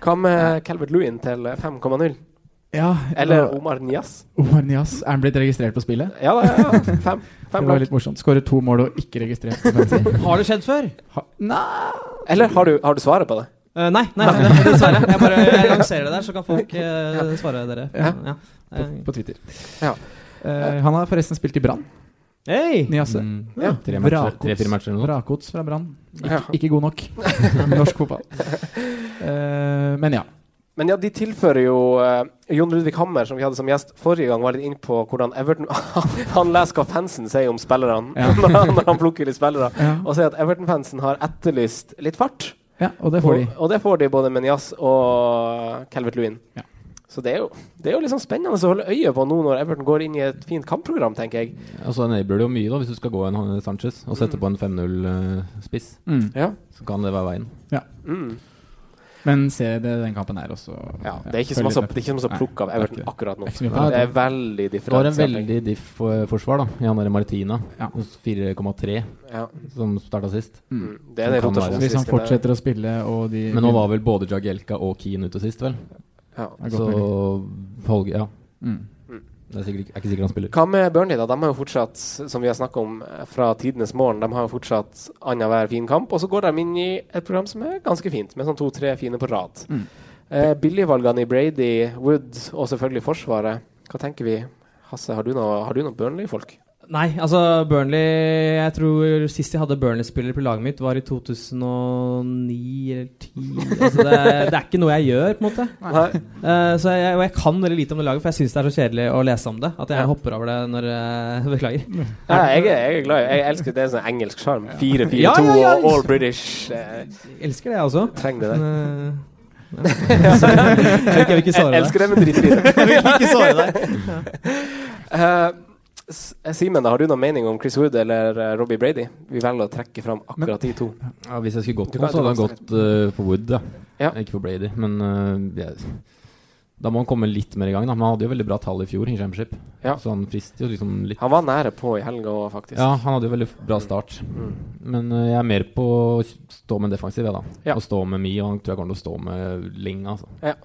C: Hva med Calvert Lewin til 5,0?
E: Ja,
C: Eller
E: og-
C: Omar Nias?
E: Omar Nias, er han blitt registrert på spillet?
C: Ja da, ja, ja. Fem, fem
E: det var
C: blank.
E: litt morsomt. Skårer to mål og ikke registrert. på fantasy.
Q: Har det skjedd før?
C: Eller har du, har du svaret på det?
Q: Eh, nei, nei, nei, dessverre. Jeg bare jeg lanserer det der, så kan folk eh, svare dere.
E: Ja.
Q: Ja.
E: På, på Twitter.
C: Ja.
E: Eh, han har forresten spilt i Brann.
Q: Hey!
E: Niasse.
D: Mm.
E: Ja.
D: Tre matcher-
E: Vrakots-
D: tre-fire matcher eller noe.
E: Vrakots fra Brann.
C: Ja.
E: Ikke, ikke god nok. Norsk fotball. Eh, men ja.
C: Men ja, de tilfører jo eh, Jon Ludvig Hammer, som vi hadde som gjest forrige gang, var litt inn på hvordan Everton Han leser hva fansen sier om spillerne
E: Ja.
C: når, han, når han plukker litt spillere,
E: Ja.
C: og sier at Everton-fansen har etterlyst litt fart.
E: ja. Og det får de.
C: og, og det får de både med Nias og Calvert Lewin. Så det er, jo, det er jo liksom spennende å holde øye på nå når Everton går inn i et fint kampprogram, tenker jeg.
D: Og så enabler det jo mye, da, hvis du skal gå en Juan Sanchez og sette
C: Mm.
D: på en eh, 5-0-spiss.
E: Mm.
C: Ja.
D: Så kan det være veien.
E: Ja.
C: Mm.
E: Men se det den kampen her også.
C: Ja, det er ikke så
E: følg
C: masse-
E: litt med.
C: det er ikke så masse
E: Nei,
C: plukk av
E: det er
C: Everton
E: ikke det.
C: akkurat nå.
E: Det er ikke så mye
C: Nei,
E: plukk.
C: det er veldig
D: Det var en
C: differensiering.
D: veldig diff eh, forsvar, da. I han derre Martina.
E: Ja.
D: hos 4,3,
C: Ja.
D: som starta sist.
E: Mm.
C: Det er det
D: Som kan
C: rotasjons-
D: være.
E: Hvis
C: Siste
E: han
C: der.
E: fortsetter å spille og de
D: Men nå var vel både Jagielka og Keane ute sist, vel?
C: Ja.
E: Det er godt
D: Så Holge, ja.
E: Mm.
D: Det er, sikkert, ikke- er ikke sikkert han spiller.
C: Hva med Burnley, da? De har jo fortsatt, som vi har snakket om eh, fra tidenes morgen, de har jo fortsatt annenhver fin kamp. Og så går de inn i et program som er ganske fint, med sånn to-tre fine på rad.
E: Mm.
C: Eh, Billigvalgene i Brady, Wood og selvfølgelig Forsvaret. Hva tenker vi? Hasse, har du noe, har du noe Burnley-folk?
Q: Nei, altså Burnley Jeg tror sist jeg hadde Burnley-spiller på laget mitt, var i 2009 eller 2010. Altså, det, er- det er ikke noe jeg gjør, på en måte.
C: Nei.
Q: Eh, så jeg, og jeg kan veldig lite om det laget, for jeg syns det er så kjedelig å lese om det. At jeg
C: Ja.
Q: hopper over det når eh, Beklager.
C: Ja, jeg, er, jeg er glad i Jeg elsker det er sånn engelsk sjarm. 4-4-2
Q: Ja, ja, ja.
C: og all British. eh,
Q: Elsker det, jeg også.
C: Trenger det der.
Q: Men, eh, ja. Så jeg vil ikke såre deg.
C: Jeg elsker det, men drit i det.
Q: Jeg vil ikke såre deg.
C: Eh, S- Simen, da, har du noen mening om Chris Wood eller eh, Robbie Brady? Vi velger å trekke fram akkurat de to.
D: Ja, hvis jeg skulle gått
C: Du
D: nå,
C: kan
D: så hadde han
C: ta
D: gått eh, for Wood, da. Ikke for Brady. Men eh, jeg, da må han komme litt mer i gang. Da. Men han hadde jo veldig bra tall i fjor i Championship,
C: Ja.
D: så han frister jo liksom litt.
C: Han var nære på i helga òg, faktisk.
D: Ja, han hadde jo veldig bra start.
C: Mm.
D: Men eh, jeg er mer på å stå med defensiv, jeg, da.
C: Ja.
D: Å stå med Mi, og han tror jeg kommer til å stå med Ling, altså.
C: Ja.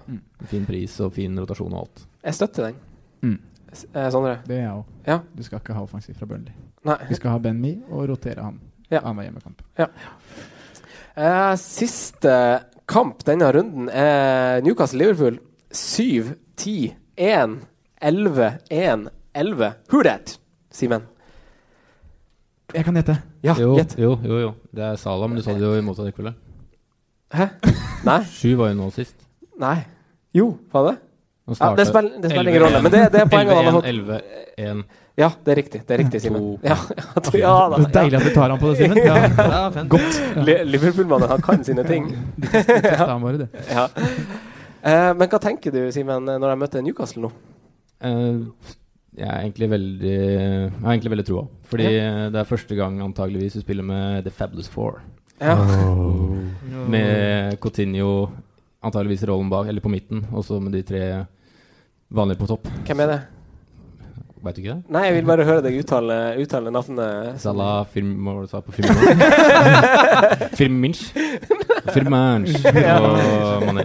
D: Fin pris og fin rotasjon og alt.
C: Jeg støtter den.
E: Mm.
C: S- eh, Sondre?
E: Det er jeg òg.
C: Ja.
E: Du skal ikke ha offensiv fra Burnley.
C: Nei.
E: Du skal ha Ben Mee og rotere han
C: Ja.
E: annenhver hjemmekamp.
C: Eh, siste kamp denne runden er Newcastle-Liverpool. 7, 10, 1, 11, 1, 11. Who that? Simen.
E: Jeg kan gjette.
C: Ja,
D: jo,
C: Ah, gjett.
D: jo, jo, jo. Det er Salah, men du sa det jo i motsatt rekkefølge.
C: Hæ? Nei?
D: Sju var jo nå sist.
C: Nei. Jo, var det?
D: Han
C: Ja, det
D: startet
C: spiller, det spiller ingen
D: 11-1.
C: rolle, men det, det er poenget han har fått.
D: 11-1, 11-1.
C: Ja, det er riktig. Det er riktig, Simen.
D: To.
C: Ja, ja, to- ja, da,
E: Det er deilig at du tar han på det, Simen. Ja.
Q: Ja, fint.
E: Godt.
C: Li- Liverpool-mannen, han kan sine ting.
E: Du tester, tester han bare, du.
C: Ja. Eh, men hva tenker du, Simen, når jeg møter Newcastle nå?
D: Eh, jeg er egentlig veldig Jeg har egentlig veldig troa. Fordi eh, det er første gang antageligvis vi spiller med The Fabulous Four.
C: Ja.
D: Med Coutinho antageligvis i rollen bak, eller på midten, og så med de tre vanlige på topp.
C: Hvem er det?
D: Veit du ikke det?
C: Nei, jeg vil bare høre deg uttale, uttale navnet.
D: Salah Firm... Hva var det du sa på Firmino? Firminch? Firmanch og Mané.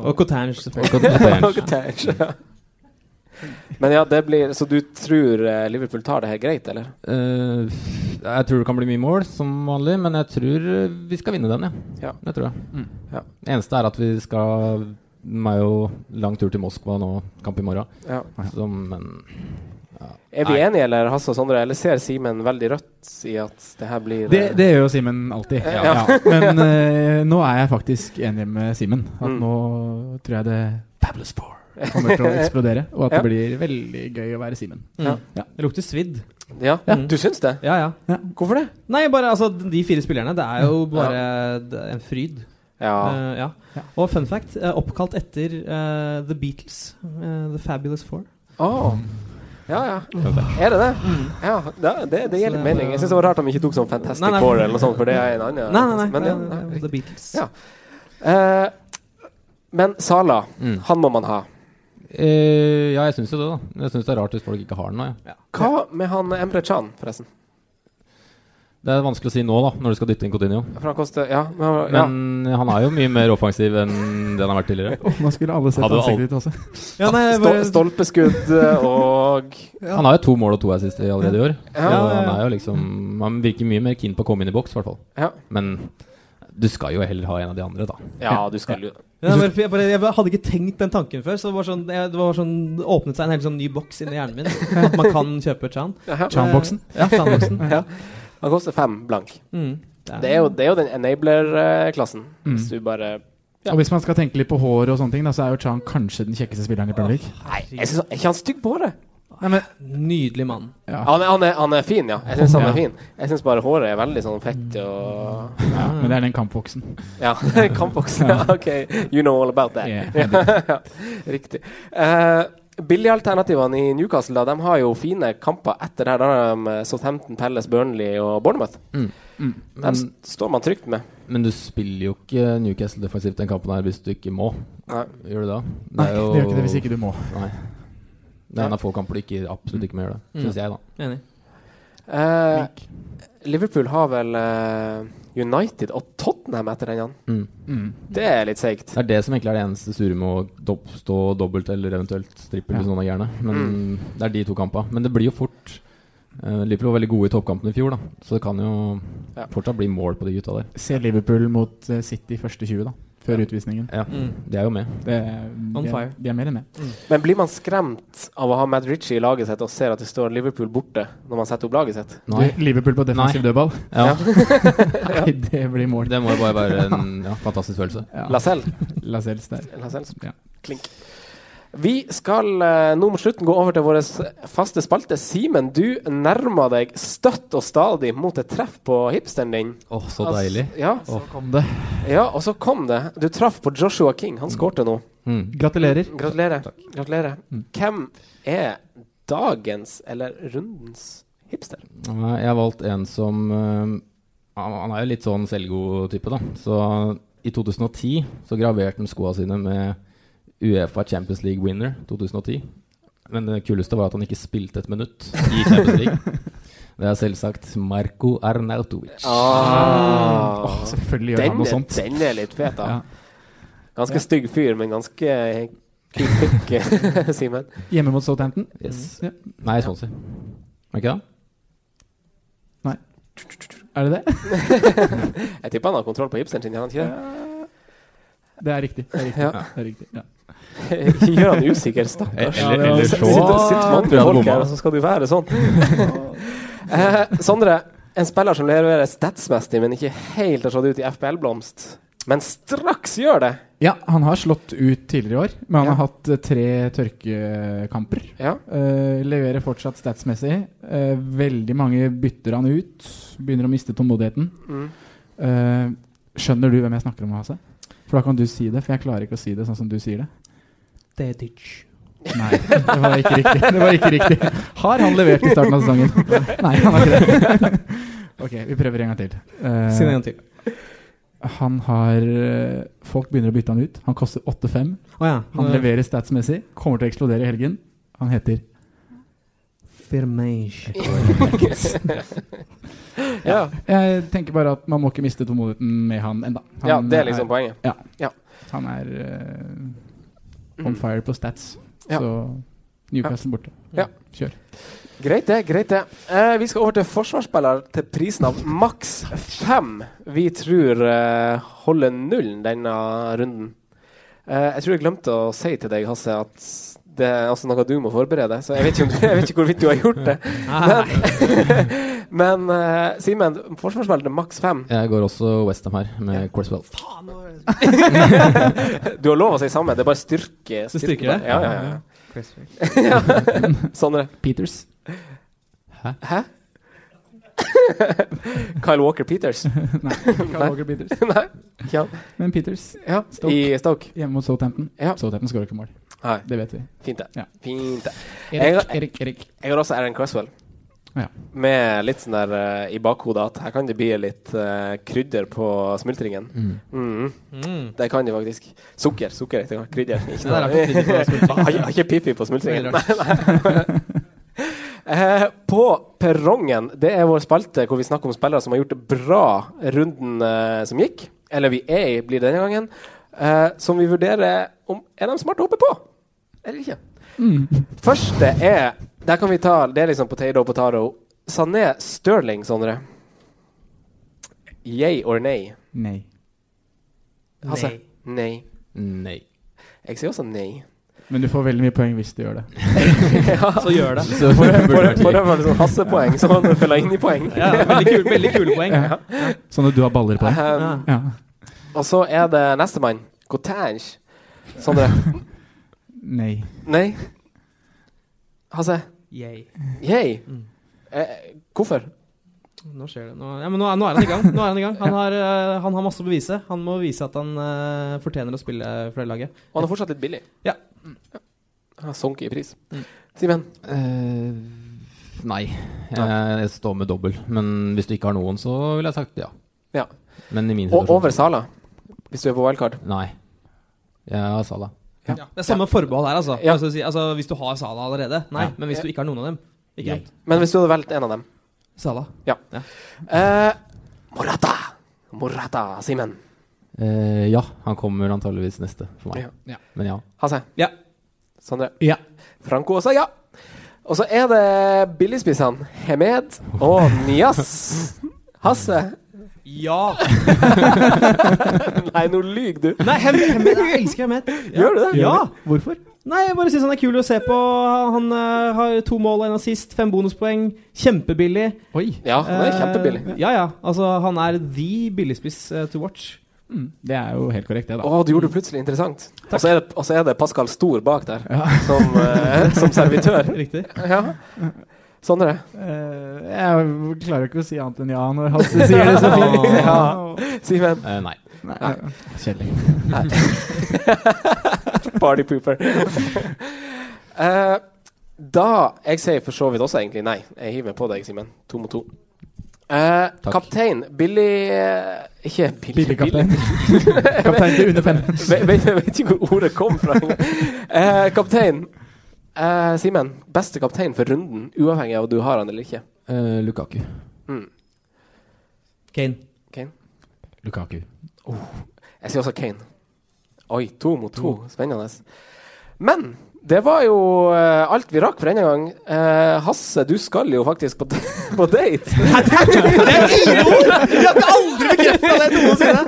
Q: Og Cotange, selvfølgelig.
D: Cotange.
C: Cotange, ja. Men ja, det blir Så du tror eh, Liverpool tar det her greit, eller?
D: Eh, jeg tror det kan bli mye mål, som vanlig, men jeg tror eh, vi skal vinne den, ja.
C: Ja. Mm.
D: Det tror jeg.
C: Ja.
D: Det eneste er at vi skal Det er jo lang tur til Moskva nå, kamp i morgen.
C: Ja.
D: Så, men
C: Er vi enige, eller Hasse og Sondre? Eller ser Simen veldig rødt i at det her blir eh,
E: Det, det gjør jo Simen alltid.
C: Ja.
E: Ja. Men eh, nå er jeg faktisk enig med Simen. At
C: Mm.
E: nå tror jeg det Fabulous Four kommer til å eksplodere. Og at
C: Ja.
E: det blir veldig gøy å være Simen.
D: Ja. Det lukter svidd.
C: Ja,
E: Mm.
C: du syns det?
D: Ja, ja.
C: Hvorfor det?
D: Nei, bare altså De fire spillerne, det er jo bare det er en fryd.
C: Ja.
D: Eh, ja. Og fun fact, eh, oppkalt etter eh, The Beatles. eh, the Fabulous Four.
C: Å. Ja, ja. Er det det? Ja, det, det, det gir litt mening. Jeg syns det var rart de ikke tok sånn Fantastic
D: Nei, nei.
C: Four eller noe sånt, for det er en annen.
D: Nei, nei, nei.
C: Men, ja,
D: Nei, nei,
C: nei.
D: The Beatles.
C: Ja. Eh, men Sala, han må man ha.
G: Eh, ja, jeg syns jo det, da. Jeg syns det er rart hvis folk ikke har den nå. Ja.
C: Hva med han Emre Chan, forresten?
G: Det er vanskelig å si nå, da, når du skal dytte inn Coutinho.
C: For han koster Ja. Men, ja.
G: Men han er jo mye mer offensiv enn det han har vært tidligere.
E: Nå skulle alle sett
G: Hadde jo al-
E: ansiktet ditt også.
D: Ja, nei, jeg
C: Stol-
D: bare-
C: Stolpeskudd eh, og
G: Han har jo to mål og to assist i allerede i år.
C: Ja,
G: så
C: ja, ja.
G: han er jo liksom Han virker mye mer keen på å komme inn i boks, i hvert fall.
C: Ja.
G: Men du skal jo heller ha en av de andre, da.
C: Ja, du skal jo
D: Ja, bare, jeg, bare, jeg bare hadde ikke tenkt den tanken før. Så det, var sånn, jeg, det var sånn, det åpnet seg en helt sånn ny boks inni hjernen min. At man kan kjøpe Chan.
C: Jaha.
D: Eh, Ja, Chan-boksen.
C: ja. Han koster fem blank.
D: Mm. Det er-
C: Det, er jo, det er jo den enabler-klassen.
E: Mm.
C: Hvis du bare
E: Og hvis man skal tenke litt på hår og sånne ting, da, så er jo Chan kanskje den kjekkeste spilleren i Premier League.
C: Nei, jeg synes, er ikke han stygg på håret?
D: Nydelig mann.
C: Han, er, han, er, han er fin, ja. Jeg syns han
E: Ja.
C: er fin. Jeg syns bare håret er veldig sånn fett og
E: Ja, men det er den kampvoksen.
C: Ja, kampboksen. Ja, OK, you know all about that.
E: Yeah.
C: Ja, Riktig. Eh, billige alternativene i Newcastle da, de har jo fine kamper etter det her. Da har de eh, Southampton, Palace, Burnley og Bournemouth.
G: Mm.
E: Mm.
C: Dem s- står man trygt med.
G: Men du spiller jo ikke Newcastle defensivt den kampen her hvis du ikke må.
C: Nei.
G: Gjør du det? Det
E: Nei,
G: er
E: du gjør ikke det hvis ikke du må.
G: Nei. Det er en av få kamper du ikke, absolutt ikke må gjøre det,
D: Mm.
G: syns jeg, da.
D: Enig.
C: Eh, Liverpool har vel eh, United og Tottenham etter den, Jan.
G: Mm.
E: Mm.
C: Det er litt seigt.
G: Det er det som egentlig er det eneste sure med å dob stå dobbelt eller eventuelt strippel hvis
C: Ja.
G: noen er gærne. Men det er de to kampene. Men det blir jo fort eh, Liverpool var veldig gode i toppkampene i fjor, da. Så det kan jo fortsatt bli mål på de gutta der.
E: Se Liverpool mot eh, City første 20, da. Før utvisningen.
G: Ja,
D: Mm.
G: De er jo med.
E: Det, de, er, de er mer enn med.
C: Men blir man skremt av å ha Matt Ritchie i laget sitt og ser at det står Liverpool borte når man setter opp laget sitt?
E: Du, Liverpool på defensiv
G: Nei.
E: dødball.
G: Ja.
E: Nei, det blir mål.
G: Det må jo bare være en ja, fantastisk følelse.
E: Ja.
C: Lacelle.
E: Lascelles der.
C: Lascelles. Klink. Vi skal eh, nå mot slutten gå over til vår faste spalte. Simen, du nærmer deg støtt og stadig mot et treff på hipsteren din.
G: Åh, så
C: Altså,
G: deilig.
C: ja.
G: Åh.
E: Kom det.
C: ja, og så kom det. Du traff på Joshua King. Han skårte nå.
G: Mm.
E: Gratulerer.
C: Gratulerer. Gratulerer. Hvem er dagens, eller rundens, hipster?
G: Nei, Jeg har valgt en som eh, Han han er jo litt sånn selvgod type, da. Så i 2010 så graverte han skoa sine med Uefa Champions League winner 2010. Men det kuleste var at han ikke spilte et minutt i Champions League. Det er selvsagt Marko Arnautovic.
C: Ah.
E: Åh, selvfølgelig gjør
C: Den
E: han noe
C: er-
E: sånt.
C: Den er litt fet, da.
E: Ja.
C: Ganske stygg fyr, men ganske kul pikk, Simen.
E: Hjemme mot Southampton.
G: Yes.
E: Ja.
G: Nei, Swansea. Er det ikke det?
E: Nei. Er det det?
C: Jeg tipper han har kontroll på hipsteren sin, gjør han ikke det?
E: Det er riktig. Det er riktig.
C: Ja.
E: Det er riktig. Ja.
C: Gjør han usikker, stakkars.
G: Eller- Ja, det var- eller så-
C: Sitter- sitter
G: tror
C: mange
G: jeg han
C: folk her,
G: bomma.
C: og så skal du være sånn. eh, Sondre, en spiller som leverer statsmessig, men ikke helt har slått ut i FBL-blomst, men straks gjør det.
E: Ja, han har slått ut tidligere i år, men han har hatt eh, tre tørkekamper.
C: Ja.
E: Eh, leverer fortsatt statsmessig. Eh, veldig mange bytter han ut. Begynner å miste tålmodigheten.
C: Mm.
E: Eh, skjønner du hvem jeg snakker om, Hase? For da kan du si det, for jeg klarer ikke å si det sånn som du sier det.
D: Det er ditch.
E: Nei, det var ikke riktig. Det var ikke riktig. Har han levert i starten av sesongen? Nei, han har ikke det. Ok, vi prøver en gang til. Eh,
D: Si det en gang til.
E: Han har eh, Folk begynner å bytte han ut. Han koster 8-5.
D: Å ja.
E: Han
D: Nå-
E: leverer statsmessig. Kommer til å eksplodere i helgen. Han heter
D: Firmage.
C: Ja.
E: Jeg tenker bare at man må ikke miste tålmodigheten med han enda. Han
C: Ja, det er liksom poenget.
E: Ja.
C: Ja.
E: Han er eh, on fire på stats.
C: Ja.
E: Så Newcastle borte.
C: Ja.
E: Kjør.
C: Greit det, greit det. Eh, vi skal over til forsvarsspiller til prisen av maks fem. Vi tror eh, holder nullen denne runden. Eh, jeg tror jeg glemte å si til deg, Hasse, at det er altså noe du må forberede. Så jeg vet ikke, om du, jeg vet ikke hvorvidt du har gjort det. Men, Men eh, Simen, forsvarsspiller til maks fem.
G: Jeg går også Westham her, med Corswell.
C: du har lov å si samme, det er bare styrke.
G: Så styrker det?
C: Ja, ja, ja. ja. Sondre? Peters. Hæ? Hæ? Kyle Walker Peters?
E: Nei. Kyle Walker Peters.
C: Nei. Ja.
E: Men Peters
C: Ja,
E: Stoke.
C: I Stoke.
E: Hjemme mot Southampton. Southampton skårer ikke mål.
C: Nei.
E: Det vet vi.
C: Fint, det.
E: Ja.
C: Fint det.
E: Erik,
C: Jeg har-
E: Erik, Erik.
C: Jeg har også Aaron Cresswell.
E: Ja.
C: Med litt sånn der eh, i bakhodet at her kan det bli litt eh, krydder på smultringen.
G: Mm.
C: Mhm.
H: Mm.
C: Det kan de faktisk. Sukker. sukker heter det. Krydder. Ikke
H: Nei,
C: noe-
H: det er ikke krydder på smultringen.
C: Har ikke- har ikke Pippi på smultringen.
H: Veldig rart.
C: Nei, nei. Eh, På perrongen, det er vår spalte hvor vi snakker om spillere som har gjort det bra runden eh, som gikk. Eller vi er i, blir det denne gangen. eh, Som vi vurderer om er de smarte å hoppe på eller ikke. Første er Der kan vi ta Det er liksom potato potato. Sané Stirling, Sondre. Yay or nay?
E: Nei.
C: Hasse? Nei.
G: Nei.
C: Jeg sier også nei.
E: Men du får veldig mye poeng hvis du gjør det.
C: For, for, for det var liksom Hasse-poeng, så han fyller inn i poeng.
E: Ja, veldig kul- veldig kule poeng. Ja. Sånn at du har baller på.
C: Ehm,
E: Ja.
C: Og så er det nestemann. Gotange. Sondre.
E: Nei.
C: Nei. Hasse.
D: Yay.
C: Yay. Eh, hvorfor?
D: Nå skjer det. Nå, ja, men nå, er, nå er han i gang. Nå er Han i gang Han har, eh, han har masse å bevise. Han må vise at han eh, fortjener å spille for det laget.
C: Og han er fortsatt litt billig.
D: Ja.
C: Han har sunket i pris. Simen?
G: Eh, nei. Jeg, jeg står med dobbel. Men hvis du ikke har noen, så ville jeg sagt ja.
C: Ja.
G: Men i min
C: Og
G: situasjon
C: over Sala, hvis du er på wildcard.
G: Nei. Jeg har Salah.
D: Ja. Det er samme forbehold her, altså.
C: Ja.
D: Altså, si- altså. Hvis du har Sala allerede, nei. Men hvis du ikke har noen av dem, ikke dumt.
C: Men hvis du hadde valgt en av dem?
D: Salah.
C: Ja. Eh, Morata! Morata, Simen.
G: Eh, ja, han kommer antageligvis neste for meg.
C: Ja.
G: Men ja.
C: Hasse.
D: Ja.
C: Sondre.
E: Ja.
C: Franco også, ja. Og så er det billigspissene Hemed og Nias. Hasse.
D: Ja!
C: Nei, nå lyver du.
D: Nei, Hem- Hemet. Jeg elsker Hemet. Ja.
C: Gjør du det?
D: Ja.
E: Hvorfor?
D: Nei, jeg bare syns han er kul å se på. Han eh, har to mål og en assist, fem bonuspoeng. Kjempebillig.
E: Oi.
C: Ja, han er kjempebillig.
D: Ja, ja. Altså, han er the billigspiss eh, to watch.
G: Mm.
E: Det er jo helt korrekt, det, da.
C: Å, du gjorde det plutselig interessant. Og så er det, og så er det Pascal Stor bak der, som, eh, som servitør.
D: Riktig.
C: Ja. Sondre.
E: Eh, jeg klarer ikke å si annet enn ja når Hasse sier det så fint.
D: Ah.
C: Ja. Simen?
G: Eh, nei.
E: Nei. Kjedelig.
C: Nei. Party pooper. Eh, da Jeg sier for så vidt også egentlig nei. Jeg hiver meg på deg, Simen. To mot to. Eh, kaptein Billy eh, Ikke Billy.
E: Billig kaptein. Kaptein til under fem.
C: Vet- vet- Jeg vet ikke hvor ordet kom fra. engang. Eh, kaptein eh, Simen. Beste kaptein for runden, uavhengig av om du har han eller ikke.
G: Eh, Lukaku.
C: Mm.
D: Kane.
C: Kane.
G: Lukaku.
C: Jeg sier også Kane. Oi, to mot to. Spennende. Men det var jo eh, alt vi rakk for denne gang. Eh, Hasse, du skal jo faktisk på, på date.
D: Det er fire ord! Jeg har aldri bekrefta det noensinne!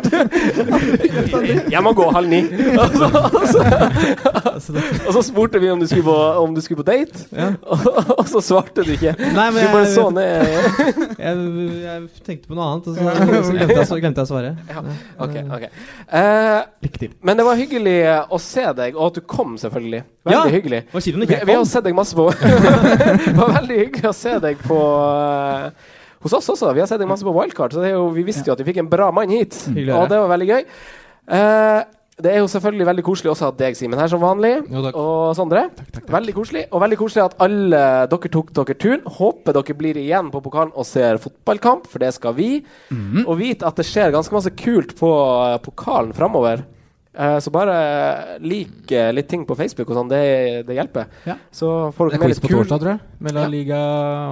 C: Jeg må gå halv ni. Og så, og så, og så spurte vi om du skulle på, om du skulle på date, og, og så svarte du ikke.
D: Nei, men
C: du bare
D: jeg-
C: så ned.
D: Jeg, jeg tenkte på noe annet, og så, så glemte jeg, så glemte jeg å svare.
C: Ok, ok. Eh, men det var hyggelig eh, å se deg, og at du kom, selvfølgelig. Veldig
D: Ja,
C: hyggelig.
D: det var kjipt om
C: Vi,
D: ikke jeg
C: vi har
D: kom.
C: sett deg masse på Det var veldig hyggelig å se deg på eh, hos oss også. Vi har sett deg masse på Wildcard, så det er jo, vi visste jo at vi fikk en bra mann hit.
D: Mm. Hyggelig å
C: Og
D: høre.
C: det var veldig gøy. Eh, det er jo selvfølgelig veldig koselig også at deg, Simen, her som vanlig. og Sondre. Veldig koselig. Og veldig koselig at alle dere tok dere turen. Håper dere blir igjen på pokalen og ser fotballkamp, for det skal vi.
G: Mm.
C: Og vit at det skjer ganske masse kult på eh, pokalen framover. Eh, så bare lik eh, litt ting på Facebook og sånn. Det, det hjelper. Så får
G: Det er
C: dere med
G: quiz
C: litt
G: på
C: kul
G: torsdag, tror jeg. Med La Liga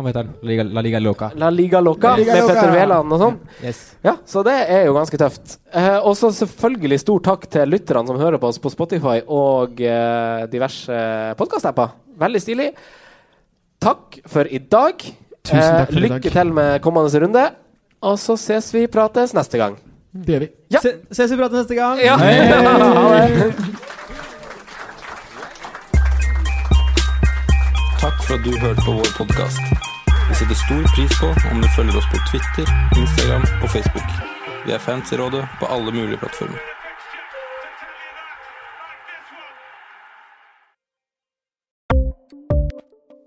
G: Hva heter den? Liga, La Liga Loca.
C: La Liga Loca
G: La Liga
C: med
G: Loca.
C: Petter Wæland og sånn.
G: Yes.
C: Ja, så det er jo ganske tøft. Eh, og så selvfølgelig stor takk til lytterne som hører på oss på Spotify og eh, diverse podkast-apper. Veldig stilig. Takk for i dag. Eh,
E: Tusen takk for i dag.
C: lykke til med kommende runde. Og så ses vi prates neste gang.
E: Det gjør vi.
D: Se, ses vi prater neste gang.
C: Ja. Ha det.
B: Takk for at du hørte på vår podkast. Hvis
E: setter stor pris på om du følger oss på Twitter, Instagram og Facebook. Vi er fans i rådet på alle mulige plattformer.